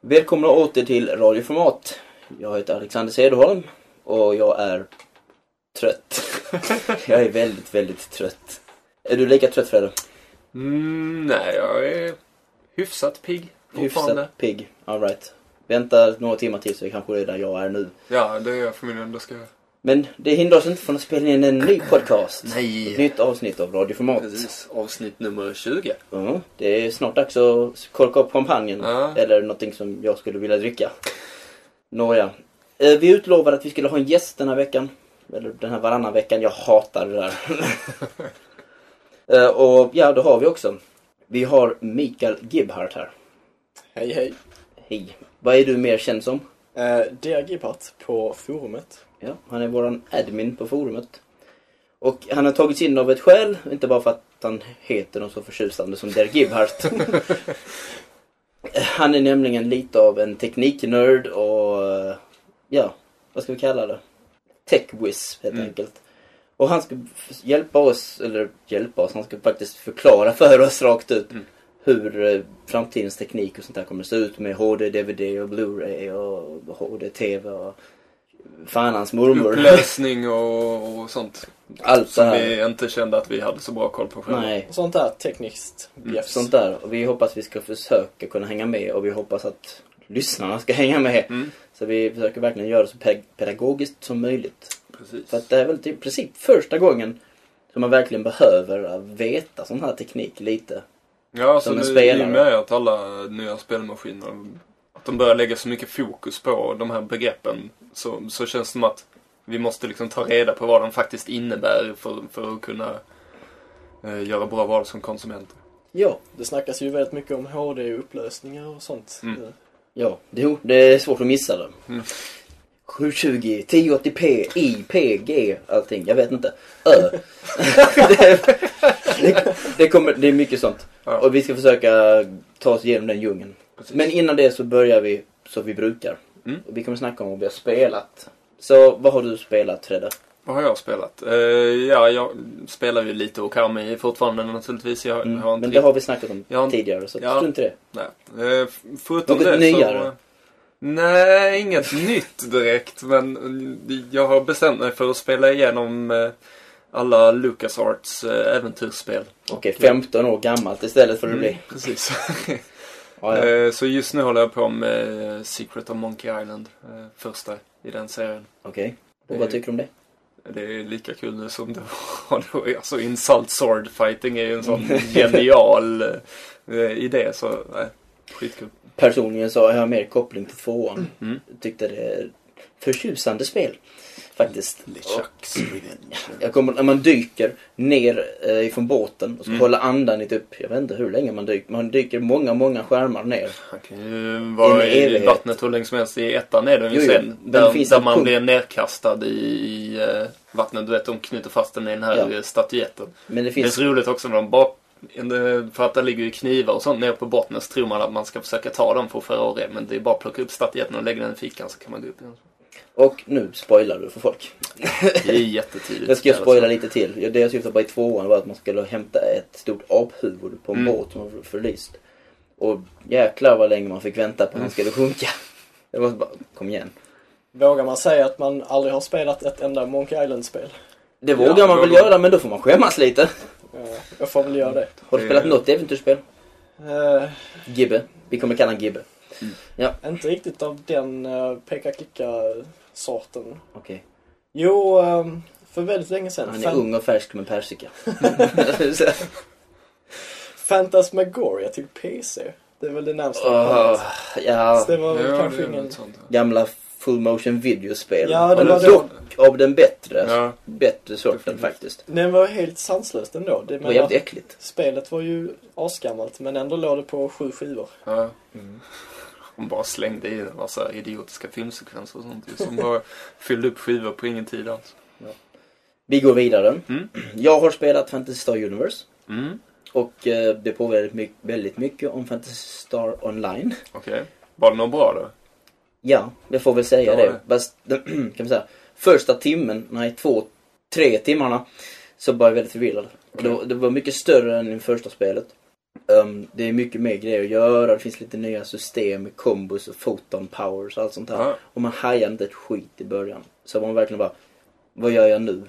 Välkomna åter till Radioformat. Jag heter Alexander Cederholm och jag är trött. jag är väldigt, väldigt trött. Är du lika trött Fredde? Mm, nej, jag är hyfsat pigg fortfarande. Hyfsat pigg. Alright. Vänta några timmar till så är kanske det är där jag är nu. Ja, det är jag förmodligen. Då ska jag... Men det hindrar oss inte från att spela in en ny podcast. Ett Nej! nytt avsnitt av Radioformat. Precis. Avsnitt nummer 20. Ja, det är snart dags att korka upp champagnen. Ja. Eller någonting som jag skulle vilja dricka. Nåja. Eh, Vi utlovade att vi skulle ha en gäst den här veckan. Eller den här varannan veckan. Jag hatar det där. Eh, Och ja, det har vi också. Vi har Mikael Gibhart här. Hej hej! Hej. Vad är du mer känd som? Eh, DRG-part på forumet. Ja, han är våran admin på forumet. Och han har tagits in av ett skäl, inte bara för att han heter något så förtjusande som Der Gibhardt. han är nämligen lite av en tekniknörd och, eh, ja, vad ska vi kalla det? Techwiz helt Mm. enkelt. Och han ska f- hjälpa oss, eller hjälpa oss, han ska faktiskt förklara för oss rakt ut Mm. hur eh, framtidens teknik och sånt där kommer att se ut med HD, DVD och Blu-ray och HD-TV och fan hans mormor. Upplösning och, och sånt. Allt det Som här. vi inte kände att vi hade så bra koll på själva. Nej, Och sånt där tekniskt bjäfs. Mm, sånt där. Och vi hoppas vi ska försöka kunna hänga med och vi hoppas att lyssnarna ska hänga med. Mm, Så vi försöker verkligen göra det så ped- pedagogiskt som möjligt. precis. För att det är väl typ i princip första gången som man verkligen behöver veta sån här teknik lite. ja, så som en nu, i spelare. och med att alla nya spelmaskiner att de börjar lägga så mycket fokus på de här begreppen så, så känns det som att vi måste liksom ta reda på vad de faktiskt innebär för, för att kunna eh, göra bra val som konsumenter. Ja, Det snackas ju väldigt mycket om HD och upplösningar och sånt. Mm. Eh, ja. Jo, det är svårt att missa det. Mm. 720, 1080p, IPG, allting. Jag vet inte. Ö. det, det, det, kommer, det är mycket sånt. Ja. Och vi ska försöka ta oss igenom den djungeln. Precis. Men innan det så börjar vi som vi brukar. Mm. Och vi kommer snacka om vad vi har spelat. Så vad har du spelat Fredde? Vad har jag spelat? Eh, ja, jag spelar ju lite Okami fortfarande naturligtvis. Jag, Mm. har inte Men det har vi snackat om Jag har inte- tidigare så Ja. strunt i det. Nej. Eh, f- förutom Något det nyare? så... Nej, inget nytt direkt. Men eh, jag har bestämt mig för att spela igenom eh, alla LucasArts eh, äventyrsspel. Okej, 15 år gammalt istället för att bli... Precis. Ja, ja. Mm. Eh, så just nu håller jag på med eh, Secret of Monkey Island, eh, första i den serien. Okej. Det Och är- vad tycker du om det? Det är lika kul nu som det var då. Alltså Insult Sword Fighting är ju en sån genial eh, idé så nej, skitkul. Personligen så har jag mer koppling till tvåan. Mm. Tyckte det är förtjusande spel. Faktiskt. Mm. LeChucks Revenge. Jag kommer, när man dyker ner eh, ifrån båten och ska Mm. hålla andan i typ, jag vet inte hur länge man dyker, man dyker många, många skärmar ner. Han kan ju vara En i evighet. vattnet hur länge som helst. I ettan är den ju Jo, jo. sen. Men det Där, finns där en man punkt. blir nerkastad i, i eh, vattnet. Du vet, de knyter fast den i den här Ja. eh, statyetten. Men det Det är finns... så roligt också när de bara... en- eh, För att där ligger ju knivar och sånt nere på botten så tror man att man ska försöka ta dem för att föra av det. Men det är bara att plocka upp statyetten och lägga den i fickan så kan man gå upp igen. Och nu spoilar du för folk. Det är jättetidigt. Jag ska spoila lite till. Ja, Det jag syftade på i tvåan var att man skulle hämta ett stort aphuvud på en Mm. båt som var förlist. Och jäklar vad länge man fick vänta på att han skulle sjunka. Det var bara, kom igen. Vågar man säga att man aldrig har spelat ett enda Monkey Island-spel? Det Ja, vågar man väl vågar. göra men då får man skämmas lite. Eh, jag får väl göra det. Har du Det- spelat något äventyrsspel? Eh, Gibbe. Vi kommer kalla han Gibbe. inte riktigt av den eh, peka-klicka-sorten. Okej. Jo, eh, för väldigt länge sedan. Han är Fan- ung och färsk som en persika. Phantasmagoria till PC. Det är väl det närmsta jag har Åh, kommit. ja, Så det var väl Ja, kanske det är ingen... något sånt. ja. gamla full motion videospel. Ja, det Och var dock då. av den bättre, Ja. bättre sorten Definitivt. faktiskt. Den var helt sanslös ändå. Det Det var menar, jävligt äckligt. spelet var ju asgammalt men ändå låg det på sju skivor. Ja. De bara slängde in en massa idiotiska filmsekvenser och sånt. ju, Som bara fyllde upp skivor på ingen tid alls. Vi går vidare. Mm. Jag har spelat Fantasy Star Universe. Mm, Och eh, det påverkar väldigt mycket, väldigt mycket om Fantasy Star Online. okej. Var det något bra då? Ja, jag får väl säga Ja, det. det. Fast, kan man säga, första timmen, nej två, Mm. tre timmarna, så var jag väldigt förvirrad. Och Det, var- det var mycket större än i första spelet. Ehm, det är mycket mer grejer att göra, det finns lite nya system med kombos och photon powers och allt sånt här. Ja. Och man hajar inte ett skit i början. Så man verkligen bara, vad gör jag nu?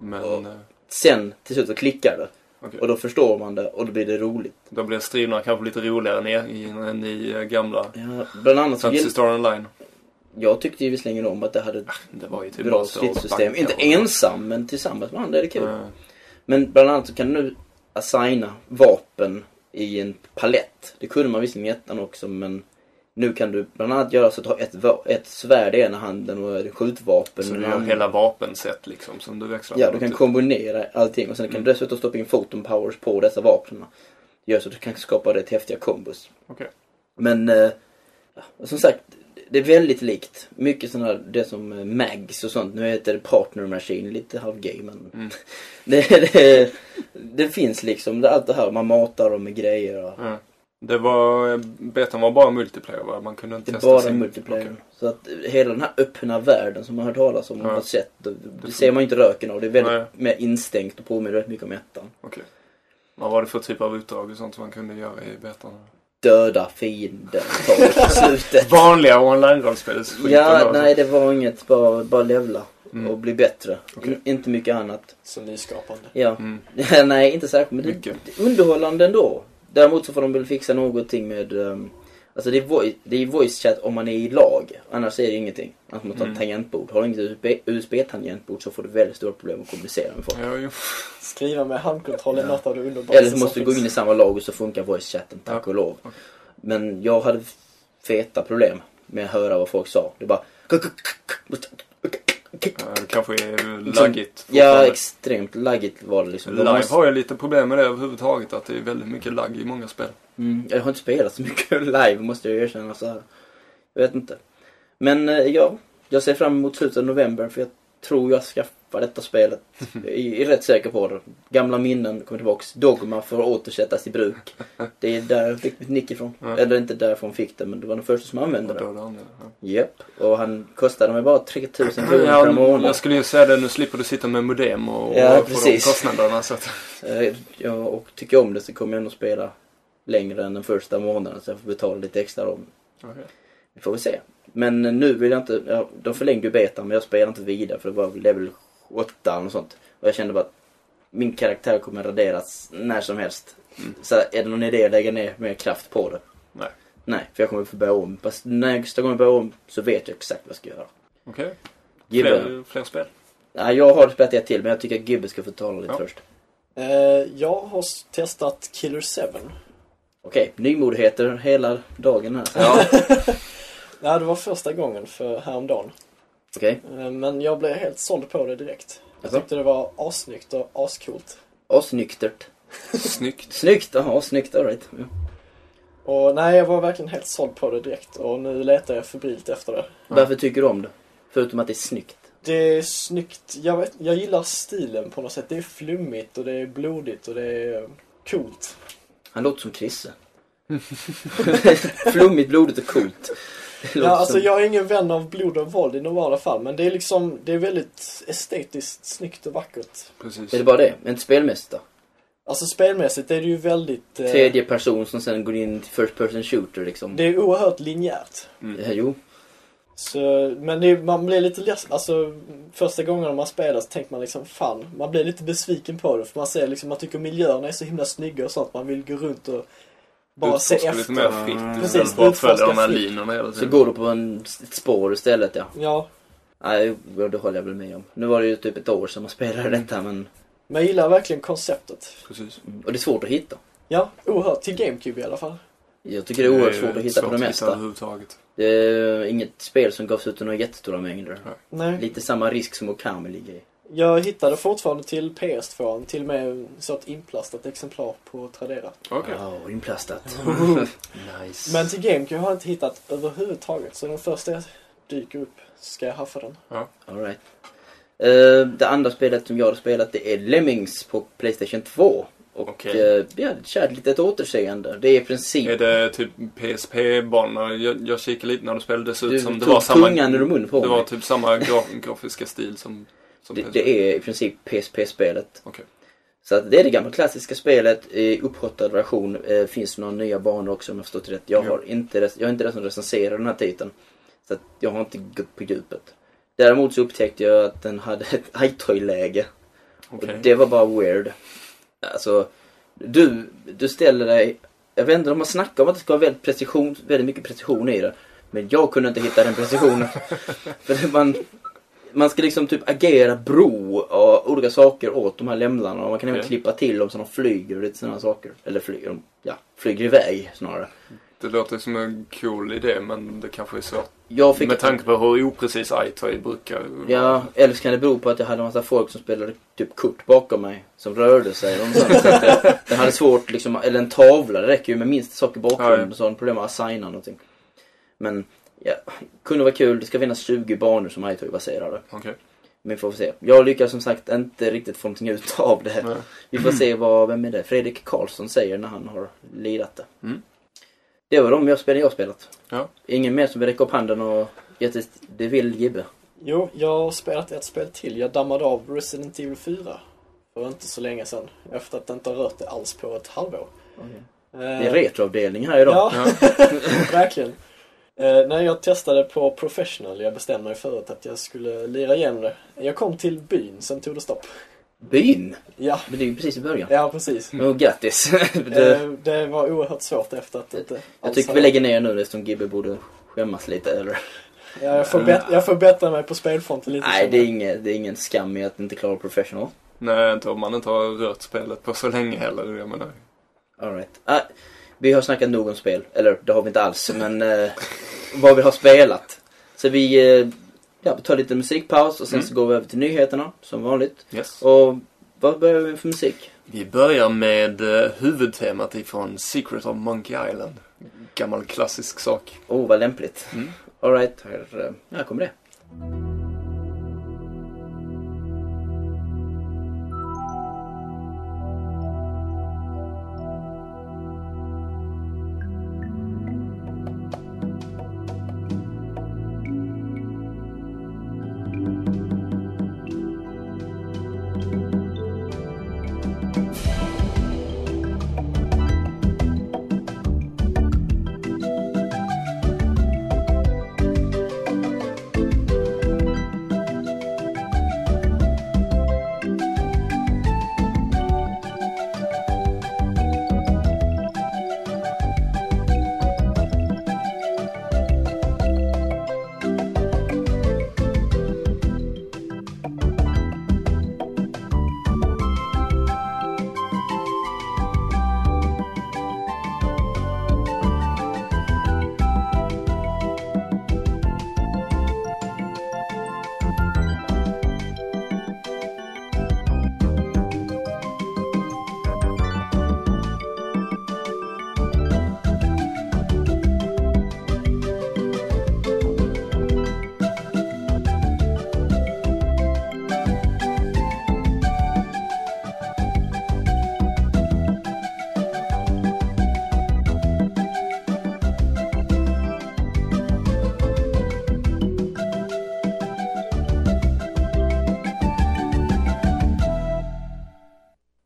Men Och- eh, Sen till slut så klickar det. okej. Och då förstår man det och då blir det roligt. då blir striderna kanske lite roligare än i, i- än i eh, gamla Ja, bland annat så Fantasy gill- Star Online. jag tyckte ju visserligen om att det hade ett Det var ju typ bra bara stå och stridssystem. banka Inte och- ensam, men tillsammans med andra är det kul. Eh, Men bland annat så kan du nu assigna vapen i en palett. Det kunde man visserligen i ettan också men nu kan du bland annat göra så att du har ett, va- ett svärd i ena handen och ett skjutvapen Så i du den gör andra. hela vapenset liksom som du växlar Ja, på du och kan typ. Mm. kombinera allting och sen kan du dessutom stoppa in photon powers på dessa vapnen. Det gör så att du kan skapa rätt häftiga kombos. Okej. Men eh, ja, som sagt, det är väldigt likt. Mycket sådana här, det som eh, mags och sånt. Nu heter det partner machine, lite halvgay men. Mm. det, det, det finns liksom det, allt det här, man matar dem med grejer och Ja. Det var, eh, betan var bara multiplayer va? Man kunde inte det är testa bara sin- multiplayer. Okej. Så att eh, hela den här öppna världen som man har hört talas om och Ja. har sett, det, det får- ser man ju inte röken av. Det är väldigt Nej. mer instängt och påminner väldigt mycket om ettan. Vad var det för typ av utdrag och sånt som man kunde göra i betan? döda fienden tar slutet. Vanliga online-rollspelsskiten Ja, då, nej det var inget. Bara, bara levla alltså. Mm. och bli bättre. Okej. In, inte mycket annat. Så nyskapande. Ja. Mm. nej, inte särskilt. Men det, Mycket. det är underhållande ändå. Däremot så får de väl fixa någonting med... ehm, alltså det är, voice, det är voice chat om man är i lag. Annars är det ingenting. Annars måste man ta Mm. ett tangentbord. Har du inget USB- USB-tangentbord så får du väldigt stora problem att kommunicera med folk. Ja, jo. Skriva med handkontroll är Ja. något av det underbaraste Eller så måste du gå in i samma lag och så funkar voice chatten, tack och lov. Men jag hade feta problem med att höra vad folk sa. Det bara... Ja, det kanske är Liksom- laggigt Ja, fortfarande. extremt laggigt var det liksom. Live Måste, har jag lite problem med det överhuvudtaget, att det är väldigt mycket lagg i många spel. mm, jag har inte spelat så mycket live, måste jag erkänna. Så här. Jag vet inte. Men eh, ja, jag ser fram emot slutet av november för jag tror jag skaffar detta spelet. Jag är rätt säker på det. Gamla minnen kommer tillbaks. Dogma får återsättas i bruk. Det är där jag fick mitt nick ifrån. Ja. Eller inte därifrån jag fick det, men det var den första som använde Och det. då det andra, ja. Japp. Och han kostade mig bara 3000 kronor per Ja, månad. jag skulle ju säga det, nu slipper du sitta med modem och, Ja, och få de precis. kostnaderna. Så att, Eh, Ja, och tycker jag om det så kommer jag nog spela längre än den första månaden så jag får betala lite extra om. Okej. Vi får väl se. Men nu vill jag inte, ja, de förlängde ju betan men jag spelar inte vidare för det var väl level 8 och sånt. Och jag kände bara att min karaktär kommer raderas när som helst. Mm. Så är det någon idé att lägga ner mer kraft på det? Nej. Nej, för jag kommer få börja om. Fast nästa gång jag börjar om så vet jag exakt vad jag ska göra. Okej. Gibbe, Fler, fler spel? Nej, jag har spelat ett till men jag tycker att Gibbe ska få tala lite Ja. först. Eh, jag har s- testat Killer 7. Okej, nymodigheter hela dagen här. Ja. Nej, det var första gången för häromdagen. Okej. alltså, Eh, men jag blev helt såld på det direkt. Jag Jaså? tyckte det var assnyggt och ascoolt. Ja, snyktert. Snyggt. Snyggt, jaha, snyggt, alright. Ja. Och nej, jag var verkligen helt såld på det direkt och nu letar jag febrilt efter det. Varför tycker du om det? Förutom att det är snyggt. Det är snyggt. Jag, vet, jag gillar stilen på något sätt. Det är flummigt och det är blodigt och det är coolt. Han låter som Krisse. Flummigt, blodigt och coolt. Det låter Ja, alltså som... jag är ingen vän av blod och våld i normala fall, men det är liksom, det är väldigt estetiskt snyggt och vackert. Precis. Är det bara det? Är inte spelmässigt då? Alltså spelmässigt är det ju väldigt... eh, Tredje person som sen går in till first person shooter liksom. Det är oerhört linjärt. Mm. Ja, jo. Så, men det, är- man blir lite ledsen, alltså första gången man spelar så tänker man liksom fan, man blir lite besviken på det för man ser liksom, man tycker miljöerna är så himla snygga och sånt, man vill gå runt och bara se Utforska lite efter. mer fritt. Precis, istället för att följa utforska de här fritt. linorna hela Så Mm. tiden. går du på en, ett spår istället ja. Ja, Nej, jo, det håller jag väl med om. Nu var det ju typ ett år sedan man spelade detta men... men jag gillar verkligen konceptet. Precis. Och det är svårt att hitta. Ja, oerhört, till GameCube i alla fall. Jag tycker det är oerhört ju svårt att hitta på det mesta. överhuvudtaget. Det är inget spel som gavs ut i några jättestora mängder. Mm. Nej, Lite samma risk som Okami ligger i. jag hittade fortfarande till PS2, till och med så ett inplastat exemplar på Tradera. Okej. Ja, inplastat. nice. Men till GameCube har jag inte hittat överhuvudtaget, så den första jag dyker upp ska jag haffa den. All right. Eh, det andra spelet som jag har spelat det är Lemmings på Playstation 2. Och Okej. eh, vi hade ett kärt litet återseende. Det är i princip... Är det typ PSP-banor? Jag, jag kikade lite när du spelade. Det såg Du ut som det tog var samma... tungan ur munnen på Det var mig. typ samma gra grafiska stil som, som det, PSP. det är i princip PSP-spelet. Okej. Så att det är det gamla klassiska spelet i upphottad version. Eh, finns några nya banor också om jag förstått rätt. Jag, Ja. har inte, res- jag är inte den som recenserar den här titeln. Så att jag har inte gått på djupet. Däremot så upptäckte jag att den hade ett iToy-läge. Okej. Och det var bara weird. Alltså, du, du ställer dig... Jag vet inte om man snackar om att det ska vara väldigt, precision, väldigt mycket precision i det. Men jag kunde inte hitta den precisionen. För det- man, man ska liksom typ agera bro och olika saker åt de här lämlarna. Och man kan även Ja. klippa till dem så de flyger och lite sådana saker. Eller flyger, de- ja, flyger iväg snarare. Det låter som en cool idé men det kanske är svårt. Jag fick Med tanke på hur oprecis iToy brukar Ja, eller så kan det bero på att jag hade en massa folk som spelade typ kort bakom mig. Som rörde sig. Och sånt. Så att jag- Den hade svårt liksom, eller en tavla, det räcker ju med minsta sak i Ja, bakgrunden. ja. Så har de problem med att assigna någonting. Men, ja, kunde vara kul. Det ska finnas 20 banor som iToy baserade. Okej. Men vi får se. Jag lyckas som sagt inte riktigt få någonting ut av det. Nej. Vi får se vad, vem är det? Fredrik Karlsson säger när han har lirat det. Mm. Det var de jag spelade, jag spelat. Ja. Ingen mer som vill räcka upp handen och gett ett, det vill Gibbe. Jo, jag har spelat ett spel till. Jag dammade av Resident Evil 4 för inte så länge sedan. Efter att inte ha rört det alls på ett halvår. Det är retroavdelning här idag. Ja, verkligen. Eh, när jag testade på Professional, jag bestämde mig förut att jag skulle lira igen det. Jag kom till byn, sen tog det stopp. Byn! Ja, Men det är ju precis i början. ja precis. Mm. grattis! Eh, det, det var oerhört svårt efter att inte jag alls tycker vi hade- lägger ner nu eftersom Gibbe borde skämmas lite. Eller? Ja, jag, förbätt, jag förbättrar mig på spelfronten lite. Nej, känner det är, jag. ingen, det är ingen skam i att inte klara professional. Nej, inte om man inte har rört spelet på så länge heller. Jag menar. All right. ah, vi har snackat nog om spel. Eller det har vi inte alls, men eh, vad vi har spelat. Så vi, eh, ja, vi tar lite musikpaus och sen Mm. så går vi över till nyheterna som vanligt. Yes. Och vad börjar vi med för musik? Vi börjar med eh, huvudtemat ifrån Secret of Monkey Island. Gammal klassisk sak. Oh, vad lämpligt. Mm. All right, här, eh, här kommer det.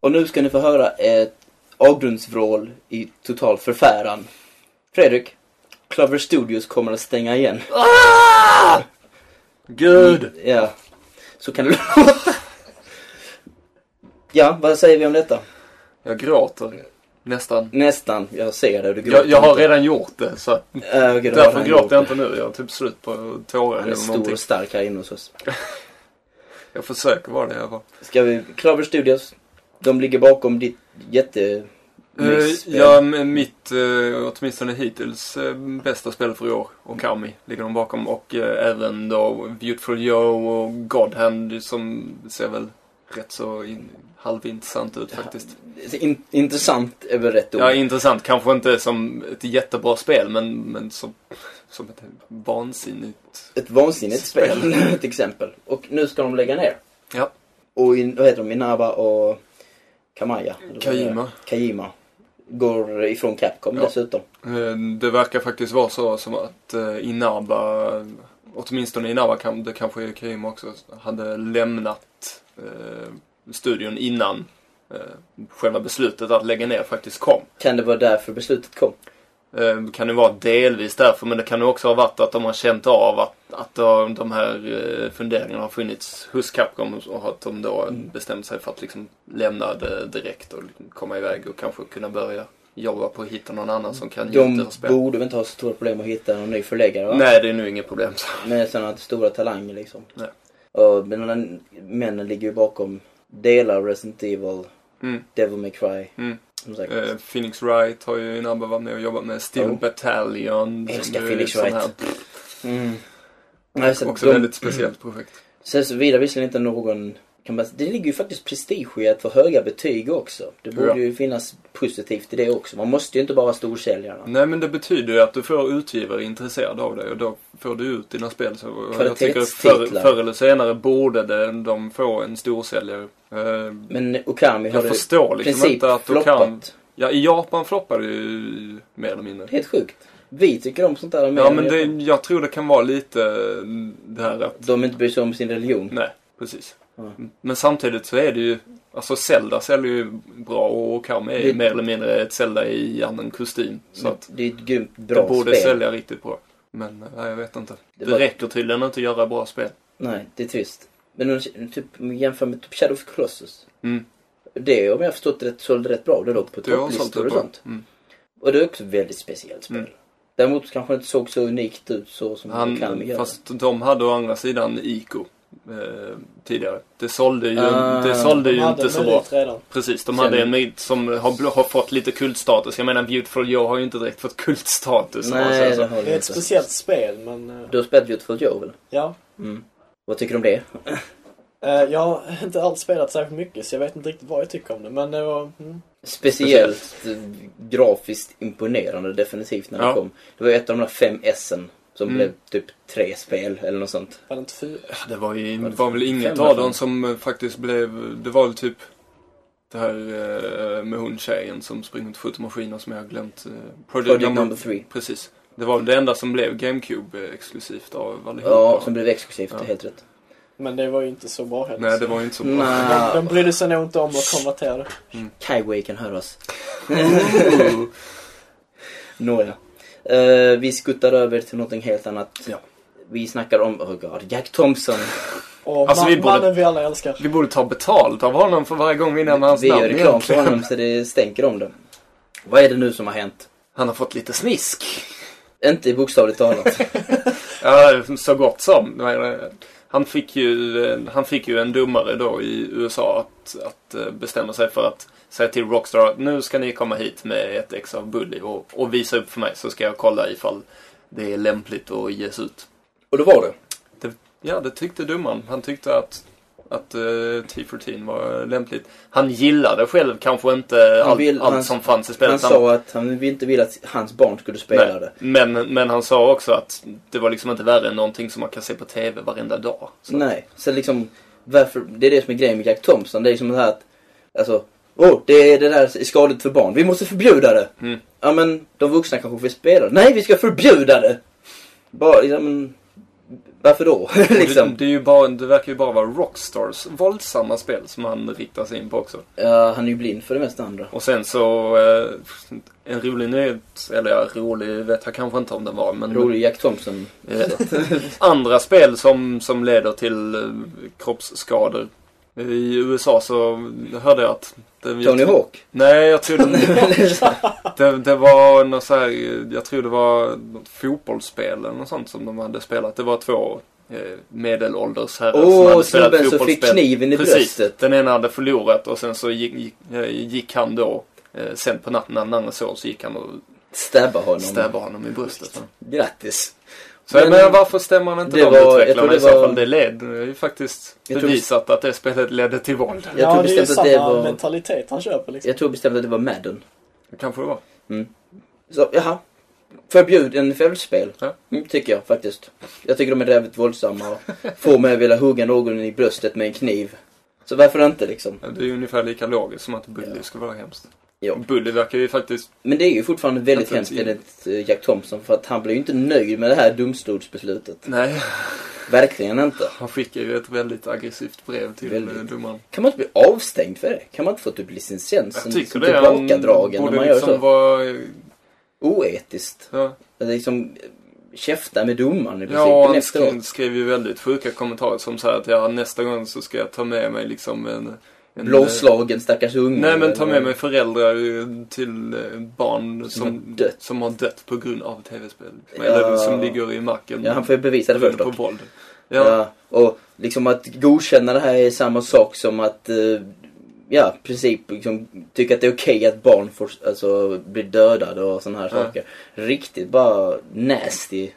Och nu ska ni få höra ett avgrundsvrål i total förfäran. Fredrik, Clover Studios kommer att stänga igen. Ah! Gud! Ja, så kan det låta. Ja, vad säger vi om detta? Jag gråter. Nästan. Nästan, jag ser det. Du gråter Jag, jag har inte. redan gjort det så att Äh, okej, då har därför han gråter jag gjort inte nu. Jag har typ slut på det. tårar Han är eller stor någonting. och stark här inne hos oss. Jag försöker vara det jag var. Ska vi... Clover Studios, de ligger bakom ditt jätte... Eh, mixspel. ja, men mitt, eh, åtminstone hittills, eh, bästa spel för i år, Okami, ligger de bakom. Och eh, även då Beautiful Joe och Godhand som ser väl rätt så in, halvintressant ut faktiskt. In, eh, intressant är väl rätt ord. Ja, intressant. Kanske inte som ett jättebra spel, men, men som, som ett vansinnigt... Ett vansinnigt Spel. spel, till exempel. Och nu ska de lägga ner. Ja. Och in, vad heter de? Inaba och Kamaya? eller vad det är. Kojima. Kajima. Går ifrån Capcom Ja. dessutom. Eh, Det verkar faktiskt vara så som att eh, Inaba, åtminstone Inaba, kan- det kanske är Kojima också, hade lämnat eh, studion innan eh, själva beslutet att lägga ner faktiskt kom. Kan det vara därför beslutet kom? Eh, kan det vara delvis därför, men det kan ju också ha varit att de har känt av att, att de, de här eh, funderingarna har funnits hos Capcom och att de då Mm. bestämt sig för att liksom lämna det direkt och liksom komma iväg och kanske kunna börja jobba på att hitta någon annan som kan De göra spel. borde väl inte ha så stora problem att hitta någon ny förläggare va? Nej, det är nu inget problem. Med sådana stora talanger liksom. Nej. Och, men den, männen ligger ju bakom delar av Resident Evil, Mm. Devil May Cry. Mm. Som sagt. Eh, Phoenix Wright har ju Inaba varit med och jobbat med. Steel Jo. Battalion. Oh. Älskar som ju är Phoenix sån Wright. här- Mm. Nej, så Också de, väldigt speciellt projekt. Sen så vidare visserligen inte någon... Kan man, det ligger ju faktiskt prestige i att få höga betyg också. Det borde Ja. ju finnas positivt i det också. Man måste ju inte bara vara storsäljare. Nej men det betyder ju att du får utgivare intresserade av dig och då får du ut dina spel. Så och jag tycker att förr, Kvalitetstitlar. förr eller senare borde det, de få en storsäljare. Eh, Men Okami har jag det i förstår liksom princip inte att du kan... floppat. Ja, i Japan floppar det ju mer eller mindre. Helt sjukt. Vi tycker om sånt där mer Ja än men det, Japan. jag tror det kan vara lite det här att... De inte bryr sig om sin religion. Nej, precis. Mm. Men samtidigt så är det ju... Alltså Zelda säljer ju bra och Okami är ju Det- mer eller mindre ett Zelda i annan kostym. Så att det är ett grymt bra det borde spel. sälja riktigt bra. Men eh, nej, jag vet inte. Det Det, var- räcker tydligen inte att göra bra spel. Nej, det är trist. Men om du typ, om vi jämför med typ Shadow of the Colossus. Mm. Det, om jag har förstått det rätt, sålde rätt bra. Det låg på Det har sålt topplistor det och bra. sånt. Mm. Och det är också ett väldigt speciellt spel. Mm. Däremot kanske det inte såg så unikt ut så som Han, Okami Han, gör. fast de hade å andra sidan Ico eh, tidigare. Det sålde ju, Ah. det sålde ju inte så bra. redan. Precis, de Sen- hade en merit som har, bl- har fått lite kultstatus. Jag menar Beautiful Joe har ju inte direkt fått kultstatus. om man säger Nej, så. det har Det är det ett inte. speciellt spel men... eh, Du har spelat Beautiful Joe väl? Ja. Mm. Vad tycker du om det? Eh, Jag har inte alls spelat särskilt mycket så jag vet inte riktigt vad jag tycker om det men det var... Mm. Speciellt eh, grafiskt imponerande definitivt när det Ja. kom. Det var ju ett av de där fem S'en som Mm. blev typ tre spel eller något sånt. Var det inte fyra? Ja, Det var ju Var var det väl inget fem av därifrån? dem som eh, faktiskt blev... Det var väl typ det här eh, med hon tjejen som springer och skjuter maskiner som jag har glömt. eh, Project, Project number three. Precis. Det var väl det enda som blev GameCube eh, exklusivt av allihopa. Ja, som blev exklusivt, Ja. det är helt rätt. Men det var ju inte så bra heller. Nej, det så- var ju inte så bra. Nja, De, de brydde sig nog inte om att konvertera det. Kaiway kan höra oss. Ooh. Nåja. Eh, vi skuttar över till någonting helt annat. Ja. Vi snackar om, oh god, Jack Thompson. Och Alltså, man, vi borde- mannen vi alla älskar. Vi borde ta betalt av honom för varje gång vi nämner hans Vi namn gör reklam för egentligen. honom så det stänker om det. Vad är det nu som har hänt? Han har fått lite smisk. Inte bokstavligt talat. Ja, så gott som. Han fick ju, han fick ju en domare då i USA att, att eh, bestämma sig för att säga till Rockstar att nu ska ni komma hit med ett ex av Bully och, och visa upp för mig så ska jag kolla ifall det är lämpligt att ges ut. Och det var det. Ja, det tyckte dumman. Han tyckte att, att eh, T14 var lämpligt. Han gillade själv kanske inte Han allt, vill- allt han- som fanns i spelet. Han sa att han inte ville att hans barn skulle spela Nej, det. men, men han sa också att det var liksom inte värre än någonting som man kan se på TV varenda dag. Så. Nej, så liksom varför, det är det som är grejen med Jack Thompson. Det är liksom det här att, alltså, åh, det, är det där är skadligt för barn. Vi måste förbjuda det. Mm. Ja men, de vuxna kanske får spela det. Nej, vi ska förbjuda det! Bara, ja, men, varför då? liksom. Det, det, är ju bara, det verkar ju bara vara Rockstars våldsamma spel som han riktar sig in på också. Ja, han är ju blind för det mesta andra. Och sen så, eh, en rolig nyhet, eller ja, rolig vet jag kanske inte om den var, men Rolig Jack Thompson. Eh, andra spel som, som leder till eh, kroppsskador. I USA så hörde jag att... det- Tony Hawk. Nej, jag tror det, det, det var något så här, jag tror det var något fotbollsspel eller något sånt som de hade spelat. Det var två eh, medelålders herrar som Åh, hade spelat snubben som fotbollsspel. fick kniven i Precis, bröstet. den ena hade förlorat och sen så gick, gick, eh, gick han då eh, sen på natten när den andra sov så gick han och Stabba honom. stabbade honom i bröstet. Grattis. Så jag Men- menar, varför stämmer han inte Det de var- jag tror utvecklarna det i så var- fall? Det led, det är ju faktiskt Jag tror- bevisat att det spelet ledde till våld. Jag tror ja, det är ju bestämt att det samma var- mentalitet han köper liksom. Jag tror bestämt att det var Madden. Kanske det var. Så, jaha. Förbjud en fällspel. Ja. Mm, tycker jag faktiskt. Jag tycker de är jävligt våldsamma och får mig att vilja hugga någon i bröstet med en kniv. Så varför inte liksom? Det är ju ungefär lika logiskt som att Bully Ja. skulle vara hemskt. Ja. Bully verkar ju faktiskt Men det är ju fortfarande väldigt Jag hemskt tror inte- enligt eh, Jack Thompson för att han blir ju inte nöjd med det här domstolsbeslutet. Nej. Verkligen inte. Han skickar ju ett väldigt aggressivt brev till Väldigt. väldigt. domaren. Kan man inte bli avstängd för det? Kan man inte få typ licensen Jag tycker det. Han tillbakadragen när borde man gör så? liksom vara... Oetiskt. Ja, Att liksom käfta med domaren i princip ja han efteråt. skrev, skrev ju väldigt sjuka kommentarer som så här att ja, nästa gång så ska jag ta med mig liksom en... en Blåslagen stackars unge. Nej men ta med Eller- mig föräldrar eh, till eh, barn Som som, har dött. som har dött på grund av tv-spel. Ja. Eller som ligger i marken. Ja, han får ju bevisa det först på dock. våld. Ja. Ja. Och liksom att godkänna det här är samma sak som att, eh, ja, i princip liksom, tycka att det är okej att barn får, alltså, blir dödade och sådana här Ja. saker. Riktigt bara nasty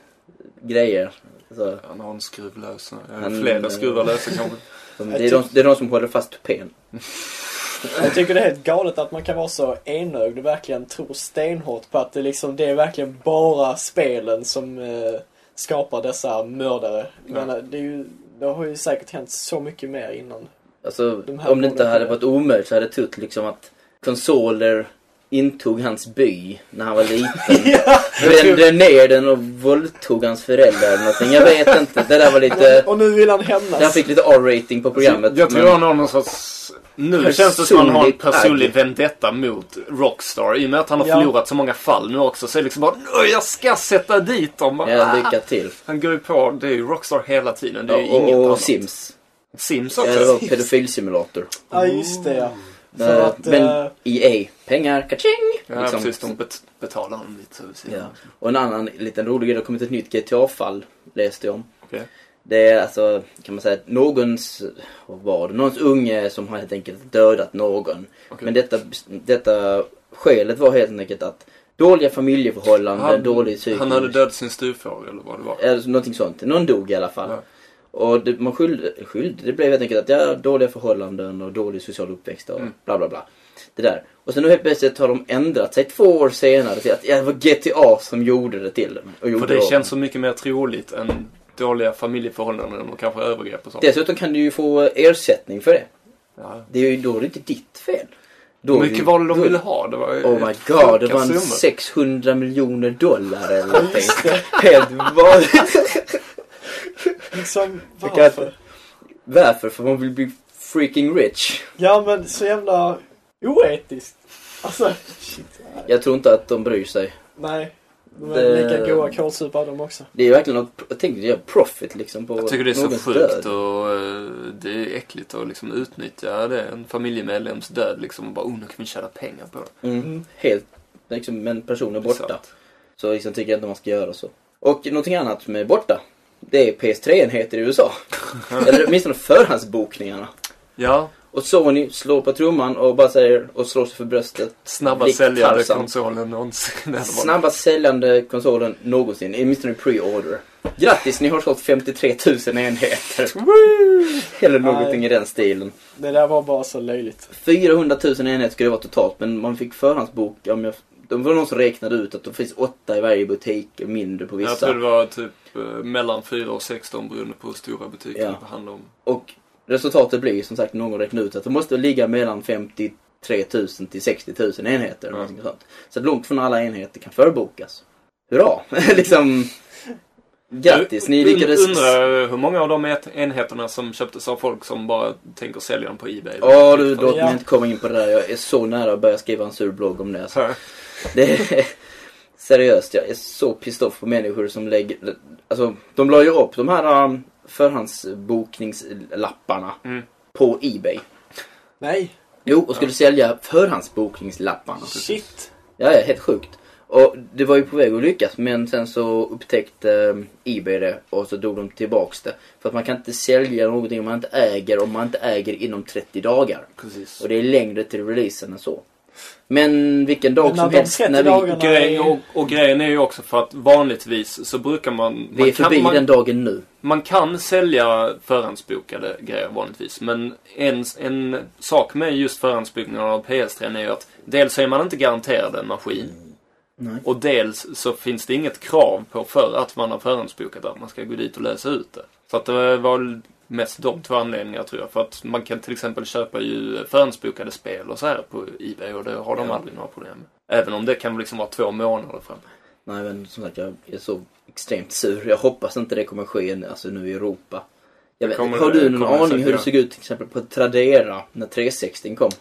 grejer. Alltså, Han har en skruv lös. Ja, Han- eh, Flera skruvar lösa kanske. de, det, är de, det är de som håller fast tupén. Jag tycker det är helt galet att man kan vara så enögd och verkligen tro stenhårt på att det, liksom, det är verkligen bara spelen som eh, skapar dessa mördare. Men eh, det, är ju, det har ju säkert hänt så mycket mer innan. Alltså, De här om det inte borde- hade varit omöjligt så hade Tut liksom att konsoler intog hans by när han var liten. Brände ner den och våldtog hans föräldrar eller någonting. Jag vet inte. Det där var lite... Och nu vill han hämnas. Det här eh, fick lite R-rating på programmet. jag tror men- han har någon sorts... Nu känns det som han har en Personligt personlig agg. vendetta mot Rockstar. I och med att han har Ja. förlorat så många fall nu också så är det liksom bara "Åh, jag ska sätta dit dem. Ja, Ah! lycka till. Han går ju på, det är ju Rockstar hela tiden. Det är ju och, inget och, annat. och Sims. Sims Ja, också. det var pedofilsimulator. Ja, just det ja. För Eh, att, men eh, EA, pengar, kaching! Ja, liksom. precis. De bet- betalar honom lite. så att säga. Ja. Och en annan liten rolig grej, det har kommit ett nytt GTA-fall, läste jag om. Okej. Det är alltså, kan man säga, någons, vad var det, någons unge som har helt enkelt dödat någon. Okej. Men detta, detta skälet var helt enkelt att dåliga familjeförhållanden, Han- dålig psykisk... Han hade dödat sin styvfår eller vad det var. Eller någonting sånt. Någon dog i alla fall. Ja. Och det, man skyllde, skyllde, det blev helt enkelt att ja, dåliga förhållanden och dålig social uppväxt och Mm. bla bla bla. Det där. Och sen nu helt plötsligt har de ändrat sig två år senare till att ja, det var GTA som gjorde det till dem. Och gjorde För det dem. känns så mycket mer troligt än dåliga familjeförhållanden och kanske övergrepp och sånt. Dessutom kan du ju få ersättning för det. Ja. Det är ju då är det inte ditt fel. Då Hur är mycket det- var det de då- ville ha? Det var ju Oh my sjuka god, det var en summor. 600 miljoner dollar eller någonting. Helt vanligt. Liksom, Jag kan- varför? Varför? För man vill bli freaking rich. Ja men så jävla oetiskt. Alltså, shit. Jag tror inte att de bryr sig. Nej. De är Det- lika goa kålsupare de också. Det är verkligen något, jag tänkte göra profit liksom på Jag tycker det är så någons sjukt död. och eh, det är äckligt att liksom utnyttja det. En familjemedlems död liksom och bara oh, nu kan vi tjäna pengar på det. Mm. Helt, liksom, men personen är borta. Exakt. Så liksom tycker jag inte man ska göra så. Och någonting annat som är borta. Det är PS3-enheter i USA. Eller åtminstone förhandsbokningarna. Ja, Och Sony slår på trumman och bara säger och slår sig för bröstet. snabba Likt säljare Tarzan. konsolen någonsin. Det var- Snabbast säljande konsolen någonsin, åtminstone i pre-order. Grattis, ni har sålt 53 000 enheter. Eller någonting i den stilen. Det där var bara så löjligt. 400 000 enheter skulle det vara totalt, men man fick förhandsbok. Om jag, det var någon som räknade ut att det finns åtta i varje butik, mindre på Jag vissa. tror det var typ eh, mellan 4 och 16 beroende på hur stora butiken Ja. det handlar om. Och resultatet blir som sagt, någon räknade ut att det måste ligga mellan 53 000 till 60 000 enheter. eller Mm. någonting Sånt. Så att långt från alla enheter kan förbokas. Hurra! liksom... Grattis, ni Jag lyckades... Undrar hur många av de et- enheterna som köptes av folk som bara tänker sälja dem på Ebay. Ja du, låt Ja. mig inte komma in på det där. Jag är så nära att börja skriva en sur blogg om det. Alltså. Så, Det är, seriöst, jag är så pissed off på människor som lägger... Alltså, de la ju upp de här um, förhandsbokningslapparna Mm. på Ebay. Nej. Jo, och skulle sälja förhandsbokningslapparna. Mm. Shit. Ja, ja, helt sjukt. Och det var ju på väg att lyckas, men sen så upptäckte um, Ebay det och så drog de tillbaks det. För att man kan inte sälja någonting man inte äger om man inte äger inom 30 dagar. precis. Och det är längre till releasen än så. Men vilken dag Men när som de helst 30 när vi, dagarna- Grejen, och, och grejen är ju också för att vanligtvis så brukar man... vi är man, förbi kan, man, den dagen nu. man kan sälja förhandsbokade grejer vanligtvis. Men en, en sak med just förhandsbokningen av PS3 är ju att dels så är man inte garanterad en maskin. Nej. Och dels så finns det inget krav på för att man har förhandsbokat att man ska gå dit och läsa ut det. Så att det var mest de två anledningarna tror jag. För att man kan till exempel köpa ju förhandsbokade spel och så här på Ebay och det har de Ja. aldrig några problem med. Även om det kan liksom vara två månader fram. Nej men som sagt jag är så extremt sur. Jag hoppas inte det kommer ske nu, alltså, nu i Europa. Jag vet, Kommer har det- du någon kommer det aning säkert hur det göra. såg ut till exempel på Tradera när 360 kom?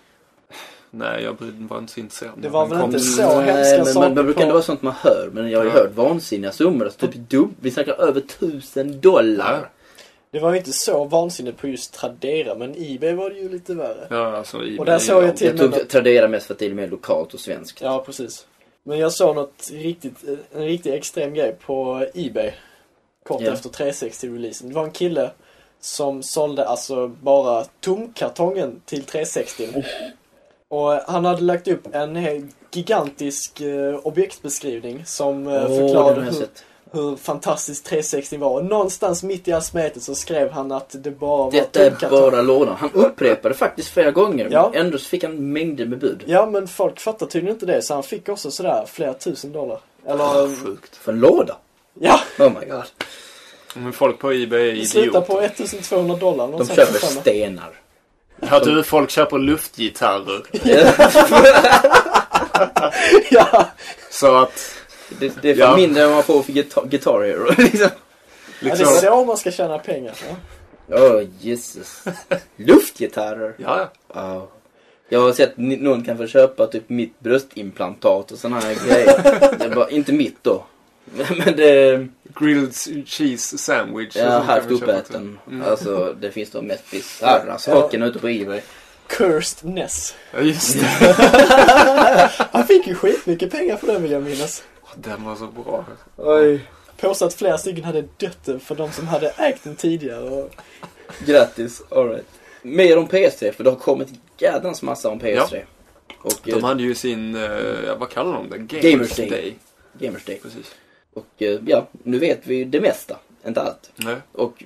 Nej, jag brydde- var inte så intresserad. Det var Den väl kom inte till- så hemska Mm. men saker man, man brukar på- inte vara sånt man hör. Men jag har ju Ja. hört vansinniga summor. Alltså, typ dubb, vi snackar över 1000 dollar. Det var ju inte så vansinnigt på just Tradera, men Ebay var det ju lite värre. Ja, alltså, i- Och där såg jag till- Jag tog Tradera mest för att det är mer lokalt och svenskt. Ja, precis. Men jag såg något riktigt, eh, en riktigt extrem grej på Ebay. Kort Ja. efter 360-releasen. Det var en kille som sålde alltså bara tomkartongen till 360. Oh. Och han hade lagt upp en hel gigantisk eh, objektsbeskrivning som eh, Åh, förklarade den har jag hur, sett. hur fantastisk 360 var. Och någonstans mitt i all smeten så skrev han att det bara Detta var är bara lådan. Han upprepade faktiskt flera gånger. Ja. Men ändå så fick han mängder med bud. Ja, men folk fattar tydligen inte det, så han fick också sådär flera tusen dollar. Eller... Sjukt. För en låda? Ja! Oh my god. Men folk på Ebay är Det slutar idioter. på 1200 dollar. De någonstans köper där framme. stenar. Ja, du, folk köper luftgitarrer. Ja, Så att, Det, det är Ja. fan mindre än man får för Guitar, guitar Hero. liksom. ja, det liksom... är så man ska tjäna pengar. Ja. Åh, Jesus. Luftgitarrer. Ja, ja. Ja. Jag har sett ni- någon kan få köpa typ mitt bröstimplantat och såna här grejer. Det var inte mitt då. Men det... Grilled cheese sandwich. Jag har Sånt kan haft vi köpa till. Mm. uppäten. Alltså det finns de mest bisarra sakerna ute på Ebay. Cursed Ness. Ja, just Mm. det. Han fick ju skitmycket pengar för den vill jag minnas. Den var så bra. Oj. Påstå att flera stycken hade dött för de som hade ägt den tidigare. Och... Grattis, alright. Mer om PS3 för det har kommit en jädrans massa om PS3. Och De eh, hade ju sin, eh, vad kallar de det? Gamers, Gamers Day. Day. Gamers Day. Precis. eh, Och eh, ja, nu vet vi ju det mesta. Inte allt. Nej. Och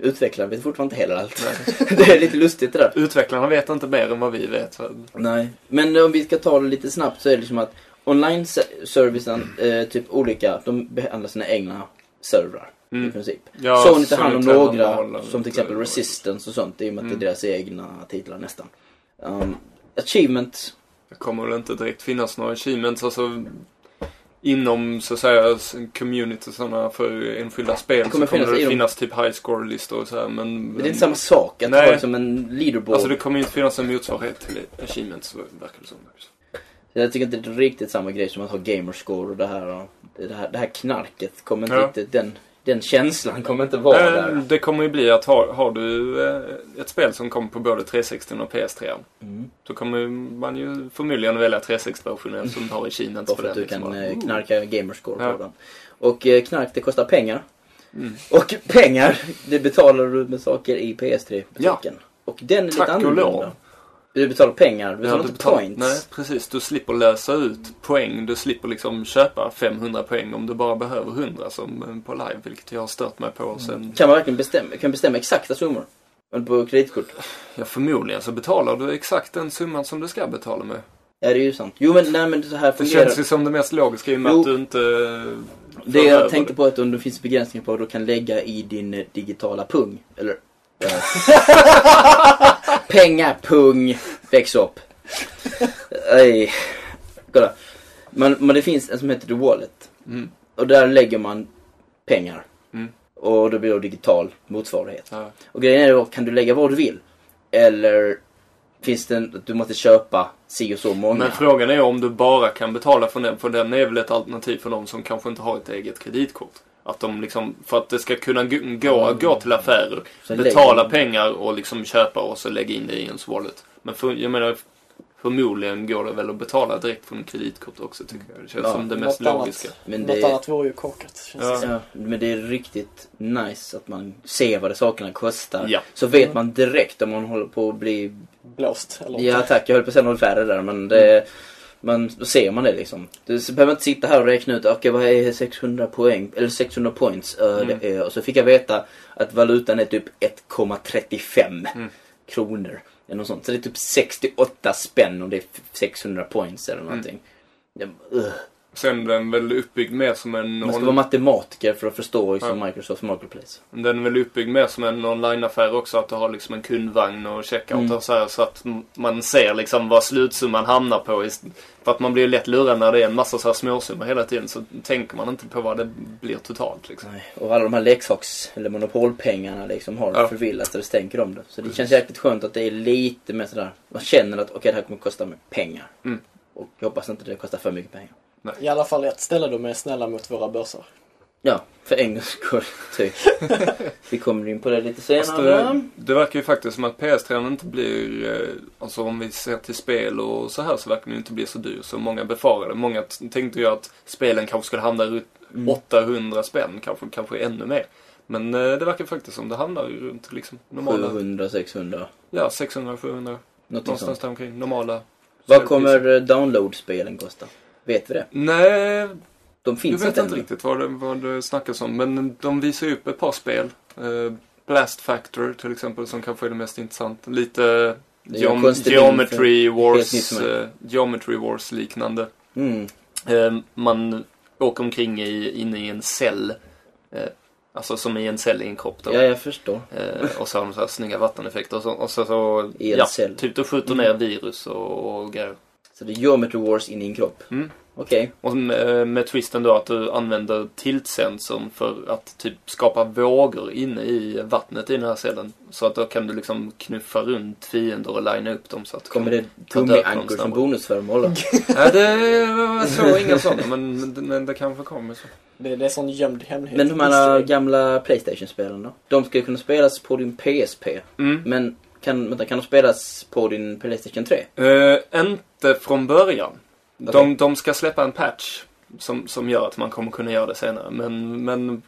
utvecklarna vet fortfarande inte heller allt. det är lite lustigt det där. Utvecklarna vet inte mer än vad vi vet. Nej, men om vi ska ta det lite snabbt så är det liksom att online-servicen, eh, typ olika, de behandlar sina egna servrar i Mm. princip. Ja, Sony tar hand om Sony tar hand om några, alla. som till exempel Resistance och sånt, i och med att Mm. det är deras egna titlar nästan. Um, achievement, Det kommer väl inte direkt finnas några achievements alltså, inom så att säga communityerna för enskilda spel Det det kommer kommer så finnas kommer i det dem. finnas typ high score-listor och så här men... det är inte samma sak att Nej. ha liksom en leaderboard. Alltså det kommer ju inte finnas en motsvarighet till achievements verkar det som. Jag tycker inte det är riktigt samma grej som att ha gamerscore och det här, och det här, det här knarket. Kommer inte Ja. riktigt, den, den känslan kommer inte vara Eh, där. Det kommer ju bli att har, har du eh, ett spel som kommer på både 360 och PS3 Mm. då kommer man ju förmodligen välja 360-versionen som tar achievements Bara för för den. att du liksom kan bara. eh, knarka gamerscore Ja. på den. Och eh, knark det kostar pengar. Mm. Och pengar det betalar du med saker i PS3-butiken. Och den är Tack lite och annorlunda. lov. Du betalar pengar, du betalar inte betalar- points. Alltså, Nej, precis. Du slipper lösa ut poäng. Du slipper liksom köpa 500 poäng om du bara behöver 100 som eh, på live, vilket jag har stört mig på. Och sen, Kan man verkligen bestämma, kan bestämma exakta summor? Men på kreditkort? ja, förmodligen så betalar du exakt den summan som du ska betala med. Ja, det är ju sant. Jo men nej men så här Det fungerar känns ju som det mest logiska i och med Jo. att du inte... eh, Det för över jag tänkte på är att om det finns begränsningar på vad du kan lägga i din eh, digitala pung. Eller... eh, Pengar, pung, väx upp. Ej. Kolla. Men, men det finns en som heter The Wallet. Mm. Och där lägger man pengar. Mm. Och då blir det digital motsvarighet. Ja. Och grejen är då, kan du lägga vad du vill? Eller finns det en, att du måste köpa si och så många? Men frågan är om du bara kan betala för den, för den är väl ett alternativ för de som kanske inte har ett eget kreditkort. Att de liksom, för att det ska kunna gå, gå att gå till affärer, Så betala Mm. lägger- pengar och liksom köpa och så lägga in det i ens wallet. Men för, jag menar, förmodligen går det väl att betala direkt från kreditkort också tycker jag. Det känns Ja, som det mest något logiska. Annat, Men Något det- annat vore ju korkat. Känns det Ja. som. Ja, men det är riktigt nice att man ser vad de sakerna kostar. Ja. Så vet man direkt om man håller på att bli... Blåst. Eller Ja något. tack, jag höll på att säga något värre där men det... Mm. Man, då ser man det liksom. Du s- behöver inte sitta här och räkna ut, okej vad är 600 poäng, eller 600 points? eh, Mm. det är, och så fick jag veta att valutan är typ 1,35 Mm. kronor. Eller något sånt. Så det är Mm. typ 68 spänn om det är f- 600 points eller någonting. Jag, bara, ugh. Sen är den väl uppbyggd mer som en... Man ska on- vara matematiker för att förstå liksom, Ja. Microsofts marketplace. Den är väl uppbyggd mer som en online-affär också, att du har liksom en kundvagn och checkout Mm. och så här, så att m- man ser liksom vad slutsumman hamnar på. ist- För att man blir lätt lurad när det är en massa så här småsummor hela tiden så tänker man inte på vad det blir totalt liksom. Nej. Och alla de här leksaks eller monopolpengarna liksom har Ja. förvillat eller stänker om det. Så det Precis. känns jäkligt skönt att det är lite mer sådär, man känner att okej det här kommer kosta mig pengar. Mm. Och jag hoppas inte det kostar för mycket pengar. I alla fall ett ställe de är snälla mot våra börser. Ja, för en gångs skull, typ. Vi kommer in på det lite Fast senare. det, det verkar ju faktiskt som att PS3 inte blir, eh, alltså om vi ser till spel och så här så verkar den ju inte bli så dyr som många befarade. Många t- tänkte ju att spelen kanske skulle hamna runt Mm. 800 spänn, kanske, kanske ännu mer. Men eh, det verkar faktiskt som det hamnar ju runt liksom normala, 700, 600, ja 600-700, någonting någonstans sånt. där omkring, normala. Vad spelpriser. kommer eh, download-spelen kosta? Vet vi det? Nej, De jag finns vet inte ännu. riktigt vad det, vad det snackas om, men de visar ju upp ett par spel. Eh, Blast Factor till exempel, som kanske är det mest intressant. Lite Det är en Geom- konstig Geometry nytt Wars, för mig. eh, Geometry Wars liknande. Mm. Eh, man åker omkring i, inne i en cell. Eh, alltså som i en cell i en kropp då. Ja, jag förstår. Eh, och så har de så här snygga vatteneffekter och så, och så, så I en ja, cell. Mm. typ de skjuter ner virus och, och grejer. Så det är Geometry Wars in i en kropp. Mm. Okej. Och med, med twisten då att du använder tiltsensorn för att typ skapa vågor inne i vattnet i den här cellen. Så att då kan du liksom knuffa runt fiender och linea upp dem så att... Kommer det Ta död på dem gummiankor som snabbare. bonusföremål? då? Nej, det var så inga sådana, men, men, men det kanske kommer så. Det, det är sån gömd hemlighet. Men de här gamla Playstation-spelen då? De ska ju kunna spelas på din PSP. Mm. Men kan, vänta, kan de spelas på din Playstation 3? Eh, inte från början. Okej. De, de ska släppa en patch som, som gör att man kommer kunna göra det senare. Men, men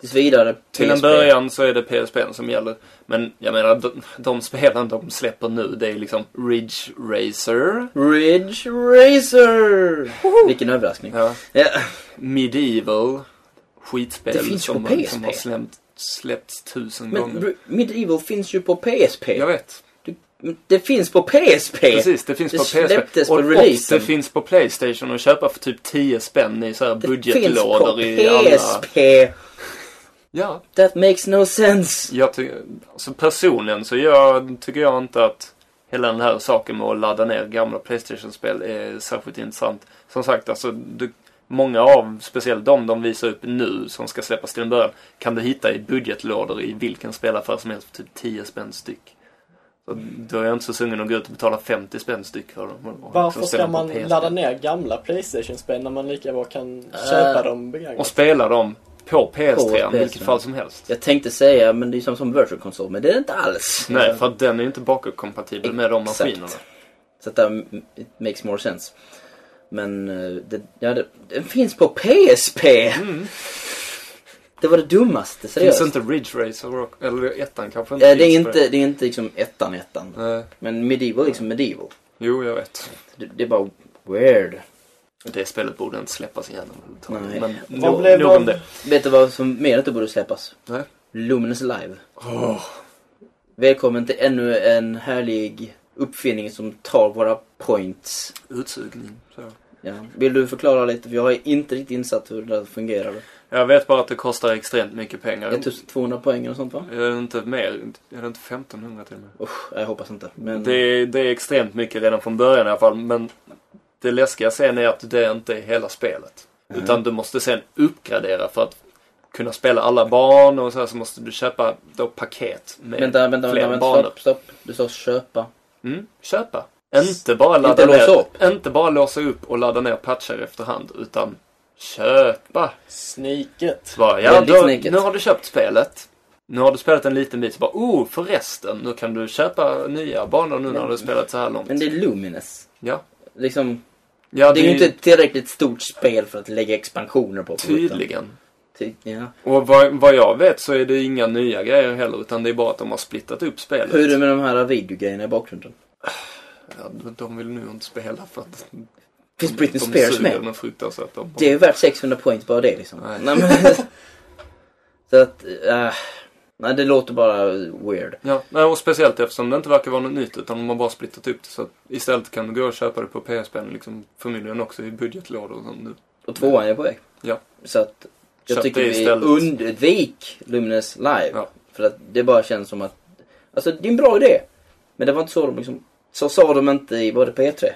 Tills vidare Till en början så är det PSP som gäller. Men jag menar, de, de spelen de släpper nu, det är liksom Ridge Racer, Ridge Racer! Vilken överraskning. ja. Ja. Medieval, skitspel Det finns ju som, på har- som PSP. har släppt, släppts tusen Men gånger. R- Medieval finns ju på PSP. Jag vet, Det finns på PSP! precis. Det finns Det på släpptes PSP. på och, och releasen. det finns på Playstation att köpa för typ 10 spänn i så här Det finns på budgetlådor i alla... PSP! Ja, That makes no sense! jag ty- alltså personligen så jag, tycker jag inte att hela den här saken med att ladda ner gamla Playstation-spel är särskilt intressant. Som sagt, alltså, du, många av, speciellt de de visar upp nu som ska släppas till en början, kan du hitta i budgetlådor i vilken spelaffär som helst för typ 10 spänn styck. Så då är jag inte så sugen att gå ut och betala 50 spänn styck för dem. och- och Varför liksom ställa ska dem på man PSP. ladda ner gamla Playstation-spel när man lika bra kan Äh. köpa dem Och begagnat? spela dem på PS3, PS3. i vilket fall som helst. Jag tänkte säga, men det är som, som virtual console, men det är det inte alls. Nej, för att den är ju inte bakåtkompatibel med de Exakt. maskinerna. Så att det här- it makes more sense. Men eh, det, ja, det, den finns på PSP! Mm. Det var det dummaste, seriöst. Finns inte Ridge Racer och, eller ettan kanske Eh, det är finns på inte, det är inte liksom ettan, ettan. Nej, Men medieval är liksom medieval. jo, jag vet. Det, det är bara weird. Det spelet borde inte släppas igen Nej. överhuvudtaget. Men Vad nog- blev nog om de- det. Vet du vad som mer inte borde släppas? Nej. Luminous Live. Åh, Välkommen till ännu en härlig uppfinning som tar våra points. utsugning. Så. Ja. Vill du förklara lite? För jag är inte riktigt insatt hur det där fungerar. Jag vet bara att det kostar extremt mycket pengar. 1200 poäng eller sånt va? Är det inte mer? Är det inte 1500 till och med? Usch, jag hoppas inte. Men... Det, är, det är extremt mycket redan från början i alla fall. Men det läskiga sen är att det inte är hela spelet. Mm. Utan du måste sen uppgradera för att kunna spela alla banor och så här så måste du köpa då paket med Vänta, vänta, vänta, fler vänta banor. stopp, stopp. Du sa köpa. Mm, köpa. Inte bara ladda Inte ner. låsa upp. Inte bara låsa upp och ladda ner patchar efterhand. Utan köpa. Sniket. Bara, ja, Väldigt då, sniket. nu har du köpt spelet. Nu har du spelat en liten bit. Så bara, oh förresten. Nu kan du köpa nya banor nu när Men- du har spelat så här långt. Men det är Luminous. Ja. Liksom, ja, det är ju inte ett tillräckligt stort spel för att lägga expansioner på. Tydligen. Ty- ja. Och vad, vad jag vet så är det inga nya grejer heller. Utan det är bara att de har splittat upp spelet. Hur är det med de här videogrejerna i bakgrunden? ja, de- de vill nu inte spela för att Finns Britney de Spears suger med? något fruktansvärt. De bara- Det är ju värt 600 poäng bara det liksom. Nej. Nej, men... Så att, äh, nej det låter bara weird. Ja, nej, och speciellt eftersom det inte verkar vara något nytt utan de har bara splittat upp det. Så att istället kan du gå och köpa det på PSP liksom, förmodligen också i budgetlådor som du Och tvåan är på väg. Ja. Så att jag Så att tycker det är vi istället- undvik Lumines live. Ja. För att det bara känns som att, alltså det är en bra idé. Men det var inte så de liksom, så sa de inte i både P3.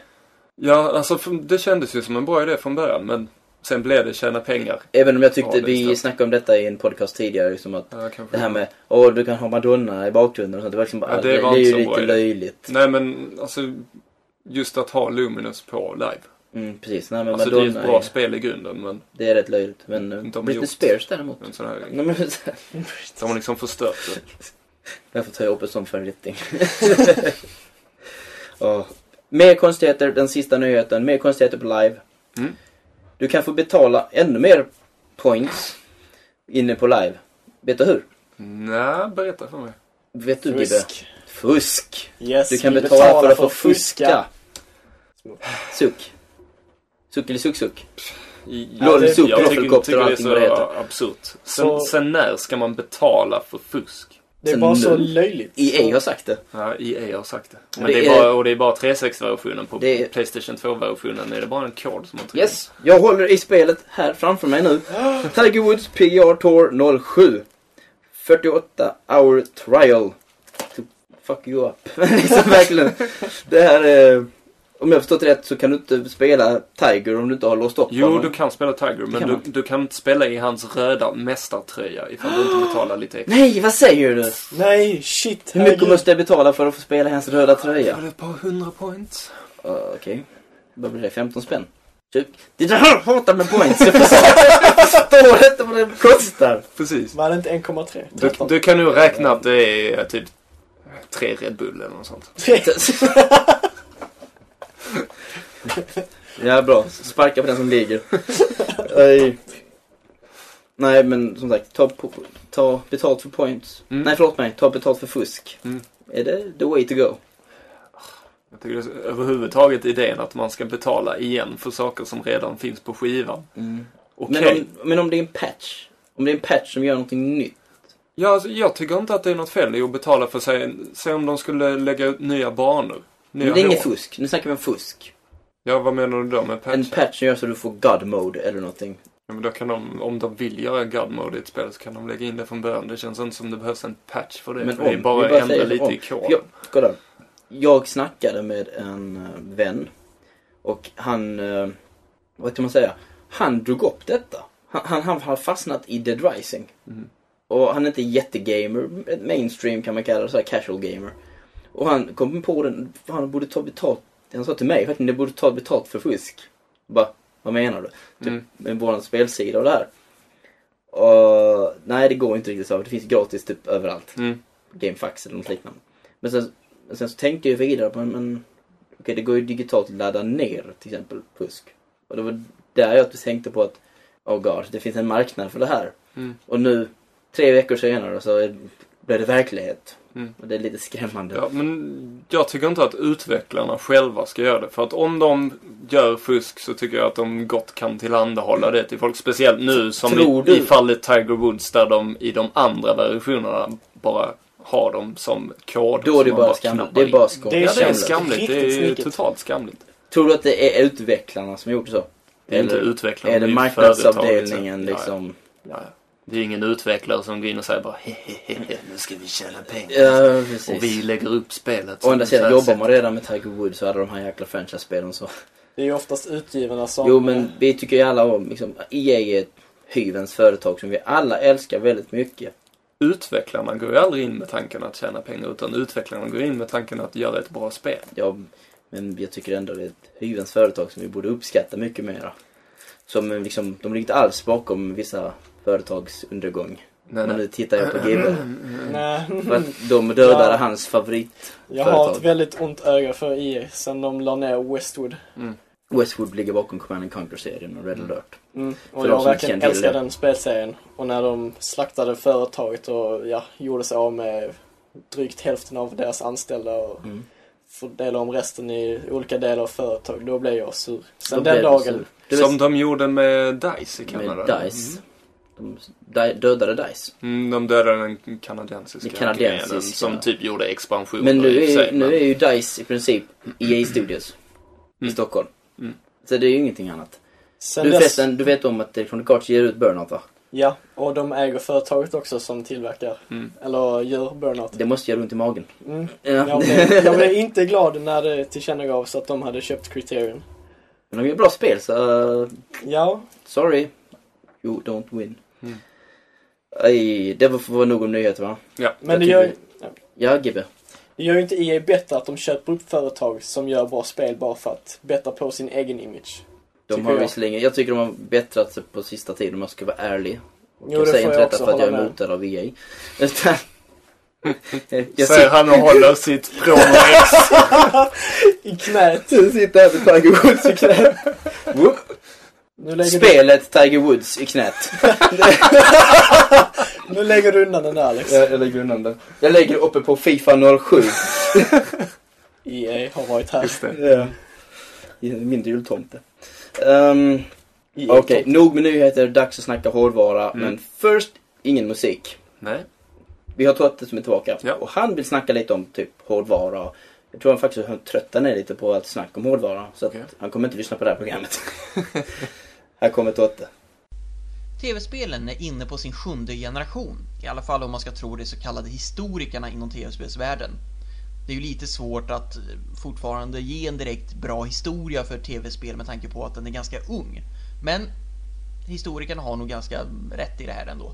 Ja, alltså för- det kändes ju som en bra idé från början men sen blev det tjäna pengar. Även om jag tyckte, Ja, det är vi sant. snackade om detta i en podcast tidigare, liksom att Ja, kanske. det här med, åh du kan ha Madonna i bakgrunden och sånt. Det var liksom bara, Ja, det, det var det är inte ju så bra lite idé. löjligt. Nej men alltså just att ha Luminous på live. Mm, precis. Nej, men Alltså det är Madonna ett bra spel i grunden men det är rätt löjligt. Men eh, Inte om Britney gjort. Spears däremot. en sån här... Nej, men, De har liksom förstört det. jag får ta upp en sån förrättning. Ja. Mer konstigheter, den sista nyheten. Mer konstigheter på live. Mm. Du kan få betala ännu mer points inne på live. Vet du hur? Nej, berätta för mig. Vet du Gibbe? Fusk. Fusk! Yes, Du kan vi betala, betalar för att få fuska. Små. Suck. Suck eller suck suck. I- Lol, det- suck, jag tycker, roffelkopter tycker och det är allting vad det så heter. absurt. Sen, Så- sen när ska man betala för fusk? Det är Sen bara så nu. löjligt. EA E har sagt det. Ja, EA har sagt det. Men Det det, är- är bara, och det är bara 360-versionen. På Det är- Playstation 2-versionen är det bara en kod som man trycker Yes, jag håller i spelet här framför mig nu. Tiger Woods PGR Tour 07. 48 hour trial. To fuck you up. liksom verkligen. Det här är... Om jag har förstått rätt så kan du inte spela Tiger om du inte har låst upp Jo, honom. du kan spela Tiger, men kan man du, du kan inte spela i hans röda mästartröja ifall du inte betalar lite extra. Nej, vad säger du? Nej, shit. Hur mycket herregud. måste jag betala för att få spela i hans röda Det tröja? var ett par hundra points. Uh, Okej. Vad blir det? 15 spänn? Typ. Det där jag hatar med points. Jag förstår inte vad det kostar. Precis. Man hade inte 1,3. Du, 13. du kan nog räkna att det är eh, typ tre Red Bull eller något sånt. Alltså. Ja, bra. Sparka på den som ligger. Nej. Nej, men som sagt, ta, po- ta betalt för points. Mm. Nej, förlåt mig. Ta betalt för fusk. Mm. Är det the way to go? Jag tycker det är så- överhuvudtaget idén att man ska betala igen för saker som redan finns på skivan. Mm. Okej. Men, om, men om det är en patch? Om det är en patch som gör någonting nytt? Ja, alltså, jag tycker inte att det är något fel i att betala för sig. Säg om de skulle lägga ut nya banor. Nya Men det är hål. inget fusk. Nu snackar vi om fusk. Ja, vad menar du då med patch? En patch som gör så du får god mode eller någonting. Ja, men då kan de, om de vill göra God Mode i ett spel så kan de lägga in det från början. Det känns inte som det behövs en patch för det. Men Men det om, är bara vi att bara ändra säger lite om. i koden. Ja, kolla. Jag snackade med en eh, vän och han, eh, vad kan man säga, han drog upp detta. Han, han, han har fastnat i Dead Rising. Mm. Och han är inte jättegamer, ett mainstream kan man kalla det, så här casual gamer. Och han kom på den, fan han borde ta betalt, han sa till mig faktiskt, det borde ta betalt för fusk. Jag Bara, vad menar du? Typ Mm. med våran spelsida och det här. Och, nej det går inte riktigt så, det finns gratis typ överallt. Mm. Gamefax eller något liknande. Men sen, men sen så tänkte jag vidare på, men okej det går ju digitalt att ladda ner till exempel fusk. Och det var där jag tänkte på att, oh god, det finns en marknad för det här. Mm. Och nu, tre veckor senare, så är, blev det verklighet. Mm. Och det är lite skrämmande. Ja, men jag tycker inte att utvecklarna själva ska göra det. För att om de gör fusk så tycker jag att de gott kan tillhandahålla det till folk. Speciellt nu som i, Tror du- i fallet Tiger Woods där de i de andra versionerna bara har dem som kod. Då som är det man bara skamligt. knappar Det är in. bara skoj. Det Ja, det är skamligt. skamligt. Det Riktigt är ju sniket. totalt skamligt. Tror du att det är utvecklarna som gjort så? Det är inte Eller utvecklarna, är det ju marknadsavdelningen företaget. Ja, ja. liksom? Ja, ja. Det är ingen utvecklare som går in och säger bara hehehe, nu ska vi tjäna pengar. Ja, precis. och vi lägger upp spelet. Å andra som sidan, så här jobbar man redan med Tiger Woods och alla de här jäkla franchise-spelen så Det är ju oftast utgivarna som... Jo men vi tycker ju alla om, liksom, EA är ett hyvens företag som vi alla älskar väldigt mycket. Utvecklarna går ju aldrig in med tanken att tjäna pengar utan utvecklarna går in med tanken att göra ett bra spel. Ja, men jag tycker ändå det är ett hyvens företag som vi borde uppskatta mycket mera. Som eh, liksom, de ligger inte alls bakom vissa företags undergång. Men Nej, nej. Mm, nu tittar jag på GB. Nej. För att de dödade Mm. Ja. hans favorit. Jag har ett företag. väldigt ont öga för EA sen de la ner Westwood. Mm. Westwood ligger bakom Command and Conquer-serien och Red Mm. Alert. Mm. Och För de jag som verkligen inte känner till älskar det. den spelserien. Och när de slaktade företaget och ja, gjorde sig av med drygt hälften av deras anställda och Mm. fördelade om resten i olika delar av företag. Då blev jag sur. Sen Då blev liksom den det dagen. så- Det var Som de gjorde med Dice i Kanada. med Dice. De di- dödade Dice. Mm, de dödade den kanadensiska, Den kanadensiska. grenen som typ gjorde expansioner Men nu i och för är, sig, men- nu är ju DICE i princip EA E Studios i Mm. Stockholm. Mm. Så det är ju ingenting annat. Sen Du, dess, förresten, du vet om att Electronic Arts ger ut Burnout va? ja, och de äger företaget också som tillverkar, Mm. eller gör Burnout. Det måste göra ont i magen. Mm. Ja. Jag, blev, jag blev inte glad när det tillkännagavs att de hade köpt Criterion. Men de gör bra spel så... eh, Ja, sorry. You don't win. Mm. Aj, det var var nog om nyheter va? men Jag det gör, tycker- Ja, Gibbe. det gör ju inte EA bättre att de köper upp företag som gör bra spel bara för att bättra på sin egen image. De Tycker har jag. visserligen, jag tycker de har bättrat sig på sista tiden om jag ska vara ärlig. Och Jo, jag det säger får inte jag detta också för att jag är hålla med. motad av E EA. Utan... jag Säger han och håller sitt promo-ex. I knät! sitter, sitter här med Tiger Woods i knät. Whoop. Nu lägger, du, Spelet Tiger Woods i knät. nu lägger du undan den där Alex. jag, jag lägger undan det. Jag lägger det uppe på Fifa 07. EA E har varit här. Just det. Ja. Mindre jultomte. Ehm, EA Okej, nog med nyheter. Dags att snacka hårdvara. Mm. Men först, ingen musik. Nej. Vi har Totte som är tillbaka. Ja. Och han vill snacka lite om typ hårdvara. Jag tror han faktiskt har tröttnat ner lite på allt snack om hårdvara. Så Okej. att han kommer inte lyssna på det här programmet. här kommer Totte. TV-spelen är inne på sin sjunde generation, i alla fall om man ska tro de så kallade historikerna inom TV-spelsvärlden. Det är ju lite svårt att eh, fortfarande ge en direkt bra historia för TV-spel med tanke på att den är ganska ung. Men historikerna har nog ganska mm, rätt i det här ändå.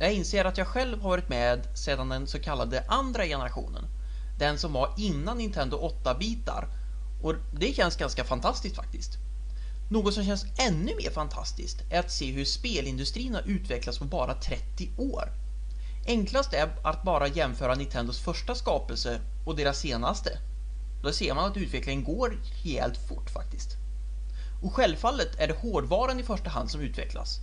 Jag inser att jag själv har varit med sedan den så kallade andra generationen. Den som var innan Nintendo 8-bitar. Och det känns ganska fantastiskt faktiskt. Något som känns ännu mer fantastiskt är att se hur spelindustrin har utvecklats på bara 30 år. Enklast är att bara jämföra Nintendos första skapelse och deras senaste. Då ser man att utvecklingen går rejält fort faktiskt. Och självfallet är det hårdvaran i första hand som utvecklas.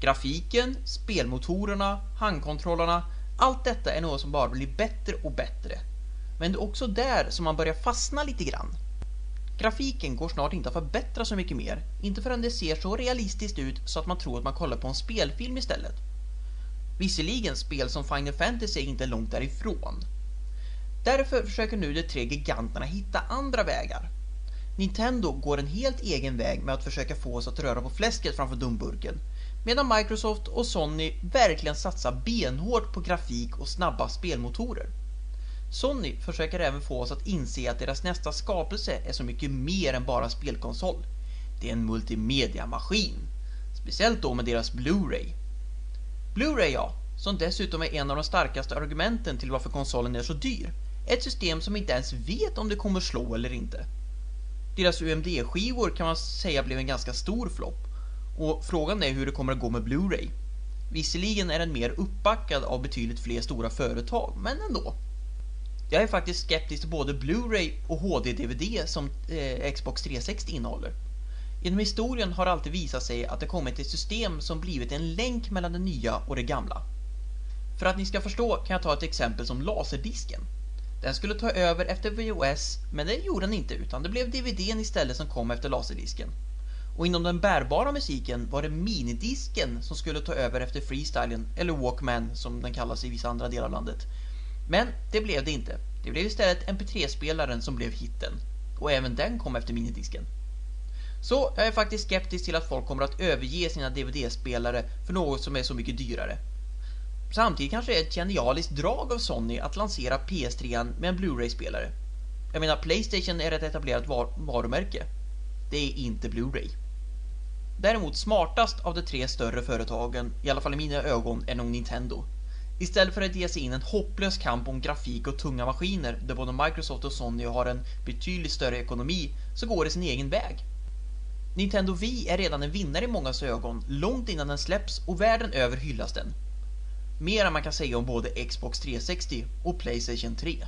Grafiken, spelmotorerna, handkontrollerna, allt detta är något som bara blir bättre och bättre. Men det är också där som man börjar fastna lite grann. Grafiken går snart inte att förbättra så mycket mer, inte förrän det ser så realistiskt ut så att man tror att man kollar på en spelfilm istället. Visserligen spel som Final Fantasy är inte långt därifrån. Därför försöker nu de tre giganterna hitta andra vägar. Nintendo går en helt egen väg med att försöka få oss att röra på fläsket framför dumburken, medan Microsoft och Sony verkligen satsar benhårt på grafik och snabba spelmotorer. Sony försöker även få oss att inse att deras nästa skapelse är så mycket mer än bara spelkonsol. Det är en multimediamaskin. Speciellt då med deras Blu-ray. Blu-ray ja, som dessutom är en av de starkaste argumenten till varför konsolen är så dyr. Ett system som inte ens vet om det kommer slå eller inte. Deras UMD-skivor kan man säga blev en ganska stor flopp. Och frågan är hur det kommer att gå med Blu-ray. Visserligen är den mer uppbackad av betydligt fler stora företag, men ändå. Jag är faktiskt skeptisk till både Blu-ray och HD-DVD som eh, Xbox 360 innehåller. Genom historien har det alltid visat sig att det kommit ett system som blivit en länk mellan det nya och det gamla. För att ni ska förstå kan jag ta ett exempel som laserdisken. Den skulle ta över efter VHS, men det gjorde den inte utan det blev DVDn istället som kom efter laserdisken. Och inom den bärbara musiken var det minidisken som skulle ta över efter freestylen, eller Walkman som den kallas i vissa andra delar av landet. Men det blev det inte. Det blev istället MP3-spelaren som blev hitten. Och även den kom efter minidisken. Så jag är faktiskt skeptisk till att folk kommer att överge sina DVD-spelare för något som är så mycket dyrare. Samtidigt kanske det är ett genialiskt drag av Sony att lansera PS3 med en Blu-ray-spelare. Jag menar, Playstation är ett etablerat var- varumärke. Det är inte Blu-ray. Däremot smartast av de tre större företagen, i alla fall i mina ögon, är nog Nintendo. Istället för att ge sig in i en hopplös kamp om grafik och tunga maskiner där både Microsoft och Sony har en betydligt större ekonomi så går det sin egen väg. Nintendo Wii är redan en vinnare i mångas ögon långt innan den släpps och världen över hyllas den. Mer än man kan säga om både Xbox 360 och Playstation 3.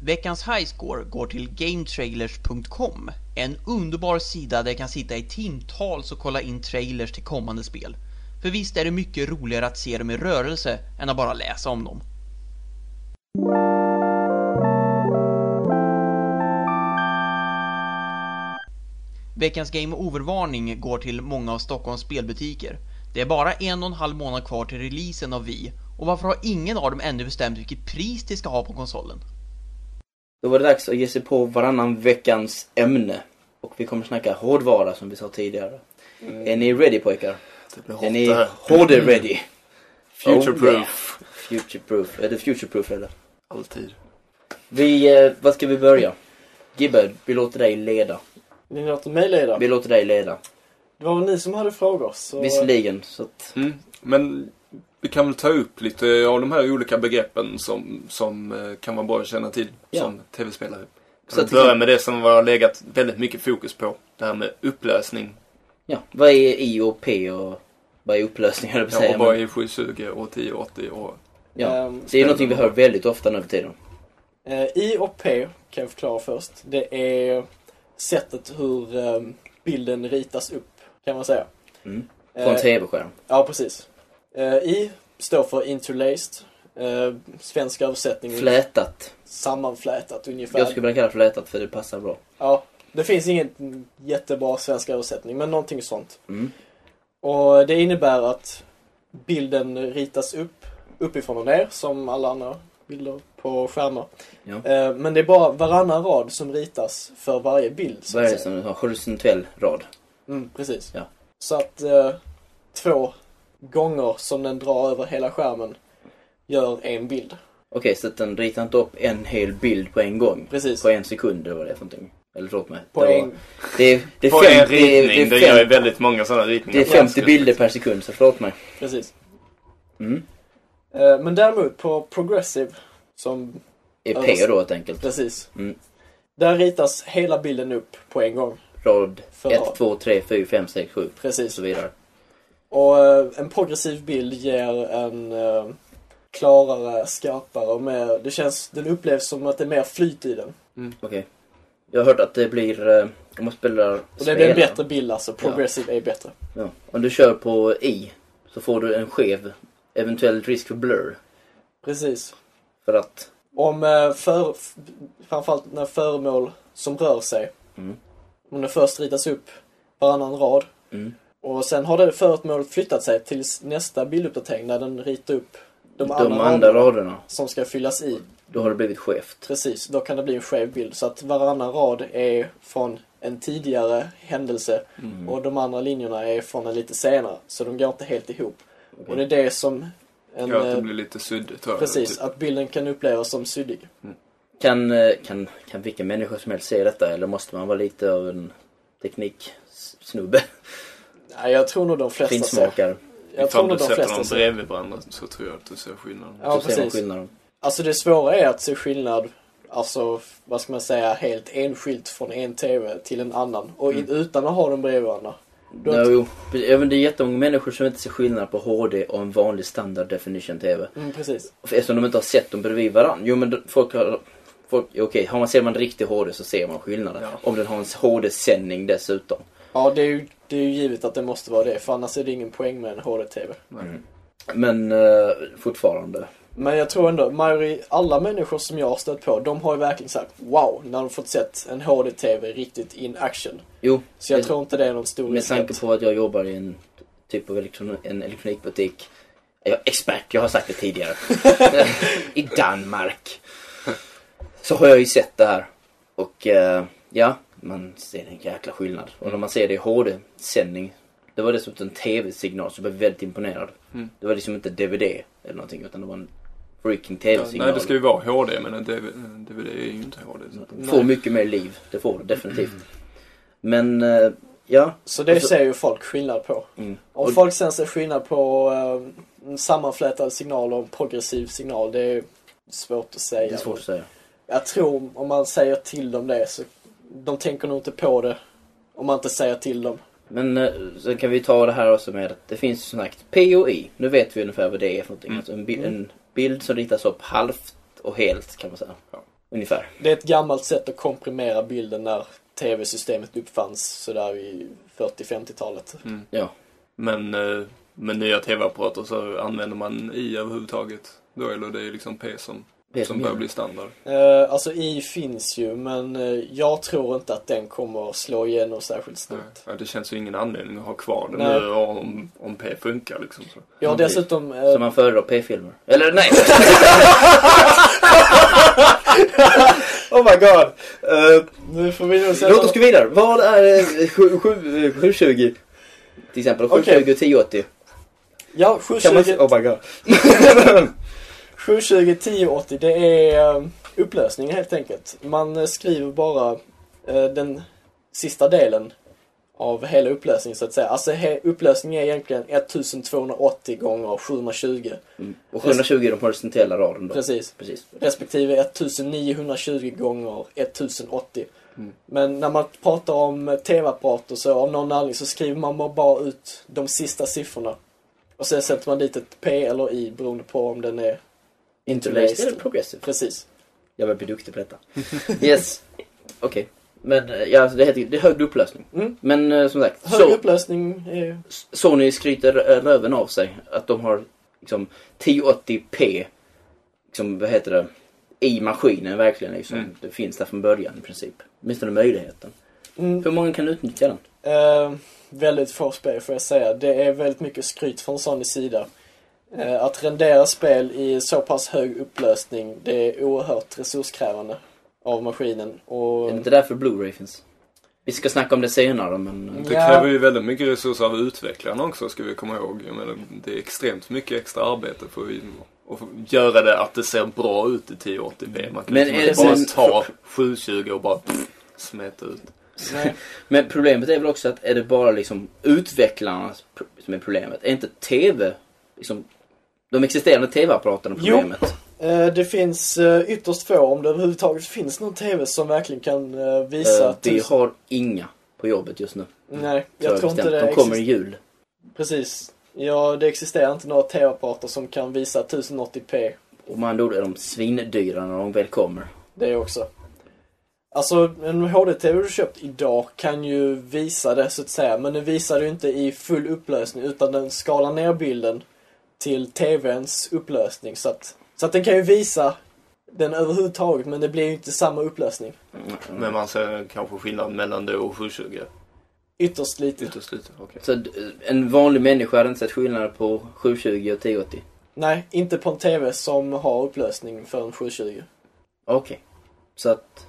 Veckans highscore går till GameTrailers.com. En underbar sida där jag kan sitta i timtals och kolla in trailers till kommande spel. För visst är det mycket roligare att se dem i rörelse än att bara läsa om dem. Veckans Game Over-varning går till många av Stockholms spelbutiker. Det är bara en och en halv månad kvar till releasen av Wii och varför har ingen av dem ännu bestämt vilket pris de ska ha på konsolen? Då var det dags att ge sig på varannan veckans ämne. Och vi kommer snacka hårdvara som vi sa tidigare. Mm. Är ni ready pojkar? Det blir Är hårt ni det här. hårdare ready? Future Oh, proof. yeah. Future proof. Är det future proof eller? Alltid. Vi, eh, vad ska vi börja? Gibbe, vi låter dig leda. Ni låter mig leda. Vi låter dig leda. Det var väl ni som hade frågor så... Visserligen, så att... Mm. Men vi kan väl ta upp lite av de här olika begreppen som, som eh, kan vara bra att känna till Ja. som tv-spelare. Så Så att- att börja med det som vi har legat väldigt mycket fokus på. Det här med upplösning. Ja, vad är I och P och vad är upplösning höll jag på att Ja, säga. och bara men- i 720 och 1080 och... ja. Ehm, Det är ju någonting vi hör väldigt ofta nu för tiden. Eh, I och P kan jag förklara först. Det är sättet hur eh, bilden ritas upp, kan man säga. Mm. På Eh, en TV-skärm. Ja, precis. Eh, I står för interlaced. Eh, svensk översättning är Flätat. sammanflätat ungefär. Jag skulle vilja kalla det flätat för det passar bra. Ja, det finns ingen jättebra svensk översättning, men någonting sånt. Mm. Och det innebär att bilden ritas upp, uppifrån och ner, som alla andra bilder på skärmar. Ja. Eh, Men det är bara varannan rad som ritas för varje bild. så att Vad är det som säga. har horisontell rad? Mm, precis. Ja. Så att eh, två gånger som den drar över hela skärmen gör en bild. Okej, så att den ritar inte upp en hel bild på en gång. Precis. På en sekund eller vad det är för någonting. Eller förlåt mig. På det, en, var, det, är- det är På fem- en det är- det är ritning, det gör ju fem- väldigt många sådana ritningar. det är 50 bilder per sekund, så förlåt mig. precis. Mm. Eh, men däremot på progressive, som Det är Ja, P fast- då helt enkelt. precis, Mm. där ritas hela bilden upp på en gång. Rad För 1, rad. 2, 3, 4, 5, 6, 7 och Precis. så vidare. Och eh, en progressiv bild ger en eh, klarare, skarpare och mer, det känns, den upplevs som att det är mer flyt i den. Okej. Jag har hört att det blir, eh, om man spelar Och det blir en spelar- bättre bild alltså, progressive är bättre. Ja. Om du kör på I så får du en skev, eventuell risk för blur. Precis. För att, Om eh, för, f- framförallt när föremål som rör sig. Mm. Om det först ritas upp varannan rad. Mm. Och sen har det föremålet flyttat sig tills nästa bilduppdatering när den ritar upp de, de andra, andra, raderna raderna, som ska fyllas i. då har det blivit skevt. Precis, då kan det bli en skev bild. Så att varannan rad är från en tidigare händelse Mm. och de andra linjerna är från en lite senare. Så de går inte helt ihop. Och det är det som en, Gör att det eh, blir lite suddigt. hör jag, precis, typ. att bilden kan upplevas som suddig. Kan, eh, kan, kan vilken människa som helst se detta eller måste man vara lite av en tekniksnubbe? Nej, jag tror nog de flesta ser. Finsmakare. Jag tror Ifall nog du de sätter flesta dem ser. bredvid varandra så tror jag att du ser skillnaden. Ja, så ser man precis. skillnaden. Alltså det svåra är att se skillnad, alltså vad ska man säga, helt enskilt från en TV till en annan. Och Mm. in, utan att ha dem bredvid varandra. Då- Ja, jo. Även det är jättemånga människor som inte ser skillnad på HD och en vanlig standard definition TV. Mm, precis. För Eftersom de inte har sett dem bredvid varandra. Jo men folk har... Folk, okej, har man, ser man riktig HD så ser man skillnaden. Ja. Om den har en HD-sändning dessutom. Ja, det är, ju, det är ju givet att det måste vara det, för annars är det ingen poäng med en HD-TV. Men eh, fortfarande. Men jag tror ändå, majori, alla människor som jag har stött på, de har ju verkligen sagt wow, när de fått sett en HD-TV riktigt in action. Jo, Så jag med, tror inte det är någon stor med risk. tanke att- på att jag jobbar i en typ av elektron, en elektronikbutik. Är jag expert, jag har sagt det tidigare. I Danmark. Så har jag ju sett det här. Och eh, ja, man ser en jäkla skillnad. Och när man ser det i HD-sändning. Det var dessutom en TV-signal så jag blev väldigt imponerad. Mm. Det var liksom inte DVD eller någonting utan det var en freaking Ja, TV-signal. nej, det ska ju vara HD, men en DV- en DVD är ju inte HD. Så. Får mycket mer liv, det får det definitivt. Men eh, ja, Så det Och så- ser ju folk skillnad på. Mm. Om Alltså- Och- folk sen ser skillnad på eh, en sammanflätad signal och en progressiv signal, det är svårt att säga. det är svårt att säga. Jag tror om man säger till dem det så de tänker nog inte på det om man inte säger till dem. Men eh, sen kan vi ta det här också med att det finns som sagt P och I. Nu vet vi ungefär vad det är för någonting. Mm. Alltså en, bi- en bild som ritas upp halvt och helt kan man säga. Ja. Ungefär. Det är ett gammalt sätt att komprimera bilden när tv-systemet uppfanns sådär i 40-50-talet. Ja. Mm. Men eh, med nya TV-apparater så använder man I överhuvudtaget. Då eller det är liksom P som, Det är som börjar gäller. bli standard. Eh, alltså i finns ju men eh, jag tror inte att den kommer att slå igenom särskilt snabbt. Ja, det känns ju ingen anledning att ha kvar det Nej. nu om, om P funkar liksom. Så. Jag har Precis. dessutom... eh, Så man föredrar P-filmer. Eller nej! Oh my god! Eh, nu får vi nog sätta... Eh, Låt oss gå vidare. Vad är eh, sju- sju- eh, 720? Till exempel. 720 Okej. och 1080. Ja, Kan man... 720, Oh my god. 720 1080 det är eh, upplösningen helt enkelt. Man eh, skriver bara eh, den sista delen av hela upplösningen så att säga. Alltså he- upplösningen är egentligen 1280 gånger 720. Mm. Och 720 är den horisontella raden då. Precis. Precis. respektive 1920 gånger 1080. Men när man pratar om eh, tv-apparater så av någon anledning så skriver man bara- bara ut de sista siffrorna. Och sen sätter man dit ett P eller I beroende på om den är... Interlaced eller progressive? Precis. Jag börjar bli duktig på detta. Yes. Okej. Men eh, ja, alltså, det, heter, ju- det är hög upplösning. Mm. Men eh, som sagt, Hög so upplösning är... Sony skryter eh, röven av sig att de har liksom 1080p, liksom, vad heter det, i maskinen verkligen. Liksom. Mm. Det finns där från början i princip. Åtminstone möjligheten. Mm, Hur många kan utnyttja den? eh, väldigt få spel får jag säga. Det är väldigt mycket skryt från Sonys sida. Eh, att rendera spel i så pass hög upplösning det är oerhört resurskrävande av maskinen. Och... Är det inte därför Blu-ray finns? Vi ska snacka om det senare men... eh, Det Ja. kräver ju väldigt mycket resurser av utvecklarna också ska vi komma ihåg. Jag menar, det är extremt mycket extra arbete för att och göra det att det ser bra ut i 1080p. Man kan Men liksom är det inte bara sen- ta 720 och bara pff, smeta ut. Nej. Men problemet är väl också att är det bara liksom utvecklarna som är problemet? Är inte TV, liksom, de existerande TV-apparaterna Jo. problemet? Eh, Det finns eh, ytterst få, om det överhuvudtaget finns någon TV som verkligen kan eh, visa Eh, vi tusen- har inga på jobbet just nu. Nej, Så jag tror inte bestämt. det De kommer i exist- jul. Precis. Ja, det existerar inte några TV-apparater som kan visa 1080p. Och man då är de svindyra när de väl kommer. Det också. Alltså, en HD-TV du köpt idag kan ju visa det så att säga, men den visar det ju inte i full upplösning utan den skalar ner bilden till TVns upplösning. Så att, så att den kan ju visa den överhuvudtaget, men det blir ju inte samma upplösning. Men man ser kanske skillnad mellan det och 720. Ytterst lite. Ytterst lite. okej. Så d- en vanlig människa hade inte sett skillnad på 720 och 1080. Nej, inte på en TV som har upplösning för en 720. Okej. Så att,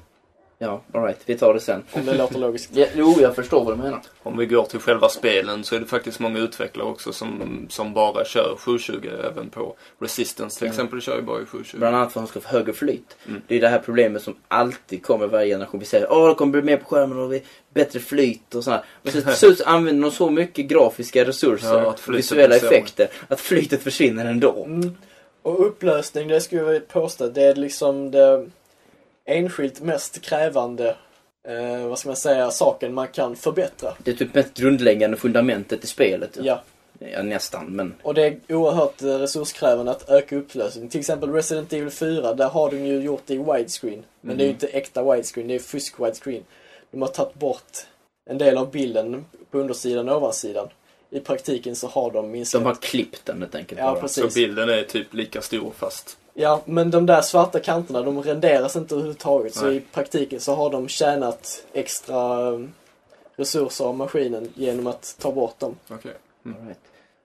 ja, alright, vi tar det sen. Om det låter logiskt. Ja, jo, jag förstår vad du menar. Om vi går till själva spelen så är det faktiskt många utvecklare också som, som bara kör 720 även på Resistance till Mm. exempel kör ju bara i 720. Bland annat för att de ska få högre flyt. Mm. Det är det här problemet som alltid kommer varje generation. Vi säger åh det kommer bli mer på skärmen och vi bättre flyt och sådär. Men så, så, så använder de så mycket grafiska resurser Ja, att och flytet visuella blir sämre. effekter att flytet försvinner ändå. Mm. Och upplösning, det skulle jag vilja påstå, det är liksom det enskilt mest krävande, eh, vad ska man säga, saken man kan förbättra. Det är typ mest grundläggande fundamentet i spelet. Ja. Ja, nästan, men Och det är oerhört eh, resurskrävande att öka upplösningen. Till exempel Resident Evil 4, där har de ju gjort det i widescreen. Men det är ju inte äkta widescreen, det är fusk widescreen. De har tagit bort en del av bilden på undersidan och ovansidan. I praktiken så har de minskat. de har klippt den helt enkelt. Ja, bara. precis. så bilden är typ lika stor fast Ja, men de där svarta kanterna, de renderas inte överhuvudtaget. Så Nej. i praktiken så har de tjänat extra eh, resurser av maskinen genom att ta bort dem. Okej. Alright.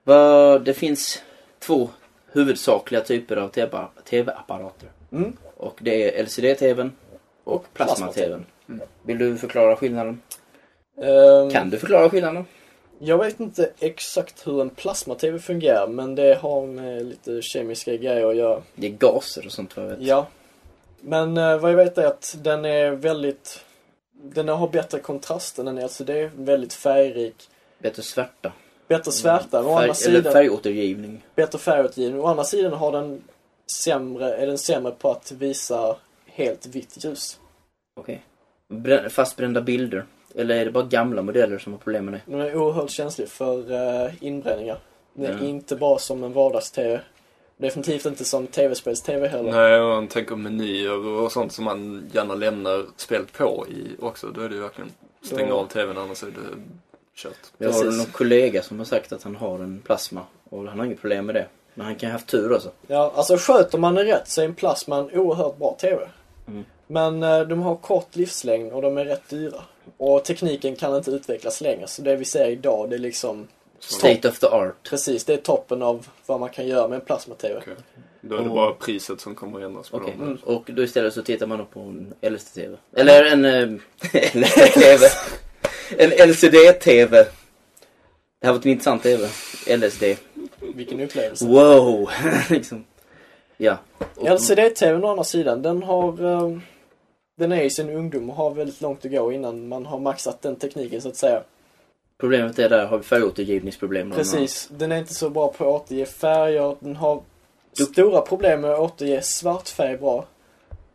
Vad- Det finns två huvudsakliga typer av TV- TV-apparater. Mm. Och det är LCD-TVn och Och plasma-TVn. plasma-TVn. Vill du förklara skillnaden? Ehm, Kan du förklara skillnaden? Jag vet inte exakt hur en plasma-tv fungerar, men det har med lite kemiska grejer att göra. Det är gaser och sånt vad jag vet. Ja. Men eh, vad jag vet är att den är väldigt... Den har bättre kontrast än en LCD, väldigt färgrik. Bättre svärta. Bättre svärta, å andra Färg, eller sidan... färgåtergivning. bättre färgåtergivning. Å andra sidan har den sämre, är den sämre på att visa helt vitt ljus. Okej. Brä- Fastbrända bilder. Eller är det bara gamla modeller som har problem med det? Den är oerhört känslig för eh, inbränningar. Den är Ja. inte bra som en vardags-TV. Definitivt inte som tv-spels-tv heller. Nej, och man tänker menyer och sånt som man gärna lämnar spelet på i också. Då är det ju verkligen stänga Ja. av tvn annars är det kört. Jag har Precis. någon kollega som har sagt att han har en plasma. Och han har inget problem med det. Men han kan ha haft tur alltså. Ja, alltså sköter man den rätt så är en plasma en oerhört bra TV. Mm. Men eh, de har kort livslängd och de är rätt dyra. Och tekniken kan inte utvecklas längre, så det vi ser idag det är liksom State of the art. Precis, det är toppen av vad man kan göra med en plasma-tv. Okej. Då är det bara priset som kommer att ändras på Okej, Mm. Mm. dem. och då istället så tittar man då på en LSD-TV. Eller en... eh, LSD-TV. en LCD-TV. Det här var en intressant TV. LSD. Vilken upplevelse. Wow! liksom. Ja. Och- LCD-tvn å andra sidan, den har... eh, Den är i sin ungdom och har väldigt långt att gå innan man har maxat den tekniken så att säga. Problemet är där, har vi färgåtergivningsproblem? bland annat. Precis, den är inte så bra på att återge färger. Den har stora problem med att återge svart färg bra.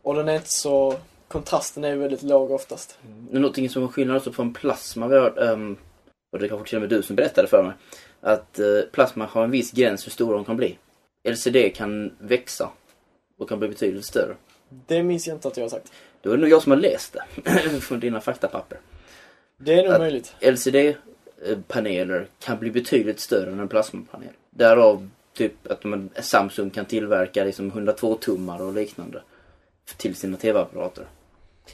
Och den är inte så... Kontrasten är väldigt låg oftast. Någonting som var skillnad också från plasma vi har, ehm, och det kanske till och med du som berättade för mig, att eh, plasma har en viss gräns hur stor de kan bli. LCD kan växa och kan bli betydligt större. Det minns jag inte att jag har sagt. Då är det nog jag som har läst det från dina faktapapper. Det är nog Att- möjligt. LCD-paneler eh, kan bli betydligt större än en plasmapanel. Därav typ att man, Samsung kan tillverka liksom 102 tummar och liknande till sina TV-apparater.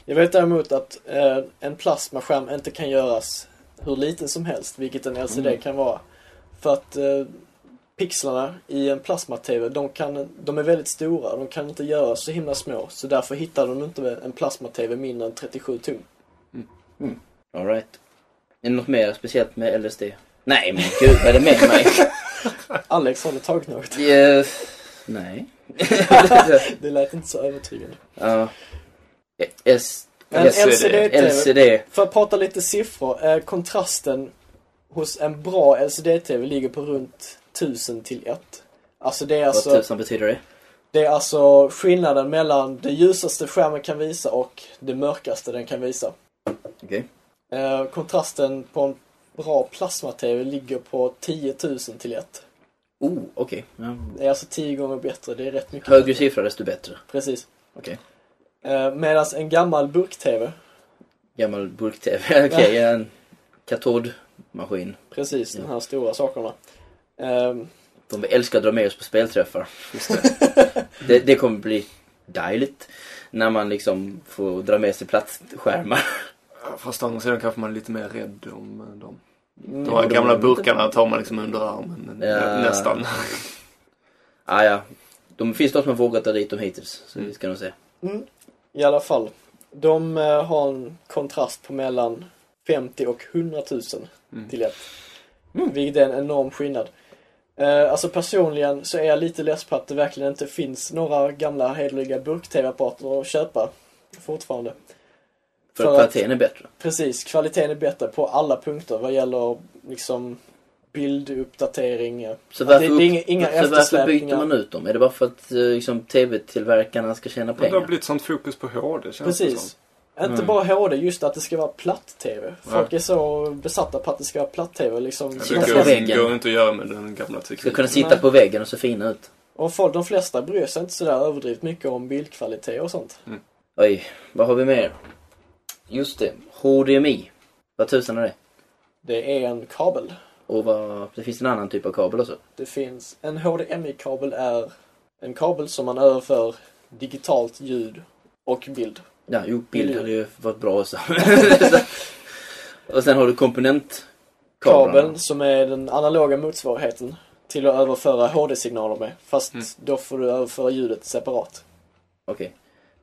Jag vet däremot att eh, en plasmaskärm inte kan göras hur liten som helst, vilket en LCD kan vara. För att eh, pixlarna i en plasma-TV, de, kan, de är väldigt stora. De kan inte göras så himla små. Så därför hittar de inte en plasma-TV mindre än 37 tum. Alright. Är det något mer speciellt med LSD? Nej men gud vad är det med mig? Alex, har du tagit något? Yes. Nej. Det lät inte så övertygande. Ja. Eh, S- En LCD. LCD-TV. LCD. För att prata lite siffror, eh, kontrasten hos en bra LCD-TV ligger på runt 1000 till 1. Alltså det är alltså... Vad tusan betyder det? Det är alltså skillnaden mellan det ljusaste skärmen kan visa och det mörkaste den kan visa. Okej. Eh, kontrasten på en bra plasma-tv ligger på 10 000 till 1. Oh, okej. Ja. Det är alltså 10 gånger bättre, det är rätt mycket. Högre bättre. siffra desto bättre. Precis. Okej. Eh, Medan en gammal burk-tv, Gammal burk-TV. Okej, Ja. en katodmaskin. precis de Ja. här stora sakerna. ehm, De älskar att dra med oss på spelträffar. det, det kommer bli dejligt. När man liksom får dra med sig plattskärmar. Ja, Fast å andra sidan kanske man är lite mer rädd om eh, dem. De borde här gamla man inte. burkarna tar man liksom under armen. Ja. nä- Nästan. Ah, ja. De finns de som har vågat ta dit dem hittills. Så Mm. vi ska nog se. I alla fall, de eh, har en kontrast på mellan 50 och 100 000 till ett. Vilket är en enorm skillnad. Eh, alltså personligen så är jag lite less på att det verkligen inte finns några gamla hederliga burk-tv-apparater att köpa fortfarande. För, För att kvaliteten är bättre. Precis, kvaliteten är bättre på alla punkter vad gäller liksom bilduppdatering. eh. Så Ja, det- varför, det är inga- inga så varför byter eftersläpningar. man ut dem? Är det bara för att eh, liksom, tv-tillverkarna ska tjäna Men det har pengar? blivit sånt fokus på HD känns det som. Precis. Inte bara HD, just att det ska vara platt-tv. Folk Ja. är så besatta på att det ska vara platt-tv liksom. Sitta på Det går, väggen. går inte att göra med den gamla Ska tekniken. kunna sitta på väggen och se fina ut. Och folk, de flesta bryr sig inte sådär överdrivet mycket om bildkvalitet och sånt. Oj, vad har vi mer? Just det, HDMI. Vad tusan är det? Det är en kabel. Och vad, det finns en annan typ av kabel också. Det finns, en HDMI-kabel är en kabel som man överför digitalt ljud och bild. Ja, jo, bild Miljö. hade ju varit bra också. och sen har du komponentkablarna. Kabeln som är den analoga motsvarigheten till att överföra HD-signaler med. Fast då får du överföra ljudet separat. Okej.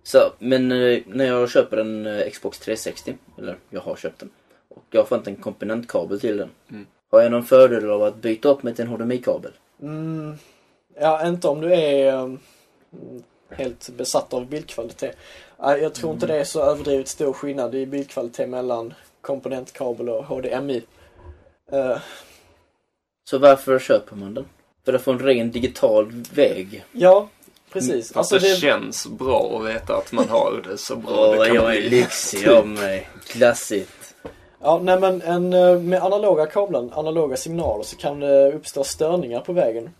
Så, men eh, när jag köper en eh, Xbox 360, eller jag har köpt den, och jag får inte en komponentkabel till den. Mm. Har jag någon fördel av att byta upp mig till en HDMI-kabel? Mm, ja, inte om du är ehm, helt besatt av bildkvalitet. Nej, Jag tror Mm. inte det är så överdrivet stor skillnad i bildkvalitet mellan komponentkabel och HDMI. Eh, Så varför köper man den? För att få en ren digital väg? ja, precis. Mm, Fast Alltså det det, känns bra att veta att man har det så bra Åh, det kan jag är bli. Typ lyxig av mig. Klassigt. ja, nej, men en, eh, med analoga kablar, analoga signaler, så kan det uppstå störningar på vägen.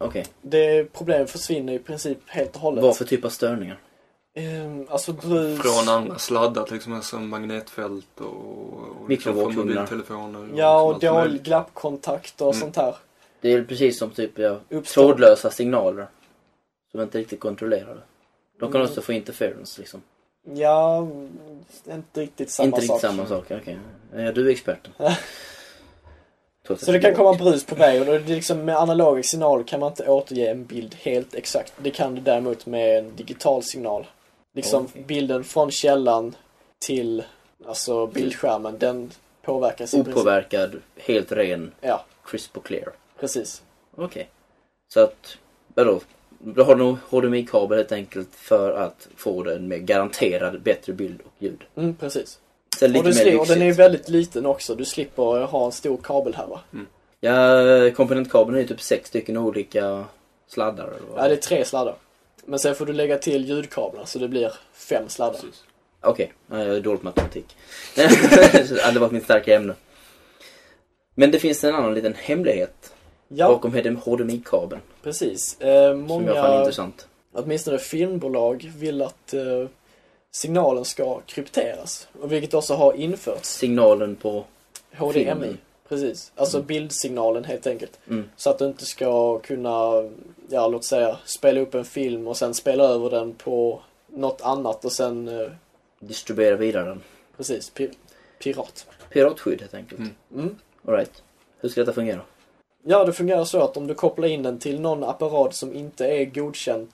Okej, Det problemet försvinner i princip helt och hållet. vad för typ av störningar? Ehm, alltså brus... Från andra sladdar till exempel som magnetfält och, och liksom från Mikrovågsugnar. mobiltelefoner. Ja, och sånt som Mm. dålig är- glappkontakt och sånt här. Det är precis som typ ja, Uppstår. trådlösa signaler. Som inte riktigt kontrollerade. De Mm. kan också få interference liksom. Ja, inte riktigt samma inte sak. Eh, riktigt samma sak, okej. Ja, du är experten. Så det kan komma brus på vägen och det är liksom med analoga signaler kan man inte återge en bild helt exakt. Det kan du däremot med en digital signal. Liksom Okej. bilden från källan till alltså bildskärmen, den påverkas i princip. Opåverkad, helt ren, Ja, crisp och clear. precis. Okej. Så att, vadå? Då har du HDMI-kabel helt enkelt för att få den med garanterad bättre bild och ljud. Mm, precis. Sen lite och, du mer slipper, och den är ju lyxigt. väldigt liten också. Du slipper ha en stor kabel här va? Ja, komponentkabeln är ju typ sex stycken olika sladdar. Eller vad? Ja, det är tre sladdar. Men sen får du lägga till ljudkablar så det blir fem sladdar. Precis. Okej, nej, jag är dålig på matematik. det hade varit mitt starka ämne. Men det finns en annan liten hemlighet Ja, bakom HDMI-kabeln. precis. Eh, Som jag fann många, intressant. åtminstone filmbolag, vill att eh, signalen ska krypteras. Och vilket också har införts. Signalen på... HDMI. Filmen. Precis. Alltså bildsignalen helt enkelt. Mm. Så att du inte ska kunna, ja låt säga, spela upp en film och sen spela över den på något annat och sen, eh, Distribuera vidare den. precis, pi- pirat. Piratskydd helt enkelt. Mm. Mm. Alright. Hur ska detta fungera? Ja, det fungerar så att om du kopplar in den till någon apparat som inte är godkänd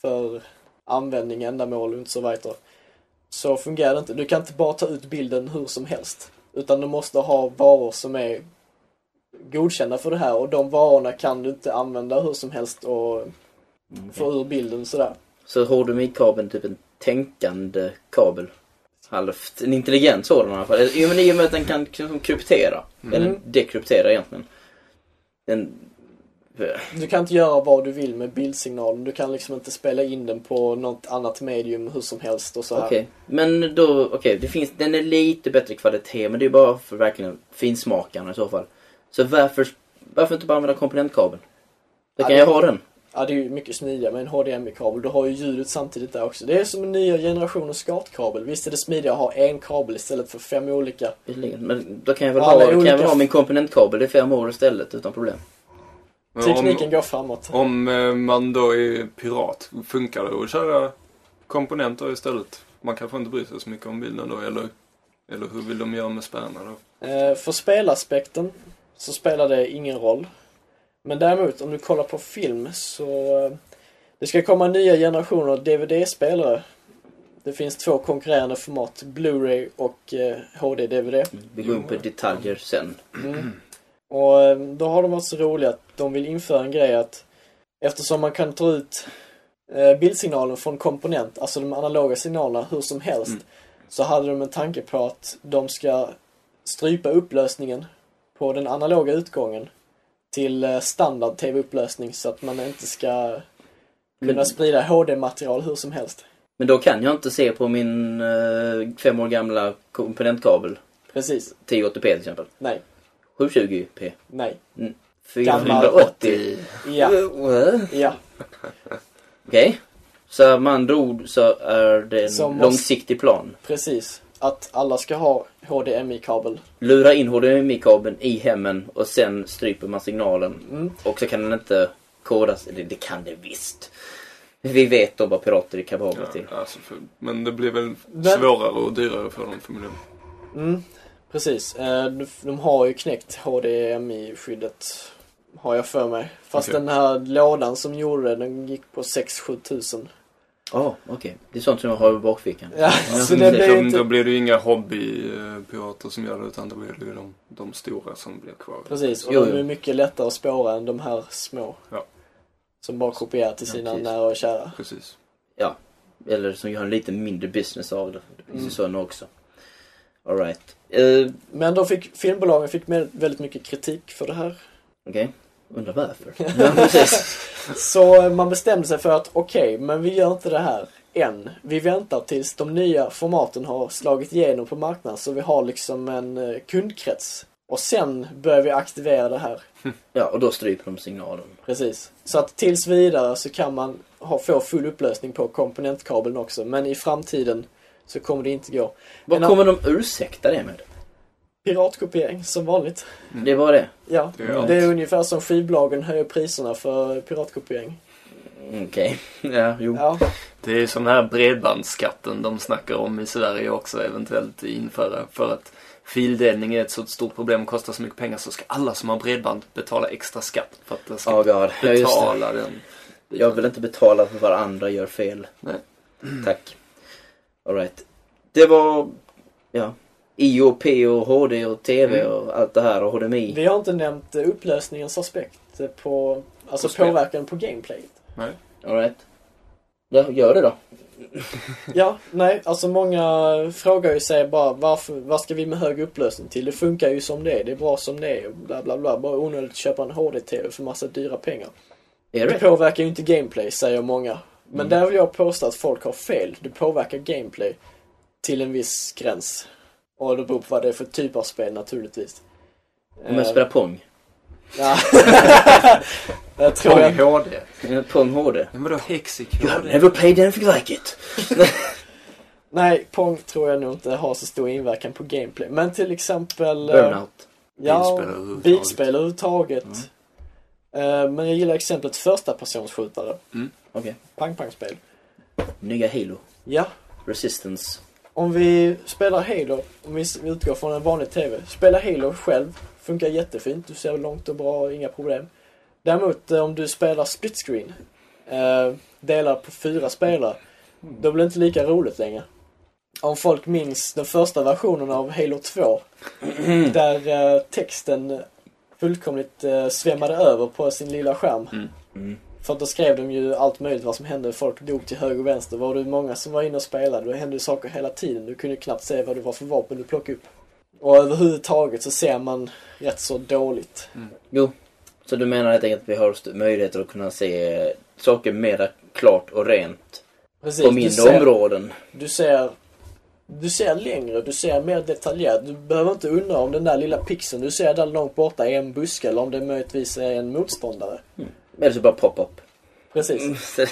för användning, ändamål och så vidare. Så fungerar det inte. Du kan inte bara ta ut bilden hur som helst. Utan du måste ha varor som är godkända för det här och de varorna kan du inte använda hur som helst och få ur bilden sådär. Så HDMI-kabeln är typ en tänkande kabel. Halvt en intelligent sådan i alla fall. Jo, men I och med att den kan liksom kryptera. Mm. Eller dekryptera egentligen. Den... Du kan inte göra vad du vill med bildsignalen. Du kan liksom inte spela in den på något annat medium hur som helst och så här. Okej, men då, okej, det finns, den är lite bättre kvalitet men det är bara för verkligen finsmakarna i så fall. Så varför, varför inte bara använda komponentkabeln? Då Ja, kan det- jag ha den. Ja, det är ju mycket smidigare med en HDMI-kabel. Du har ju ljudet samtidigt där också. Det är som en nya generationens SCART-kabel. Visst är det smidigare att ha en kabel istället för fem olika. visserligen. Men då kan jag väl, Ja, ha, men då kan jag väl olika- ha min komponentkabel i fem år istället utan problem. Men Tekniken om, går framåt. om eh, man då är pirat, funkar det att köra komponenter istället? Man kanske inte bryr sig så mycket om bilden då, eller, eller hur vill de göra med spärrarna då? Eh, för spelaspekten så spelar det ingen roll. Men däremot om du kollar på film så eh, det ska komma nya generationer DVD-spelare. Det finns två konkurrerande format, Blu-ray och eh, HD-DVD. Vi går in på detaljer sen. Mm. Och eh, då har de varit så roliga att de vill införa en grej att eftersom man kan ta ut eh, bildsignalen från komponent, alltså de analoga signalerna, hur som helst, Mm. så hade de en tanke på att de ska strypa upplösningen på den analoga utgången till eh, standard tv-upplösning så att man inte ska kunna Men, sprida HD-material hur som helst. men då kan jag inte se på min eh, fem år gamla komponentkabel. Precis. 1080p till exempel. Nej. 720p. Nej. 480. Ja. What? Ja. Okej. Så med andra ord så är det en Som måste- långsiktig plan. Precis. Att alla ska ha HDMI-kabel. Lura in HDMI-kabeln i hemmen och sen stryper man signalen. Mm. Och så kan den inte kodas. Eller det kan det visst. Vi vet då vad pirater är kapabla till. Ja, alltså för, men det blir väl Men- svårare och dyrare för dem förmodligen. Mm, precis. Eh, de- De har ju knäckt HDMI-skyddet. Har jag för mig. Fast Okej. den här lådan som gjorde det, den gick på 6-7 tusen. Ja, okej. Det är sånt som jag har i bakfickan. Ja, så men det det blir är ju typ- De, då inte... blir det ju inga hobbypirater som gör det utan då blir det ju de, de stora som blir kvar. Precis, och Jo, de jo. är mycket lättare att spåra än de här små. Ja. Som bara kopierar till sina precis. nära och kära. Precis. Eller som gör en lite mindre business av det. Det finns ju Mm. sådana också. Alright. Uh, Men de fick, filmbolagen fick med väldigt mycket kritik för det här. okej. Undrar varför. ja, precis. Så man bestämde sig för att okej, men vi gör inte det här än. Vi väntar tills de nya formaten har slagit igenom på marknaden så vi har liksom en eh, kundkrets. Och sen börjar vi aktivera det här. Ja, och då stryper de signalen. Precis. Så att tills vidare så kan man ha, få full upplösning på komponentkabeln också. Men i framtiden så kommer det inte gå. Vad Men- kommer de ursäkta det med? Piratkopiering som vanligt. Det är bara det. Ja. Det är allt. Det är ungefär som skivbolagen höjer priserna för piratkopiering. Mm, Okej. Ja, jo. Ja, Det är ju som den här bredbandsskatten de snackar om i Sverige också eventuellt införa för att fildelning är ett så stort problem och kostar så mycket pengar så ska alla som har bredband betala extra skatt för att de ska Oh god. Ja, just det. betala den. Jag vill inte betala för vad andra gör fel. Nej. Tack. Alright. Det var, ja, IOP och HD och TV Mm. och allt det här och HDMI. Vi har inte nämnt eh, upplösningens aspekt eh, på, alltså På spel. påverkan på gameplayet. Nej. Alright. Ja, gör det då. Ja, nej, alltså många frågar ju sig bara varför, vad ska vi med hög upplösning till? Det funkar ju som det är, det är bra som det är och bla bla bla. Bara onödigt att köpa en HD-TV för massa dyra pengar. Är Det det? påverkar ju inte gameplay, säger många. Men Mm. där vill jag påstå att folk har fel. Det påverkar gameplay till en viss gräns. Och det beror på vad det är för typ av spel naturligtvis. Om jag spelar Pong. ja. jag tror Pong jag HD. Eh, Pong HD. Men vadå Hexic I've HD? never played anything like it. Nej, Pong tror jag nog inte har så stor inverkan på gameplay. Men till exempel... eh, Burnout. Bilspel Ja, överhuvudtaget. Mm. bilspel överhuvudtaget. Eh, men jag gillar exemplet första personsskjutare. Okej. Pang-pang-spel. Nya Halo. Ja, Resistance. om vi spelar Halo, om vi s- vi utgår från en vanlig TV. Spela Halo själv, funkar jättefint. Du ser långt och bra, inga problem. Däremot eh, om du spelar split screen, eh, delar på fyra spelare, då blir det inte lika roligt längre. Om folk minns den första versionen av Halo 2, där eh, texten fullkomligt eh, svämmade över på sin lilla skärm. För att då skrev de ju allt möjligt vad som hände. Folk dog till höger och vänster. Var det många som var inne och spelade, då hände ju saker hela tiden. Du kunde knappt se vad det var för vapen du plockade upp. Och överhuvudtaget så ser man rätt så dåligt. Mm. Jo. Så du menar helt enkelt att vi har st- möjligheter att kunna se saker mer klart och rent Precis, på du mindre ser, områden? Du ser, du ser längre, du ser mer detaljerat. Du behöver inte undra om den där lilla pixeln du ser där långt borta är en buske eller om det möjligtvis är en motståndare. Eller så bara pop-up. Precis. Mm. Mm.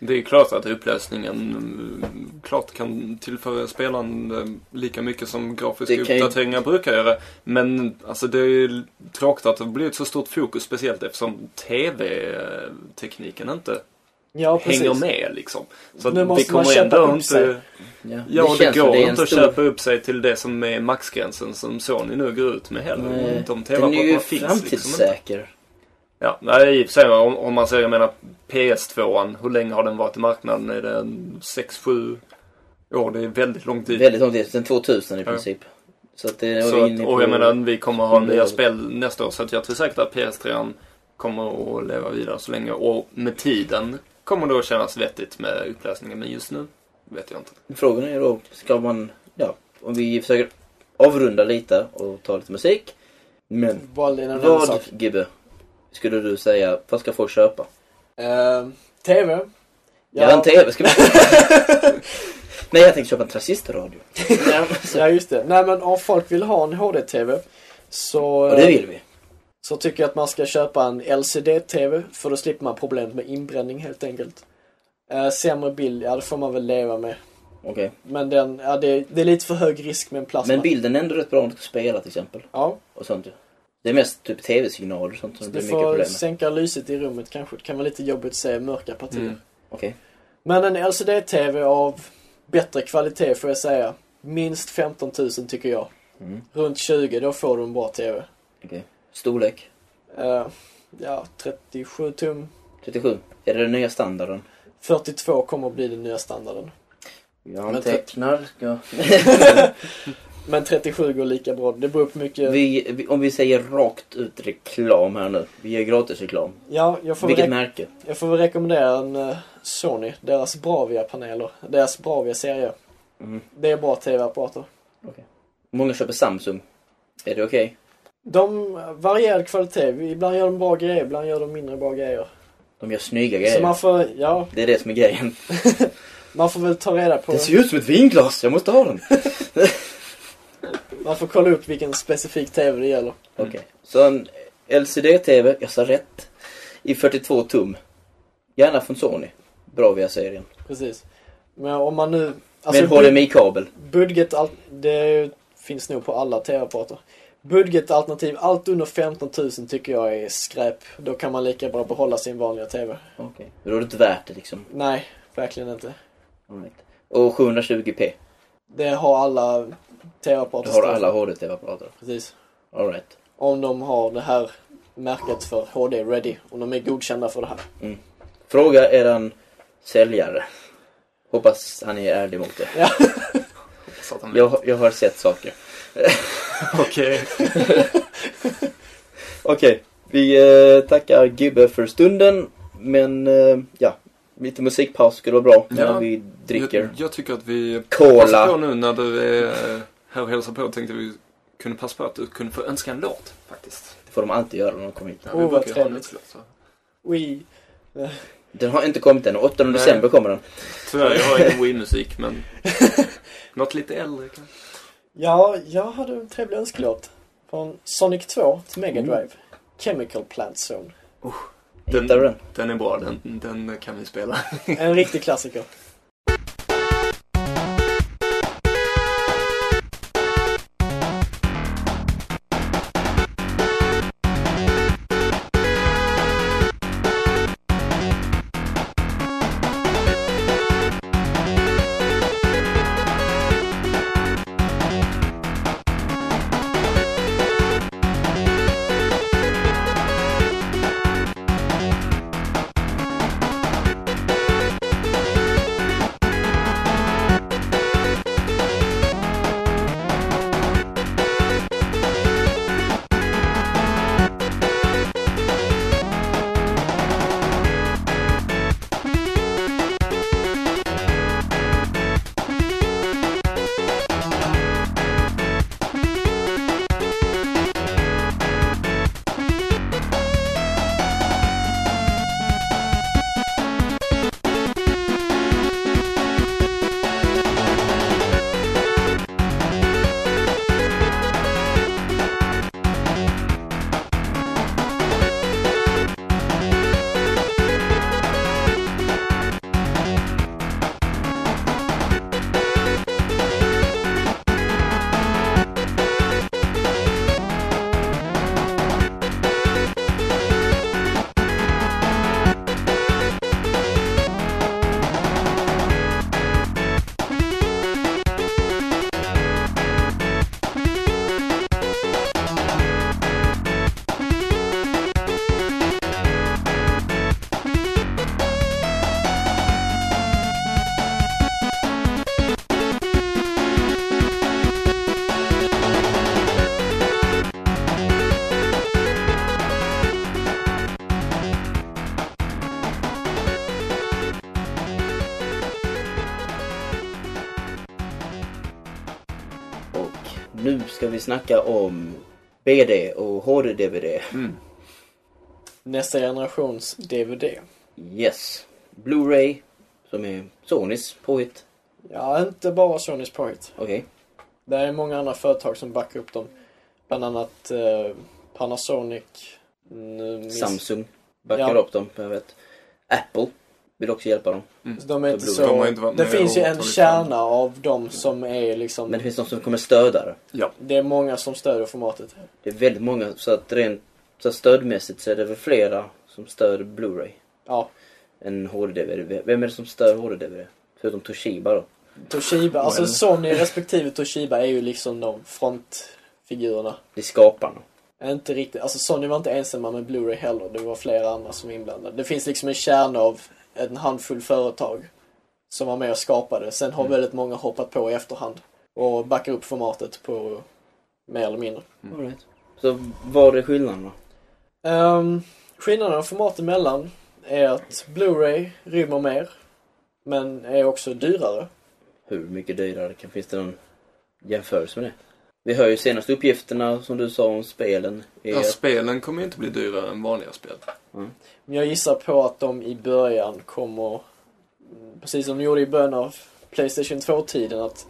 Det är ju klart att upplösningen mm, klart kan tillföra spelaren eh, lika mycket som grafiska Det kan ju- uppdateringar brukar göra. Men alltså, det är ju tråkigt att det blir ett så stort fokus speciellt eftersom TV-tekniken inte Ja, precis. hänger med liksom. Så att Nu måste vi kommer man ändå köpa upp inte... sig. Ja, Ja, och det känns som går är en inte att stor- köpa upp sig till det som är maxgränsen som Sony nu går ut med heller. Nej, De Den är tv-apparaterna ju finns liksom inte. framtidssäker. Ja, nej, i och för sig, om, om man säger, jag menar PS2, hur länge har den varit i marknaden? Är det 6-7 år? Det är väldigt lång tid. Väldigt lång tid, sedan 2000 i Typ. Ja. princip. Så att det så är att, inne och jag menar, vi kommer ha Mm. nya spel nästa år. Så att jag tror säkert att PS3 kommer att leva vidare så länge. Och med tiden kommer det att kännas vettigt med upplösningen. Men just nu vet jag inte. Frågan är då, ska man, ja, om vi försöker avrunda lite och ta lite musik. Men Bara en annan vad, sak. Gibbe, skulle du säga, vad ska folk köpa? Eh, TV. Ja, en TV ska vi Nej, jag tänkte köpa en transistorradio. Ja, så- Ja just det. Nej men om folk vill ha en HD-TV så, och det vill vi. så tycker jag att man ska köpa en LCD-TV för då slipper man problemet med inbränning helt enkelt. Eh, sämre bild, ja det får man väl leva med. Okej. Men den, ja, det, det är lite för hög risk med en plasma. Men bilden är ändå rätt bra om du ska spela till exempel. Ja, Och sånt ju. Det är mest typ tv-signaler och sånt som så det blir du mycket får problem med. sänka lyset i rummet kanske. Det kan vara lite jobbigt att se mörka partier. Mm. Okej. Men en LCD-TV av bättre kvalitet får jag säga. Minst 15 000 tycker jag. Mm. Runt 20 då får du en bra TV. okej. Storlek? Eh, ja, 37 tum. 37. Är det den nya standarden? 42 kommer att bli den nya standarden. Jag Men antecknar. Ja. Men 37 går lika bra. Det beror på mycket... Vi, vi, om vi säger rakt ut reklam här nu. Vi gör gratis reklam. Ja, jag får, väl Vilket re- märke? jag får väl rekommendera en eh, Sony. Deras Bravia-paneler. Deras Bravia-serie. Mm. Det är bra tv-apparater. Många köper Samsung. Är det okej? De varierar kvalitet. Ibland gör de bra grejer, ibland gör de mindre bra grejer. De gör snygga Så grejer. man får, ja, Det är det som är grejen. man får väl ta reda på... Det ser ut som ett vinglas! Jag måste ha den! Man får kolla upp vilken specifik tv det gäller. Okej. Så en LCD-TV, jag sa rätt. I 42 tum. Gärna från Sony. Bra via serien. Precis. Men om man nu... alltså Med HDMI-kabel. Budget, al- det finns nog på alla tv-apparater. Budgetalternativ, allt under 15 000 tycker jag är skräp. Då kan man lika bra behålla sin vanliga tv. Okej. Då är det inte värt det liksom. Nej, verkligen inte. All right. Och 720p. Det har alla Då tv-apparater har du står- alla HD-TV-apparater. Precis. Alright. Om de har det här märket för HD ready. Om de är godkända för det här. Fråga eran säljare. Hoppas han är ärlig mot det. Så att han- Jag, jag har sett saker. Okej. Okej, vi eh, tackar Gibbe för stunden. Men eh, ja, lite musikpaus skulle vara bra när Ja. vi dricker Jag, jag tycker att vi passar på cola. nu när du är här och hälsar på. Tänkte vi kunde passa på att du kunde få önska en låt faktiskt. Det får de alltid göra när de kommer hit. Ja, Oh, vi vad brukar ju ha en trevligt. låt, så. We. Den har inte kommit än. 8 Nej. december kommer den. Tyvärr, jag har ingen Wii-musik men något lite äldre kanske. Ja, jag hade en trevlig önskelåt. Från Sonic 2 till Mega Mm. Drive. Chemical Plant Zone. Den- Hittar du den? Den är bra, den, den kan vi spela. En riktig klassiker. Och nu ska vi snacka om BD och HD-DVD. Nästa generations DVD. Yes. Blu-ray, som är Sonys påhitt. Ja, inte bara Sonys påhitt. Okej. Det är många andra företag som backar upp dem. Bland annat eh, Panasonic. nu minns- Samsung backar Ja. upp dem, jag vet. Apple vill också hjälpa dem. De är inte Blue- de så... har inte varit det med finns ju och en tagit kärna av dem som är liksom... Men det finns de som kommer stödja det. Det är många som stödjer formatet. Det är väldigt många, så att rent så att stödmässigt så är det väl flera som stöder Blu-ray Ja, än HD-DVD. Vem är det som stör HD-DVD? Förutom Toshiba då. Toshiba. Alltså Well. Sony respektive Toshiba är ju liksom de frontfigurerna. Det är skaparna. Inte riktigt. Alltså Sony var inte ensamma med Blu-ray heller. Det var flera andra som var inblandade. Det finns liksom en kärna av en handfull företag som var med och skapade. Sen har väldigt många hoppat på i efterhand och backar upp formatet på mer eller mindre. All right. Så vad är skillnaden då? Um, skillnaden av format emellan är att Blu-ray rymmer mer men är också dyrare. Hur mycket dyrare? Kan, finns det någon jämförelse med det? Vi hör ju senaste uppgifterna som du sa om spelen. Är Ja, att spelen kommer ju inte bli dyrare än vanliga spel. Men jag gissar på att de i början kommer, precis som de gjorde i början av Playstation 2-tiden, att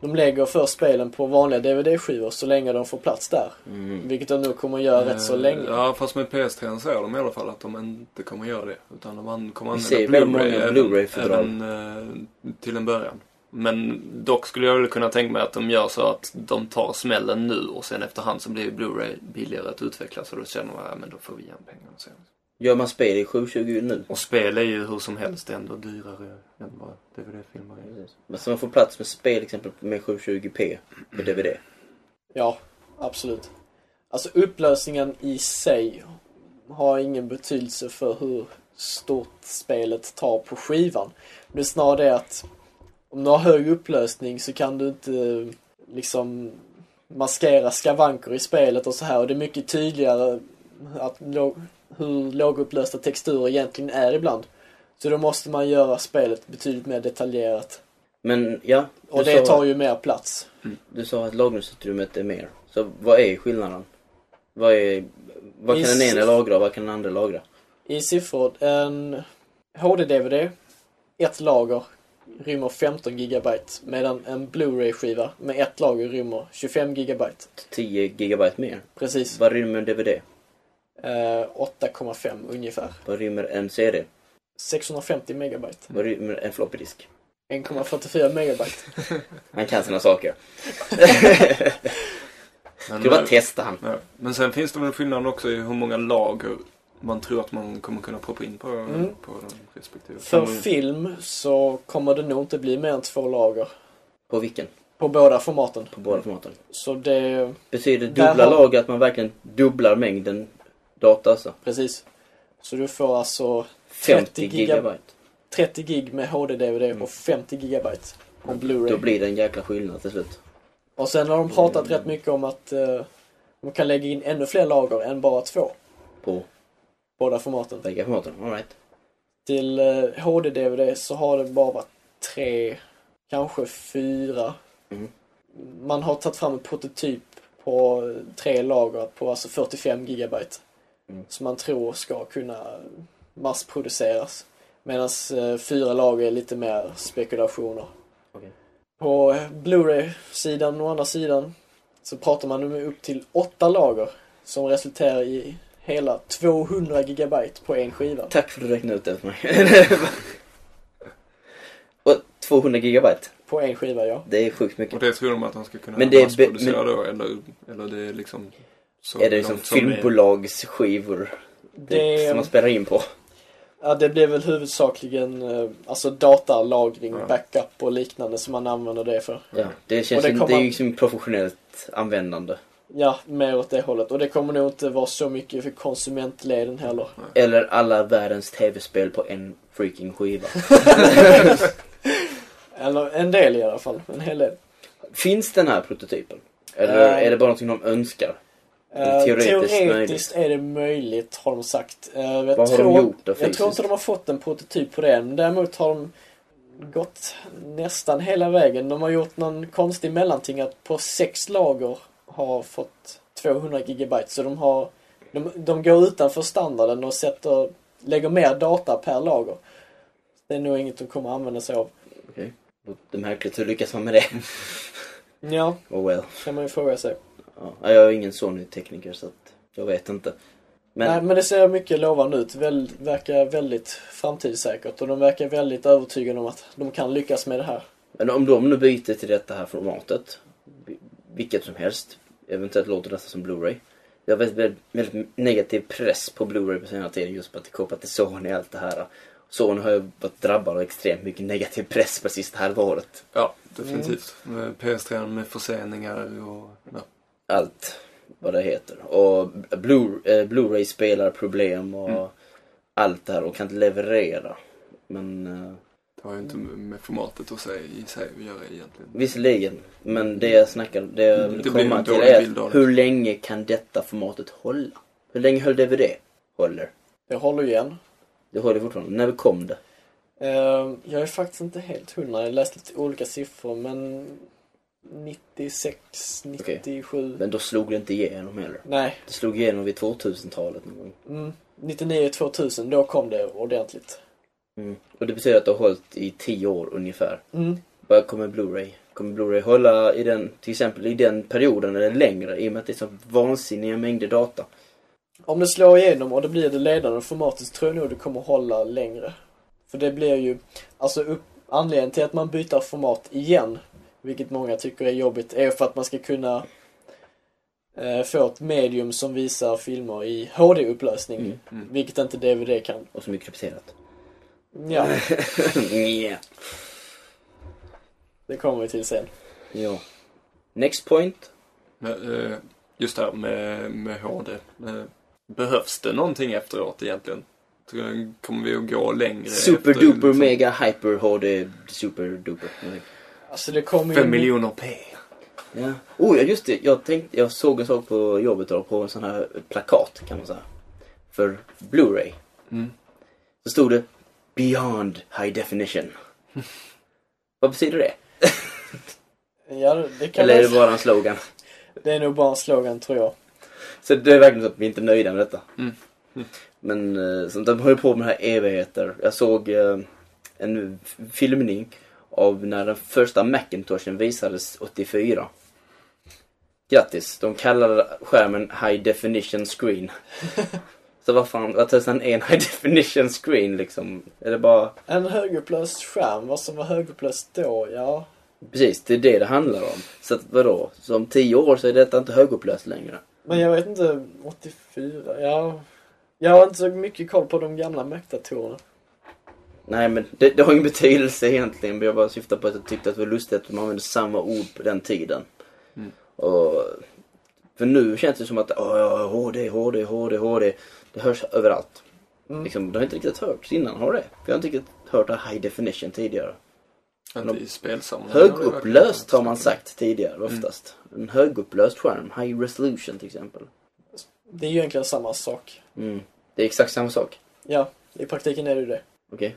de lägger först spelen på vanliga DVD-skivor så länge de får plats där. Mm. Vilket de nog kommer göra rätt så Eh, länge. Ja, fast med PS3 så är de i alla fall att de inte kommer göra det. Utan de an- kommer Vi använda ser väldigt många även- Blu-ray-fördrag. även, eh, till en början. Men dock skulle jag väl kunna tänka mig att de gör så att de tar smällen nu och sen efterhand så blir ju Blu-ray billigare att utveckla. Så då känner man att men då får vi igen pengarna sen. Gör man spel i 720 nu? Och spel är ju hur som helst ändå dyrare än vad DVD-filmer är. Men så man får plats med spel till exempel med 720p på DVD. Ja, absolut. Alltså upplösningen i sig har ingen betydelse för hur stort spelet tar på skivan. Det är snarare det att om du har hög upplösning så kan du inte liksom maskera skavanker i spelet och så här och det är mycket tydligare att låg, hur lågupplösta texturer egentligen är ibland. Så då måste man göra spelet betydligt mer detaljerat. Men ja, du, Och det sa, tar ju mer plats. du sa att lagringsutrymmet är mer. Så vad är skillnaden? Vad, är, vad kan Is- den ena lagra och vad kan den andra lagra? I siffror, en HD-DVD, ett lager, rymmer 15 gigabyte. Medan en Blu-ray-skiva med ett lager rymmer 25 gigabyte. 10 gigabyte mer. Precis. Vad rymmer en DVD? Eh, 8,5 ungefär. Vad rymmer en CD? 650 megabyte. Vad rymmer en floppy disk? 1,44 megabyte. Han kan sina saker. Men, Skulle bara testa han. ja. Men sen finns det väl en skillnad också i hur många lager man tror att man kommer kunna proppa in på, Mm. på de respektive. För Mm. film så kommer det nog inte bli mer än två lager. På vilken? På båda formaten. På båda formaten. Så det, Betyder Där dubbla har- lager att man verkligen dubblar mängden data alltså? precis. Så du får alltså 50 giga- gigabyte. 30 gig med HD-DVD och 50 gigabyte på Blu-ray. Då blir det en jäkla skillnad till slut. Och sen har de pratat rätt mycket om att eh, de kan lägga in ännu fler lager än bara två. På Båda formaten. bägge formaten. All right. Till eh, HD-DVD så har det bara varit tre, kanske fyra. Mm. Man har tagit fram en prototyp på eh, tre lager på alltså 45 gigabyte. Mm. Som man tror ska kunna massproduceras. Medan eh, fyra lager är lite mer spekulationer. Okej. På eh, Blu-ray-sidan, å andra sidan, så pratar man om upp till åtta lager som resulterar i hela 200 gigabyte på en skiva. Tack för att du räknade ut det för mig. och 200 gigabyte. På en skiva, ja. Det är sjukt Och mycket. det tror de att de ska kunna Men det är be- massproducera då? Eller, eller det är liksom... Så är det liksom långt som det är. filmbolagsskivor typ, Det, som man spelar in på? ja, det blir väl huvudsakligen eh, alltså datalagring, Ja. backup och liknande som man använder det för. Ja, det Och känns det det, det är kommer- ju liksom professionellt användande. Ja, mer åt det hållet. Och det kommer nog inte vara så mycket för konsumentleden heller. Eller alla världens tv-spel på en freaking skiva. Eller en del i alla fall, en hel del. Finns den här prototypen? Eller Eh, är det bara någonting de önskar? Eh, Teoretiskt teoretiskt är det möjligt, har de sagt. Eh, jag Vad har de tror, gjort då Jag tror fysiskt? inte de har fått en prototyp på det än. Däremot har de gått nästan hela vägen. De har gjort någon konstig mellanting att på sex lager har fått 200 gigabyte. Så de har de, de går utanför standarden och sätter, lägger mer data per lager. Det är nog inget de kommer använda sig av. Det är märkligt, hur lyckas man med det? Ja, Oh well. kan man ju fråga sig. Ja, jag är ingen Sony-tekniker så att jag vet inte. Men Nej, men det ser mycket lovande ut. Väl, verkar väldigt framtidssäkert och de verkar väldigt övertygade om att de kan lyckas med det här. Men om de nu byter till detta här formatet, vi- vilket som helst, eventuellt låter detta som Blu-ray. Jag vet väldigt, väldigt negativ press på Blu-ray på senare tid just på att det är kopplat till Sony och allt det här. Sony har ju varit drabbad av extremt mycket negativ press precis det här året. Ja, definitivt. Med PS3 med förseningar och... Ja. Allt vad det heter. Och Blu- eh, Blu-ray spelar problem och allt det här och kan inte leverera. Men eh, Det har ju inte med formatet att säga, i sig att göra egentligen. Visserligen, men det jag snackar, det jag vill Det blir komma en till dålig är bild av att det. hur länge kan detta formatet hålla? Hur länge höll DVD? Håller. Det håller igen. Det håller fortfarande. När kom det? Eh, Jag är faktiskt inte helt hundra. Jag har läst lite olika siffror men 96, 97. Men då slog det inte igenom heller. Nej, Det slog igenom vid 2000-talet någon gång. mm, 99, 2000. Då kom det ordentligt. Mm. Och det betyder att det har hållit i 10 år ungefär. Mm. Vad kommer Blu-ray? Kommer Blu-ray hålla i den, till exempel i den perioden eller längre? I och med att det är så vansinniga mängder data. Om det slår igenom och det blir det ledande formatet så tror jag nog det kommer hålla längre. För det blir ju, alltså upp, anledningen till att man byter format igen, vilket många tycker är jobbigt, är för att man ska kunna eh, få ett medium som visar filmer i HD-upplösning. Mm. Mm. Vilket inte DVD kan. Och som är krypterat. Ja, Nja. det kommer vi till sen. ja. Next point. Men, eh, Just det här med, med HD. Eh, Behövs det någonting efteråt egentligen? Tror jag- Kommer vi att gå längre? Super efter, duper liksom, mega hyper HD super duper. Alltså det kommer Fem miljoner P. Ja. Oh, ja, just det. Jag, tänkte, jag såg en sak på jobbet då, på en sån här plakat kan man säga. För Blu-ray. Mm. Så stod det Beyond High Definition. Vad betyder det? Ja, det kan Eller är Eller... det bara en slogan? det är nog bara en slogan tror jag. Så det är verkligen så att vi inte är nöjda med detta. Mm. Mm. Men eh, så de höll på med det här evigheter. Jag såg eh, en f- filmning av när den första Macintoshen visades 84. Grattis, de kallade skärmen High Definition Screen. så vad fan, vad tusan är en High Definition Screen liksom? Är det bara... En högupplöst skärm, vad som var högupplöst då, ja. Precis, det är det det handlar om. Så att, vadå? Så om tio år så är detta inte högupplöst längre. Men jag vet inte, 84, ja. Jag har inte så mycket koll på de gamla Mac-datorerna. Nej men det, det har ingen betydelse egentligen. men Jag bara syftar på att jag tyckte att det var lustigt att man använde samma ord på den tiden. Mm. Och, för nu känns det som att åh, ja, HD, HD, HD, HD. Det hörs överallt. Mm. Liksom, det har inte riktigt hörts innan, har det? För jag har inte riktigt hört det här high definition tidigare. Inte i spelsammanhang. Högupplöst har man sagt tidigare oftast. En högupplöst skärm, high resolution till exempel. Det är ju egentligen samma sak. Mm. Det är exakt samma sak. Ja, i praktiken är det ju det. Okej?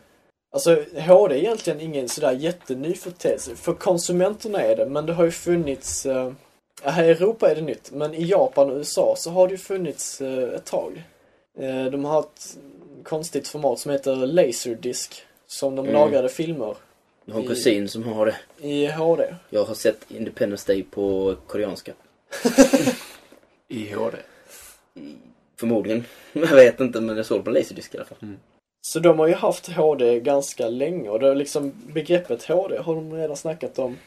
Alltså HD är egentligen ingen sådär jätteny företeelse. För konsumenterna är det, men det har ju funnits... Eh, ja, här i Europa är det nytt, men i Japan och USA så har det ju funnits eh, ett tag. Eh, de har ett konstigt format som heter Laserdisc, som de Mm. lagrade filmer Jag har en I- kusin som har det. i HD. Jag har sett Independence Day på koreanska. I HD. Förmodligen. Jag vet inte men jag såg det på Laserdisc i alla fall. Så de har ju haft HD ganska länge och det är liksom begreppet HD har de redan snackat om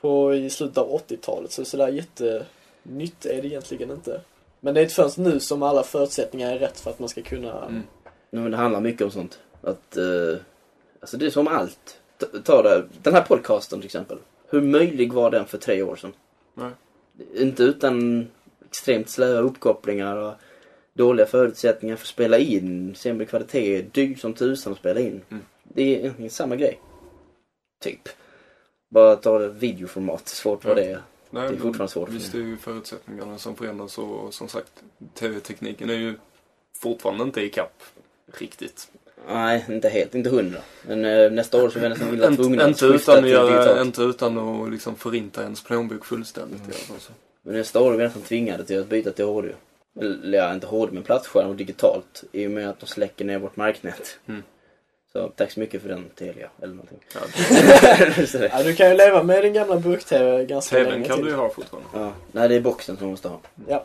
på i slutet av 80-talet så sådär jättenytt är det egentligen inte. Men det är inte förrän nu som alla förutsättningar är rätt för att man ska kunna... Mm. Nej, men det handlar mycket om sånt. Att, eh, alltså det är som allt. Ta, ta det, den här podcasten till exempel. Hur möjlig var den för tre år sedan? Nej. Inte utan extremt slöa uppkopplingar och dåliga förutsättningar för att spela in. Sämre kvalitet, dyrt som tusan att spela in. Mm. Det är egentligen samma grej. Typ. Bara ta det videoformat, svårt vad Ja. det är. Nej, Det är men- fortfarande svårt för mig. Visst är ju förutsättningarna som förändras och som sagt TV-tekniken är ju fortfarande inte ikapp riktigt. Nej, inte helt. Inte hundra. Men eh, nästa år så är vi nästan illa Inte, tvungna att inte, skifta utan till att göra, digitalt. inte utan att liksom förinta ens plånbok fullständigt. i alla fall, så. Men nästa år är vi nästan tvingade till att byta till HD. Eller ja, inte HD men plattskärm och digitalt. I och med att de släcker ner vårt marknät. Mm. Så tack så mycket för den Telia. Eller någonting. Ja, Så det- Ja, du kan ju leva med din gamla burk-tv ganska TVn länge kan till. du ju ha fortfarande. ja. Nej, det är boxen som måste ha. Mm. Ja.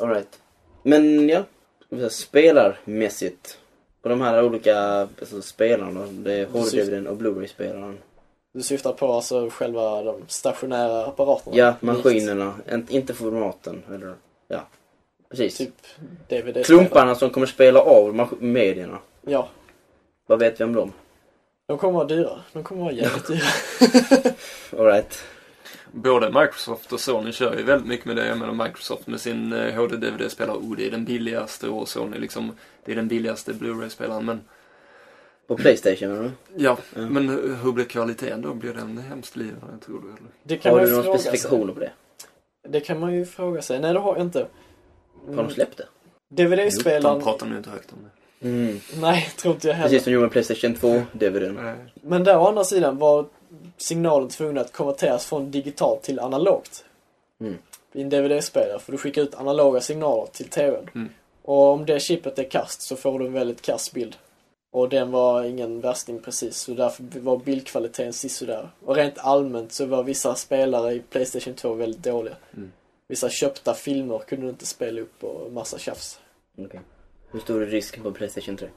Alright. Men ja. Ska vi säga, Spelarmässigt. På de här olika alltså, spelarna. Det är HD-DVDn och Blu-ray-spelaren. Du syftar på alltså själva de stationära apparaterna? Ja, maskinerna. En- Inte formaten. Eller, ja. Precis. Typ dvd Klumparna som kommer spela av mas- medierna. Ja, Vad vet vi om dem? de kommer vara dyra. De kommer vara jävligt dyra. Alright. Både Microsoft och Sony kör ju väldigt mycket med det. Jag menar Microsoft med sin eh, HD-DVD-spelare. Oh, det är den billigaste och Sony liksom, det är den billigaste Blu-ray-spelaren. Men På Playstation menar du? ja, Ja. men hur- hur blir kvaliteten då? Blir den hemskt lidande tror du? Eller? Det kan Har man ju du några fråga sig. specifikationer på det? Det kan man ju fråga sig. Nej, det har jag inte. Har de släppt det? De DVD-spelaren... pratar nu inte högt om det. Mm. Nej, tror inte jag heller. Precis som de gjorde med Playstation 2, DVDn. Nej. Men där å andra sidan var signalen tvungen att konverteras från digitalt till analogt. Mm. I en DVD-spelare, för du skickar ut analoga signaler till TVn. Mm. Och om det chippet är kast så får du en väldigt kast bild. Och den var ingen värsting precis, så därför var bildkvaliteten sisådär. Och rent allmänt så var vissa spelare i Playstation 2 väldigt dåliga. Mm. Vissa köpta filmer kunde du inte spela upp och massa tjafs. Okej. Hur stor är risken på Playstation 3?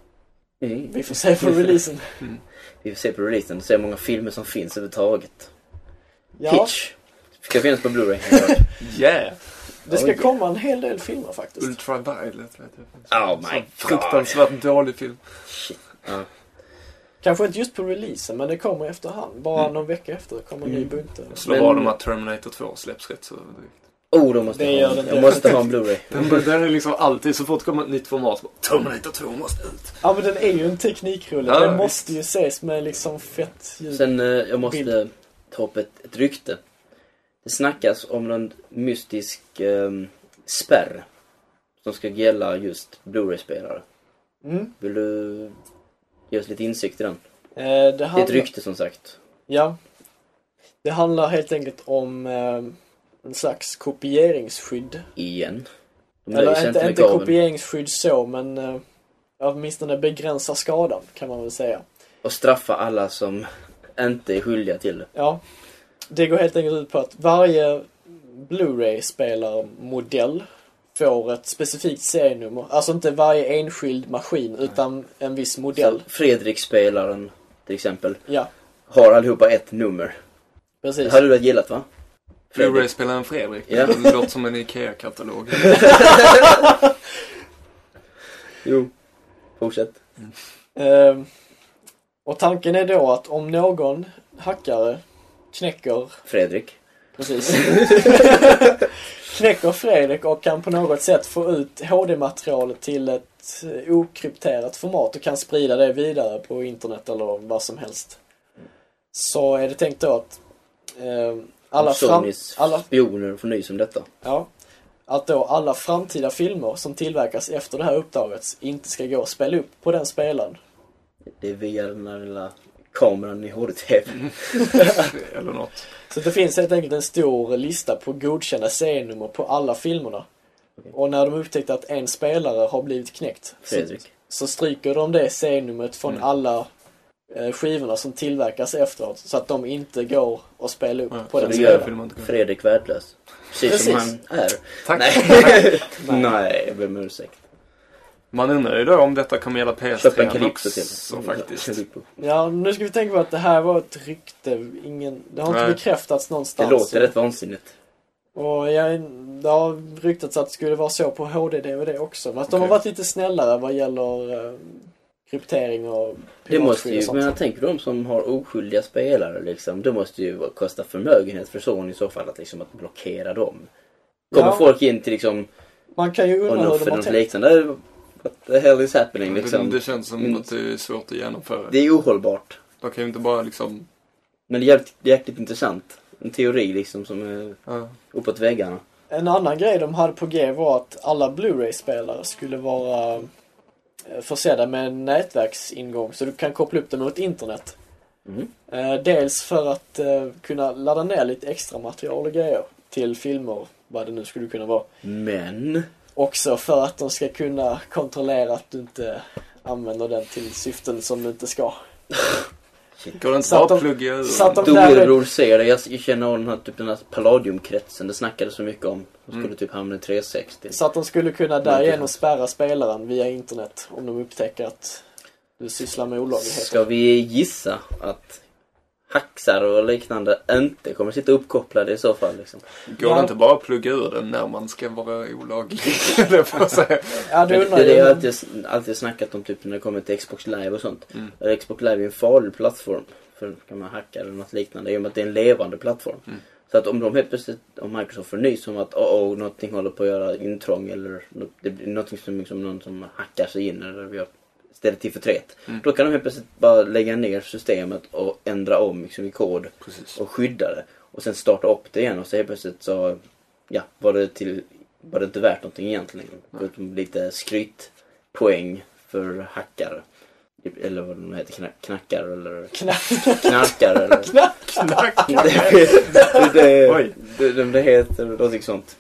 Mm. Vi får se på releasen. Vi får se på releasen och se hur många filmer som finns överhuvudtaget. Ja. Hitch! Ska finnas på Blu-ray. helt klart. Yeah! Det ska Oh, yeah. komma en hel del filmer faktiskt. Ultraviolet vet jag. Oh my god. Fruktansvärt dålig film. Kanske inte just på releasen, men det kommer i efterhand. Bara någon vecka efter kommer en ny Mm. bunt. eller? Slå Men- vad de att Terminator 2 släpps rätt så direkt. Oh, då måste Det jag gör ha den en. Jag måste ha en Blu-ray. Den, den är liksom alltid, så fort det kommer ett nytt format, så bara, Terminator 2 måste ut. Ja men den är ju en teknikrulle. Ja, den visst. måste ju ses med liksom fett ljud. Sen, eh, jag måste Bild. eh, ta upp ett, ett rykte. Det snackas om någon mystisk eh, spärr. Som ska gälla just Blu-ray-spelare. Mm. Vill du ge oss lite insikt i den? Eh, det, Det är ett handlar, rykte som sagt. ja. det handlar helt enkelt om eh, en slags kopieringsskydd. Igen. De nöjer sig Eller inte, med inte gaveln. kopieringsskydd så, men eh, åtminstone begränsa skadan kan man väl säga. Och straffa alla som inte är skyldiga till det. Ja, det går helt enkelt ut på att varje Blu-ray-spelarmodell får ett specifikt serienummer. Alltså inte varje enskild maskin, utan en viss modell. Så Fredrik-spelaren till exempel Ja, har allihopa ett nummer. Det precis. hade du väl gillat va? Fredrik. Blu-ray-spelaren Fredrik. Ja. Det låter som en IKEA-katalog. Jo. Fortsätt. Ehm, och tanken är då att om någon hackare knäcker, Fredrik. precis, knäcker Fredrik och kan på något sätt få ut HD-materialet till ett eh, okrypterat format och kan sprida det vidare på internet eller vad som helst. Så är det tänkt då att ehm, alla, Alla fram, Sonys alla, spioner får nys om detta. ja, att då alla framtida filmer som tillverkas efter det här uppdragets inte ska gå att spela upp på den spelaren. Det är via den där lilla kameran i HDTV. Eller något. Så det finns helt enkelt en stor lista på godkända serienummer på alla filmerna. Och när de upptäckte att en spelare har blivit knäckt så, Fredrik. så stryker de det serienumret från alla eh, skivorna som tillverkas efteråt så att de inte går att spela upp Ja, på så den det det gör gör spelaren. filmen inte. Fredrik Värdelös. Precis, som Precis. han är. Tack. Nej. Nej, jag ber om ursäkt. Man undrar ju då om detta kommer gälla Köp en PS3 Calypso typ. till. också faktiskt. Calypso. Ja, nu ska vi tänka på att det här var ett rykte. Ingen, det har inte Nej. bekräftats Det någonstans. låter rätt vansinnigt. Och jag, det har ryktats att det skulle vara så på HD-DVD också. Fast de har Okej. varit lite snällare vad gäller eh, kryptering och Det måste piratskydd och ju, sånt. men jag tänker de som har oskyldiga spelare liksom, det måste ju kosta förmögenhet för Sony i så fall att liksom att blockera dem. Kommer Ja. folk in till liksom, Man kan ju undra hur Onoff de eller har något tänkt. liknande, what the hell is happening Det, liksom. det känns som Mm. att det är svårt att genomföra. Det är ohållbart. De kan ju inte bara liksom... Men det är jäkligt, jäkligt intressant. En teori liksom som är Ja. uppåt väggarna. En annan grej de hade på G var att alla Blu-ray-spelare skulle vara eh, försedda med en nätverksingång så du kan koppla upp dem mot internet. Mm. Eh, Dels för att eh, kunna ladda ner lite extra material och grejer till filmer, vad det nu skulle kunna vara. Men, Också för att de ska kunna kontrollera att du inte använder den till syften som du inte ska. Går det inte Så att bara de- att plugga ur? så att de- Storebror ser det. Jag känner av den här, typ den här palladiumkretsen det snackades så mycket om. De skulle typ hamna i 360. Så att de skulle kunna därigenom spärra spelaren via internet om de upptäcker att du sysslar med olagligheter. Ska vi gissa att hacksar och liknande inte kommer sitta uppkopplade i så fall? Liksom? Går det inte bara att plugga ur den när man ska vara olaglig? Eller får jag säga. Ja, du Men undrar det, det är ju. alltid, alltid snackat om typ när det kommer till Xbox Live och sånt. Mm. Där Xbox Live är en farlig plattform. För kan man hacka eller något liknande. I och med att det är en levande plattform. Mm. Så att om de helt plötsligt, om Microsoft får nys om att oh, oh, någonting håller på att göra intrång eller något, det blir någonting som liksom någon som hackar sig in eller gör, ställer till förtret. Mm. Då kan de helt plötsligt bara lägga ner systemet och ändra om liksom, i kod Precis. och skydda det. Och sen starta upp det igen och så helt plötsligt så ja, var, det till, var det inte värt någonting egentligen. Utom lite skrytpoäng för hackare. Eller vad de heter, knack, knackare eller knarkare. Eller... det, det, Oj. det, det, det heter någonting sånt.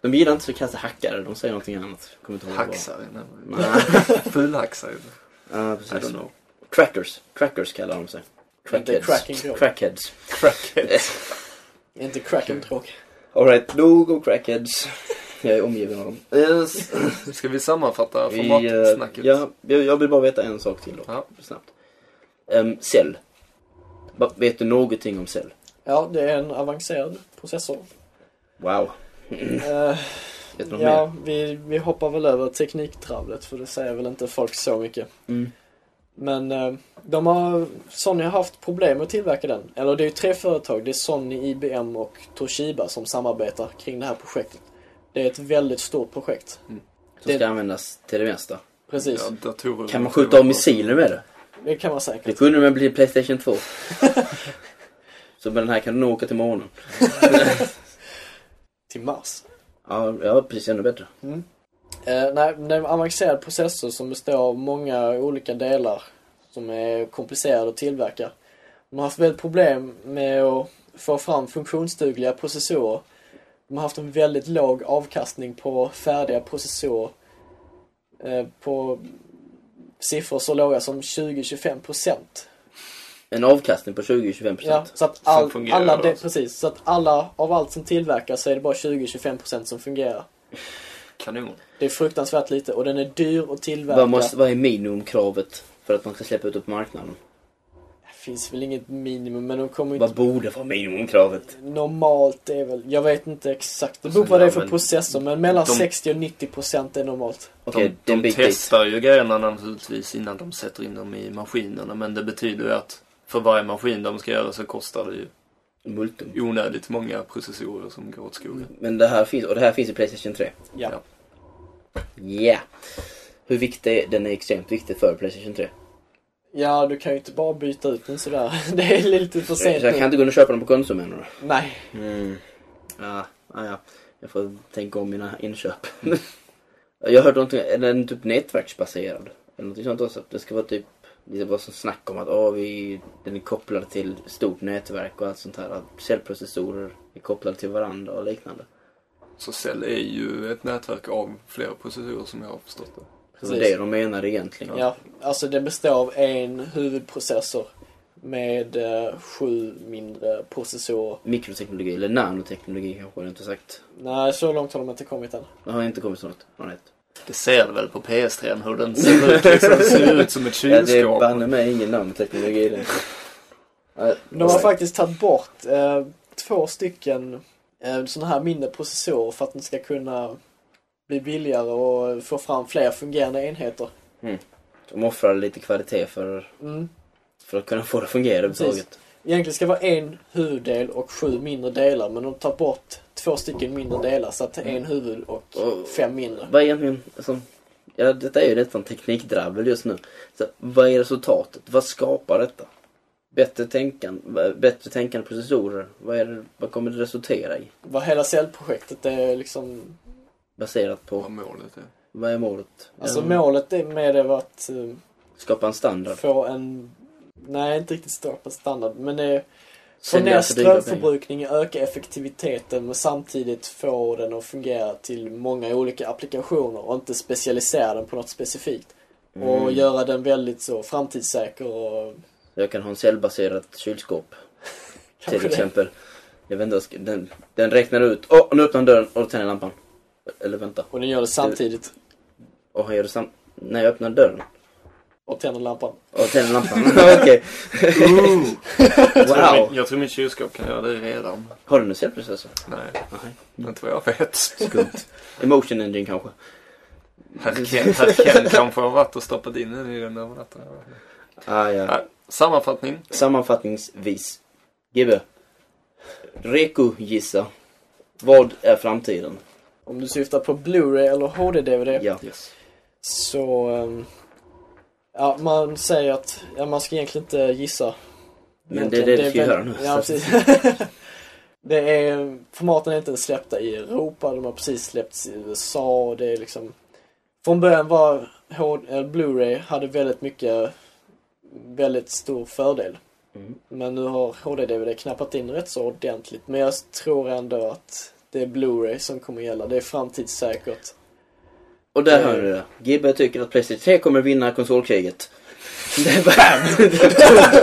De gillar inte så kalla hackare, de säger någonting annat. Kommer inte ihåg vad. Hacksare? Nej, Fulhacksare? ja, I don't precis. know. Crackers. Crackers kallar de sig. Inte cracking Crackheads. Crackheads. Inte cracking drog. Alright, nog om crackheads. Jag är omgiven av dem. Yes. Ska vi sammanfatta Vi, formatsnacket? eh, ja, jag, jag vill bara veta en sak till då. Ja. Snabbt. Um, cell. Va- Vet du någonting om cell? Ja, det är en avancerad processor. Wow. Eh, Vet du något ja, vi, vi hoppar väl över tekniktravlet för det säger väl inte folk så mycket. mer? Mm. Men eh, de har, Sony har haft problem med att tillverka den. Eller det är ju tre företag. Det är Sony, IBM och Toshiba som samarbetar kring det här projektet. Det är ett väldigt stort projekt. Som Det- ska användas till det mesta. Mm, Precis, Ja, datorer. Kan man skjuta av missiler med det? det kan man säkert. Det kunde man bli i Playstation 2. Så med den här kan du nog åka till månen. Till Mars. Ja, ja precis. Ännu bättre. Eh, nej, det är en avancerad processor som består av många olika delar som är komplicerade att tillverka. De har haft väldigt problem med att få fram funktionsdugliga processorer. De har haft en väldigt låg avkastning på färdiga processorer. Eh, på siffror så låga som 20-25%. En avkastning på 20-25%. Ja, så att Som all, fungerar alla, de, alltså. precis, så att alla av allt som tillverkas så är det bara 20-25% som fungerar. Kanon. Det är fruktansvärt lite och den är dyr att tillverka. Vad, måste, vad är minimumkravet för att man ska släppa ut det på marknaden? Det finns väl inget minimum men de kommer ju Vad inte... borde vara minimumkravet? Normalt är väl, jag vet inte exakt, det beror Alltså, på vad det är ja, för men processor men mellan de- 60 och 90 procent är normalt. Okej, det är de en de bit dit. testar ju grejerna naturligtvis innan de sätter in dem i maskinerna. Men det betyder ju att för varje maskin de ska göra så kostar det ju Multum. onödigt många processorer som går åt skogen. Men det här finns, och det här finns i Playstation 3. Ja. Ja. Yeah! Hur viktig är den? är extremt viktig för Playstation 3. Ja, du kan ju inte bara byta ut den sådär. Det är lite för Så sent jag kan nu. inte gå in och köpa den på Konsum ännu. Nej. Mm. Ja, ja, ja. Jag får tänka om mina inköp. jag har hört någonting, är den typ nätverksbaserad? Eller någonting sånt också. Det ska vara typ, det var som snack om att ah, vi, den är kopplad till stort nätverk och allt sånt här. Att cellprocessorer är kopplade till varandra och liknande. Så Cell är ju ett nätverk av flera processorer som jag har förstått det. Det var Precis. det de menar egentligen. Ja, alltså den består av en huvudprocessor med eh, sju mindre processorer. Mikroteknologi, eller nanoteknologi kanske jag inte sagt. Nej, så långt har de inte kommit än. Det har inte kommit så långt. Har rätt. Det ser väl på PS3 hur den ser ut. Liksom, den ser ut som ett Ja, det är kylskåp. banne mig ingen nanoteknologi i det. Nej, De har faktiskt tagit bort eh, två stycken eh, sådana här mindre processorer för att den ska kunna bli billigare och få fram fler fungerande enheter. De offrar lite kvalitet för, Mm. för att kunna få det att fungera överhuvudtaget. Egentligen ska det vara en huvuddel och sju mindre delar men de tar bort två stycken mindre delar så att det är en huvud och Och- fem mindre. Vad är egentligen, alltså, ja, detta är ju nästan teknikdrabbel just nu. Så, vad är resultatet? Vad skapar detta? Bättre tänkande, bättre tänkande processorer, vad, är det, vad kommer det resultera i? Vad hela cellprojektet är liksom, Baserat på, Vad målet är. vad är målet? alltså Ja, målet är- med det var att eh, skapa en Mm. standard. få en, nej inte riktigt stå på standard men det är Få Sälja ner för dyra pengar. strömförbrukningen, öka effektiviteten men samtidigt få den att fungera till många olika applikationer och inte specialisera den på något specifikt. Mm. Och göra den väldigt så framtidssäker och Jag kan ha en cellbaserat kylskåp till kanske det. exempel. Jag vet inte, jag ska- den, den räknar ut, åh nu öppnar dörren och då tänder lampan. Eller vänta, Och den gör det samtidigt och han gör det sam- när jag öppnar dörren. och tänder lampan. Och tänder lampan. Okej. Jag, tror Wow. min, jag tror min kylskåp kan göra det redan. Har du en cellprocessor? Nej, inte vad jag vet. Skumt. Emotion engine kanske? Herr Ken, herr Ken kanske har varit och stoppat in den i den över natten. Ah, ja. Nej, Sammanfattning. Sammanfattningsvis. Gibbe. Reko gissa. Vad är framtiden? Om du syftar på Blu-ray eller HD-DVD Ja. Yes. så... ehm, Ja, man säger att ja, man ska egentligen inte gissa. Men det är det du ska väl- göra nu. Ja, precis. det är, formaten är inte ens släppta i Europa, de har precis släppts i USA och det är liksom... Från början var HD eller Blu-ray hade väldigt mycket, väldigt stor fördel. Mm. Men nu har HD-DVD knappat in rätt så ordentligt. Men jag tror ändå att det är Blu-ray som kommer gälla. Det är framtidssäkert. Och där hör du det. Gibbe tycker att Playstation 3 kommer vinna konsolkriget. Det är bam!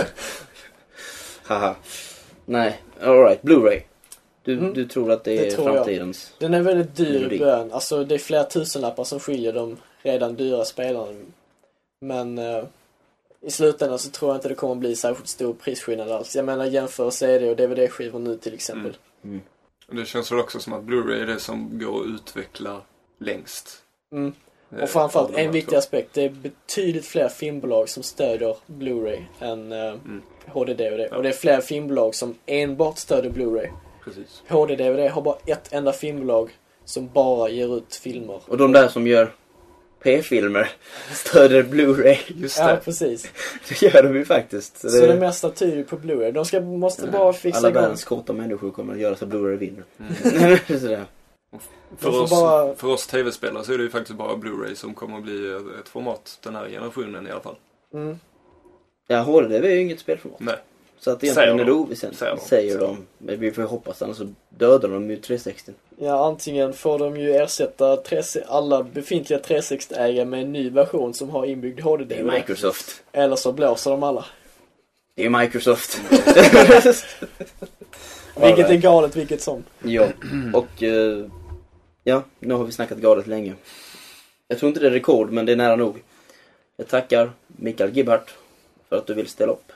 Haha. Nej, alright. Blu-ray. Du, Mm. du tror att det, Det är tror jag. framtidens... Den är väldigt dyr i Melodi. början. Alltså det är flera tusenlappar som skiljer de redan dyra spelarna. Men eh, i slutändan så tror jag inte det kommer bli särskilt stor prisskillnad alls. Jag menar jämför CD och DVD-skivor nu till exempel. Mm. Mm. Det känns väl också som att Blu-ray är det som går att utveckla längst. Mm. Eh, Och framförallt av de här en viktig två. aspekt, det är betydligt fler filmbolag som stödjer Blu-ray än eh, Mm. HD-DVD. Och det är fler filmbolag som enbart stödjer Blu-ray. Precis. HD-DVD har bara ett enda filmbolag som bara ger ut filmer. Och de där som gör P-filmer stöder Blu-ray. Just Ja, det. precis. Det gör de ju faktiskt. Så det mesta tyder på Blu-ray. De ska, måste bara fixa Alla igång. världens korta människor kommer att göra så Blu-ray vinner. Sådär. Mm. För får oss, bara- för oss tv-spelare så är det ju faktiskt bara Blu-ray som kommer att bli eh, ett format den här generationen i alla fall. Mm. Ja, HDV är ju inget spelformat. Nej. Så att egentligen Säger är det de. oväsentligt, Säger säger, de. de. Men vi får ju hoppas, annars så dödar de ju 360. Ja, antingen får de ju ersätta 360 alla befintliga 360-ägare med en ny version som har inbyggd Det är HD-DVD. Microsoft. Eller så blåser de alla. Det är Microsoft. Vilket är galet, vilket som. Ja, och eh, ja, nu har vi snackat galet länge. Jag tror inte det är rekord, men det är nära nog. Jag tackar Mikael Gibbart för att du vill ställa upp.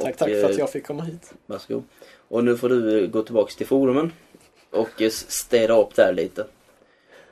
Tack, Och, tack för att eh, jag fick komma hit. Varsågod. Och nu får du eh, gå tillbaks till forumen och eh, städa upp där lite.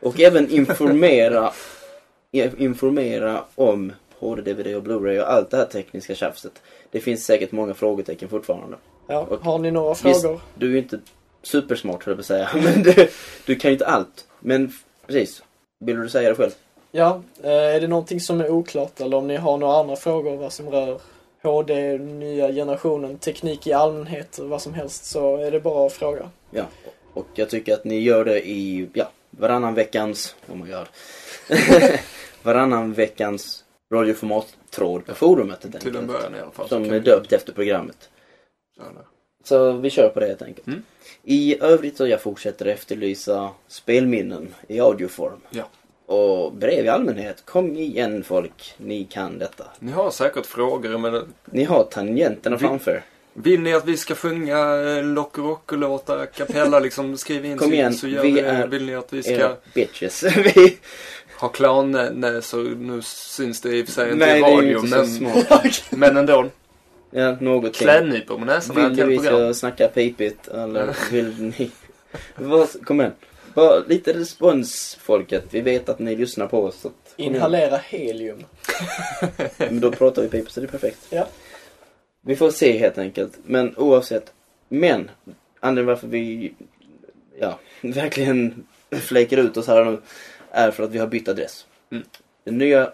Och även informera, i- informera om HD, DVD och Blu-ray och allt det här tekniska tjafset. Det finns säkert många frågetecken fortfarande. Ja, och- har ni några Visst, frågor? du är ju inte supersmart höll jag på att säga, men du, du kan ju inte allt. Men f- precis, vill du säga det själv? Ja, eh, är det någonting som är oklart eller om ni har några andra frågor vad som rör HD, nya generationen, teknik i allmänhet, vad som helst så är det bara att fråga. Ja, och jag tycker att ni gör det i, ja, varannan veckans, oh my god. varannan veckans radioformat-tråd på forumet helt Till en enkelt. början i alla fall. Som Kan är vi- döpt efter programmet. Ja, där. Så vi kör på det helt enkelt. Mm. I övrigt så jag fortsätter efterlysa spelminnen i audioform. Ja. Och brev i allmänhet, kom igen folk, ni kan detta. Ni har säkert frågor men Ni har tangenterna Vi- framför. vill ni att vi ska sjunga eh, Lock Rock-låtar, kapella liksom, skriv in Kom så, igen, så gör vi vi är det. Vill ni att vi ska Era bitches. Vi... ha clown? Nej, så nu syns det i och för sig inte Nej, i det är ju radio inte så men, smart. men ändå. Ja, någonting. Klädnypor på näsan är ett Vill ni vi helt program. ska snacka pipigt eller vill ni... Vad- Kom igen. Bara lite respons folket. Vi vet att ni lyssnar på oss. Så att... kom igen. Inhalera helium. Men då pratar vi pipigt så det är perfekt. Ja. Vi får se helt enkelt. Men oavsett. Men anledningen varför vi ja, verkligen fläker ut oss här nu är för att vi har bytt adress. Mm. Den nya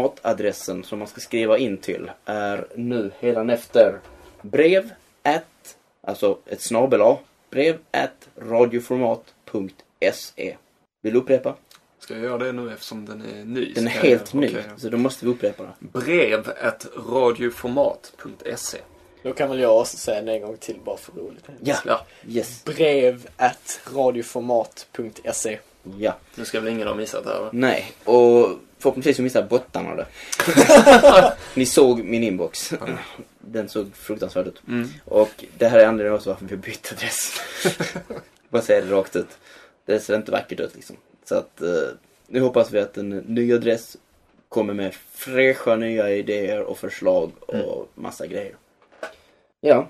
formatadressen som man ska skriva in till är nu hädanefter brev at, alltså ett snabel A, brev at radioformat.se. E. Vill du upprepa? Ska jag göra det nu eftersom den är ny? Den är Ska jag- helt ny, okej. så då måste vi upprepa den. Brev at radioformat.se Då kan väl jag också säga det en gång till bara för roligt. Ja, Ja, yes, Brev at radioformat.se ja. nu ska väl ingen ha missat det här va? Nej, och förhoppningsvis så missade bottarna det. Ni såg min inbox. Den såg fruktansvärd ut. Mm. Och det här är anledningen också varför vi har bytt adress. Bara säga det rakt ut. Det ser inte vackert ut liksom. Så att eh, nu hoppas vi att en ny adress kommer med fräscha nya idéer och förslag Mm. och massa grejer. Ja,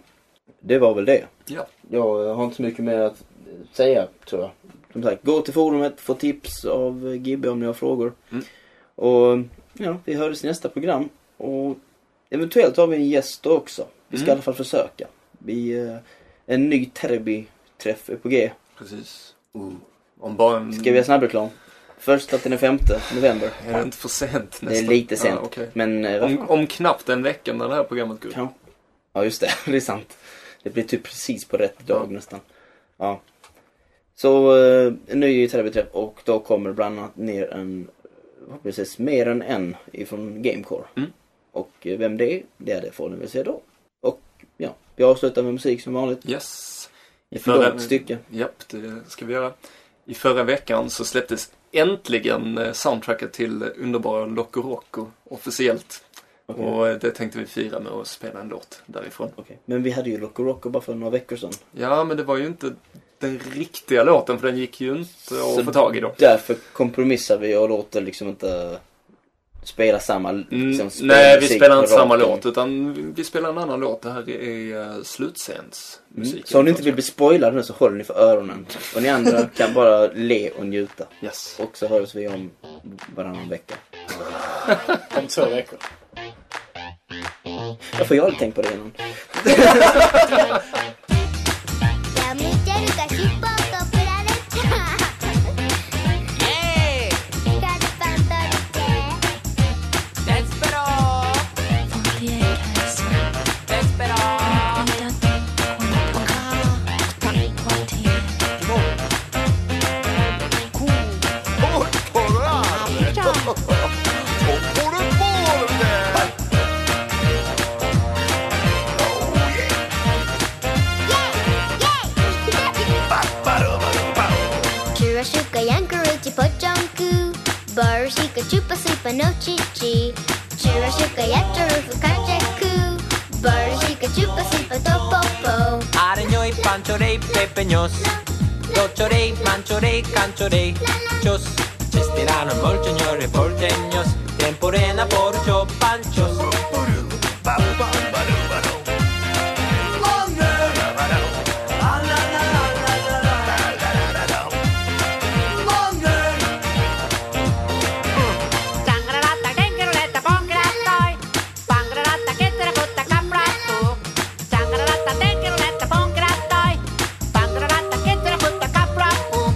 det var väl det. Ja. Jag eh, har inte så mycket mer att eh, säga tror jag. Som sagt, gå till forumet, få tips av eh, Gibbe om ni har frågor. Mm. Och ja, vi hörs i nästa program. Och eventuellt har vi en gäst då också. Vi ska Mm. i alla fall försöka. Vi, eh, en ny Terby-träff är på G. Precis. Oh. Om bara en... Ska vi ha snabbreklam? Första till den femte november. Är det inte för sent nästan? Det är lite sent. Ja, okej. Men eh, vad om, om knappt en vecka när det här programmet går ut. Kan- Ja, just det. Det är sant. Det blir typ precis på rätt dag Ja. nästan. Ja. Så, eh, en ny träff och då kommer bland annat ner en, förhoppningsvis mer än en ifrån Gamecore. Mm. Och eh, vem det är, det är det får ni väl se då. Och ja, vi avslutar med musik som vanligt. Yes. Ett förra- långt stycke. Japp, det ska vi göra. I förra veckan så släpptes äntligen eh, soundtracket till underbara Loco Roco officiellt. Okej. Och eh, det tänkte vi fira med att spela en låt därifrån. Okej. Men vi hade ju Loco Roco bara för några veckor sedan. Ja, men det var ju inte den riktiga låten för den gick ju inte Så att få tag i då. Därför kompromissar vi och låter liksom inte spela samma liksom, Mm, nej, vi spelmusik spelar på inte samma raken. låt utan vi- vi spelar en annan låt. Det här är uh, slutscens musik. Mm. Så om ni inte vill bli spoilade nu så håller ni för öronen. Och ni andra kan bara le och njuta. Yes. Och så hörs vi om varannan vecka. om två veckor. Ja, för jag har aldrig tänkt på det innan. やめてるか尻尾をとぶられちゃイエーイうガルパン取りデスペローデスペローポルポラーメポルポールてイェイイェイ Kira shuka yankaruchi pochonku Baru shika chupa supa no chichi Chira shuka yacharufu kacheku Baru shika chupa supa topopo アレニョイパンチョレイペペニョスドチョレイマンチョレイカンチョレイチョスチェステラノモルチョニョレポルテニョステンポレナポルチョパンチョスタンガララッタケンケロレッタポンケラットイパンガララッタケッテラポッタカムラットタンガララッタテンケロレッタポンケラットイパンガララッタケッテラポッタカムラット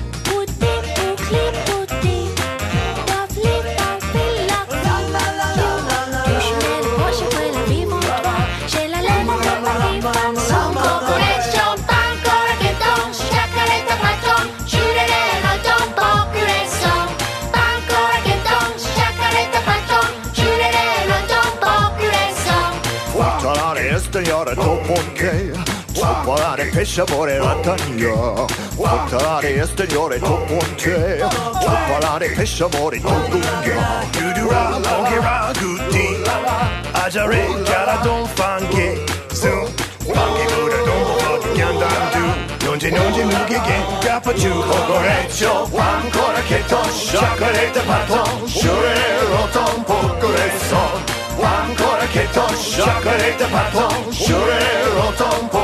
Son Kokuretson, pankoraketon Shakareton, shurereroton Pokuretson Pankoraketon, shakareton Shurereroton, pokuretson ファタラレステニャレトポケトポラレペシャボレラタニアファタラレステニャレトポケトポラレペシャボレトグンゲドゥドゥラポケラグディアジャレキャラドンファンゲスンファンゲブラドンポケギャンダンドゥノンジェノンジェムゲゲンガパチュココレチョパンコラケトンシャカレタパトンシュレロトンポコレソンワンコラケトンシャカレタパトンシュレロトンポ Oh, Oh,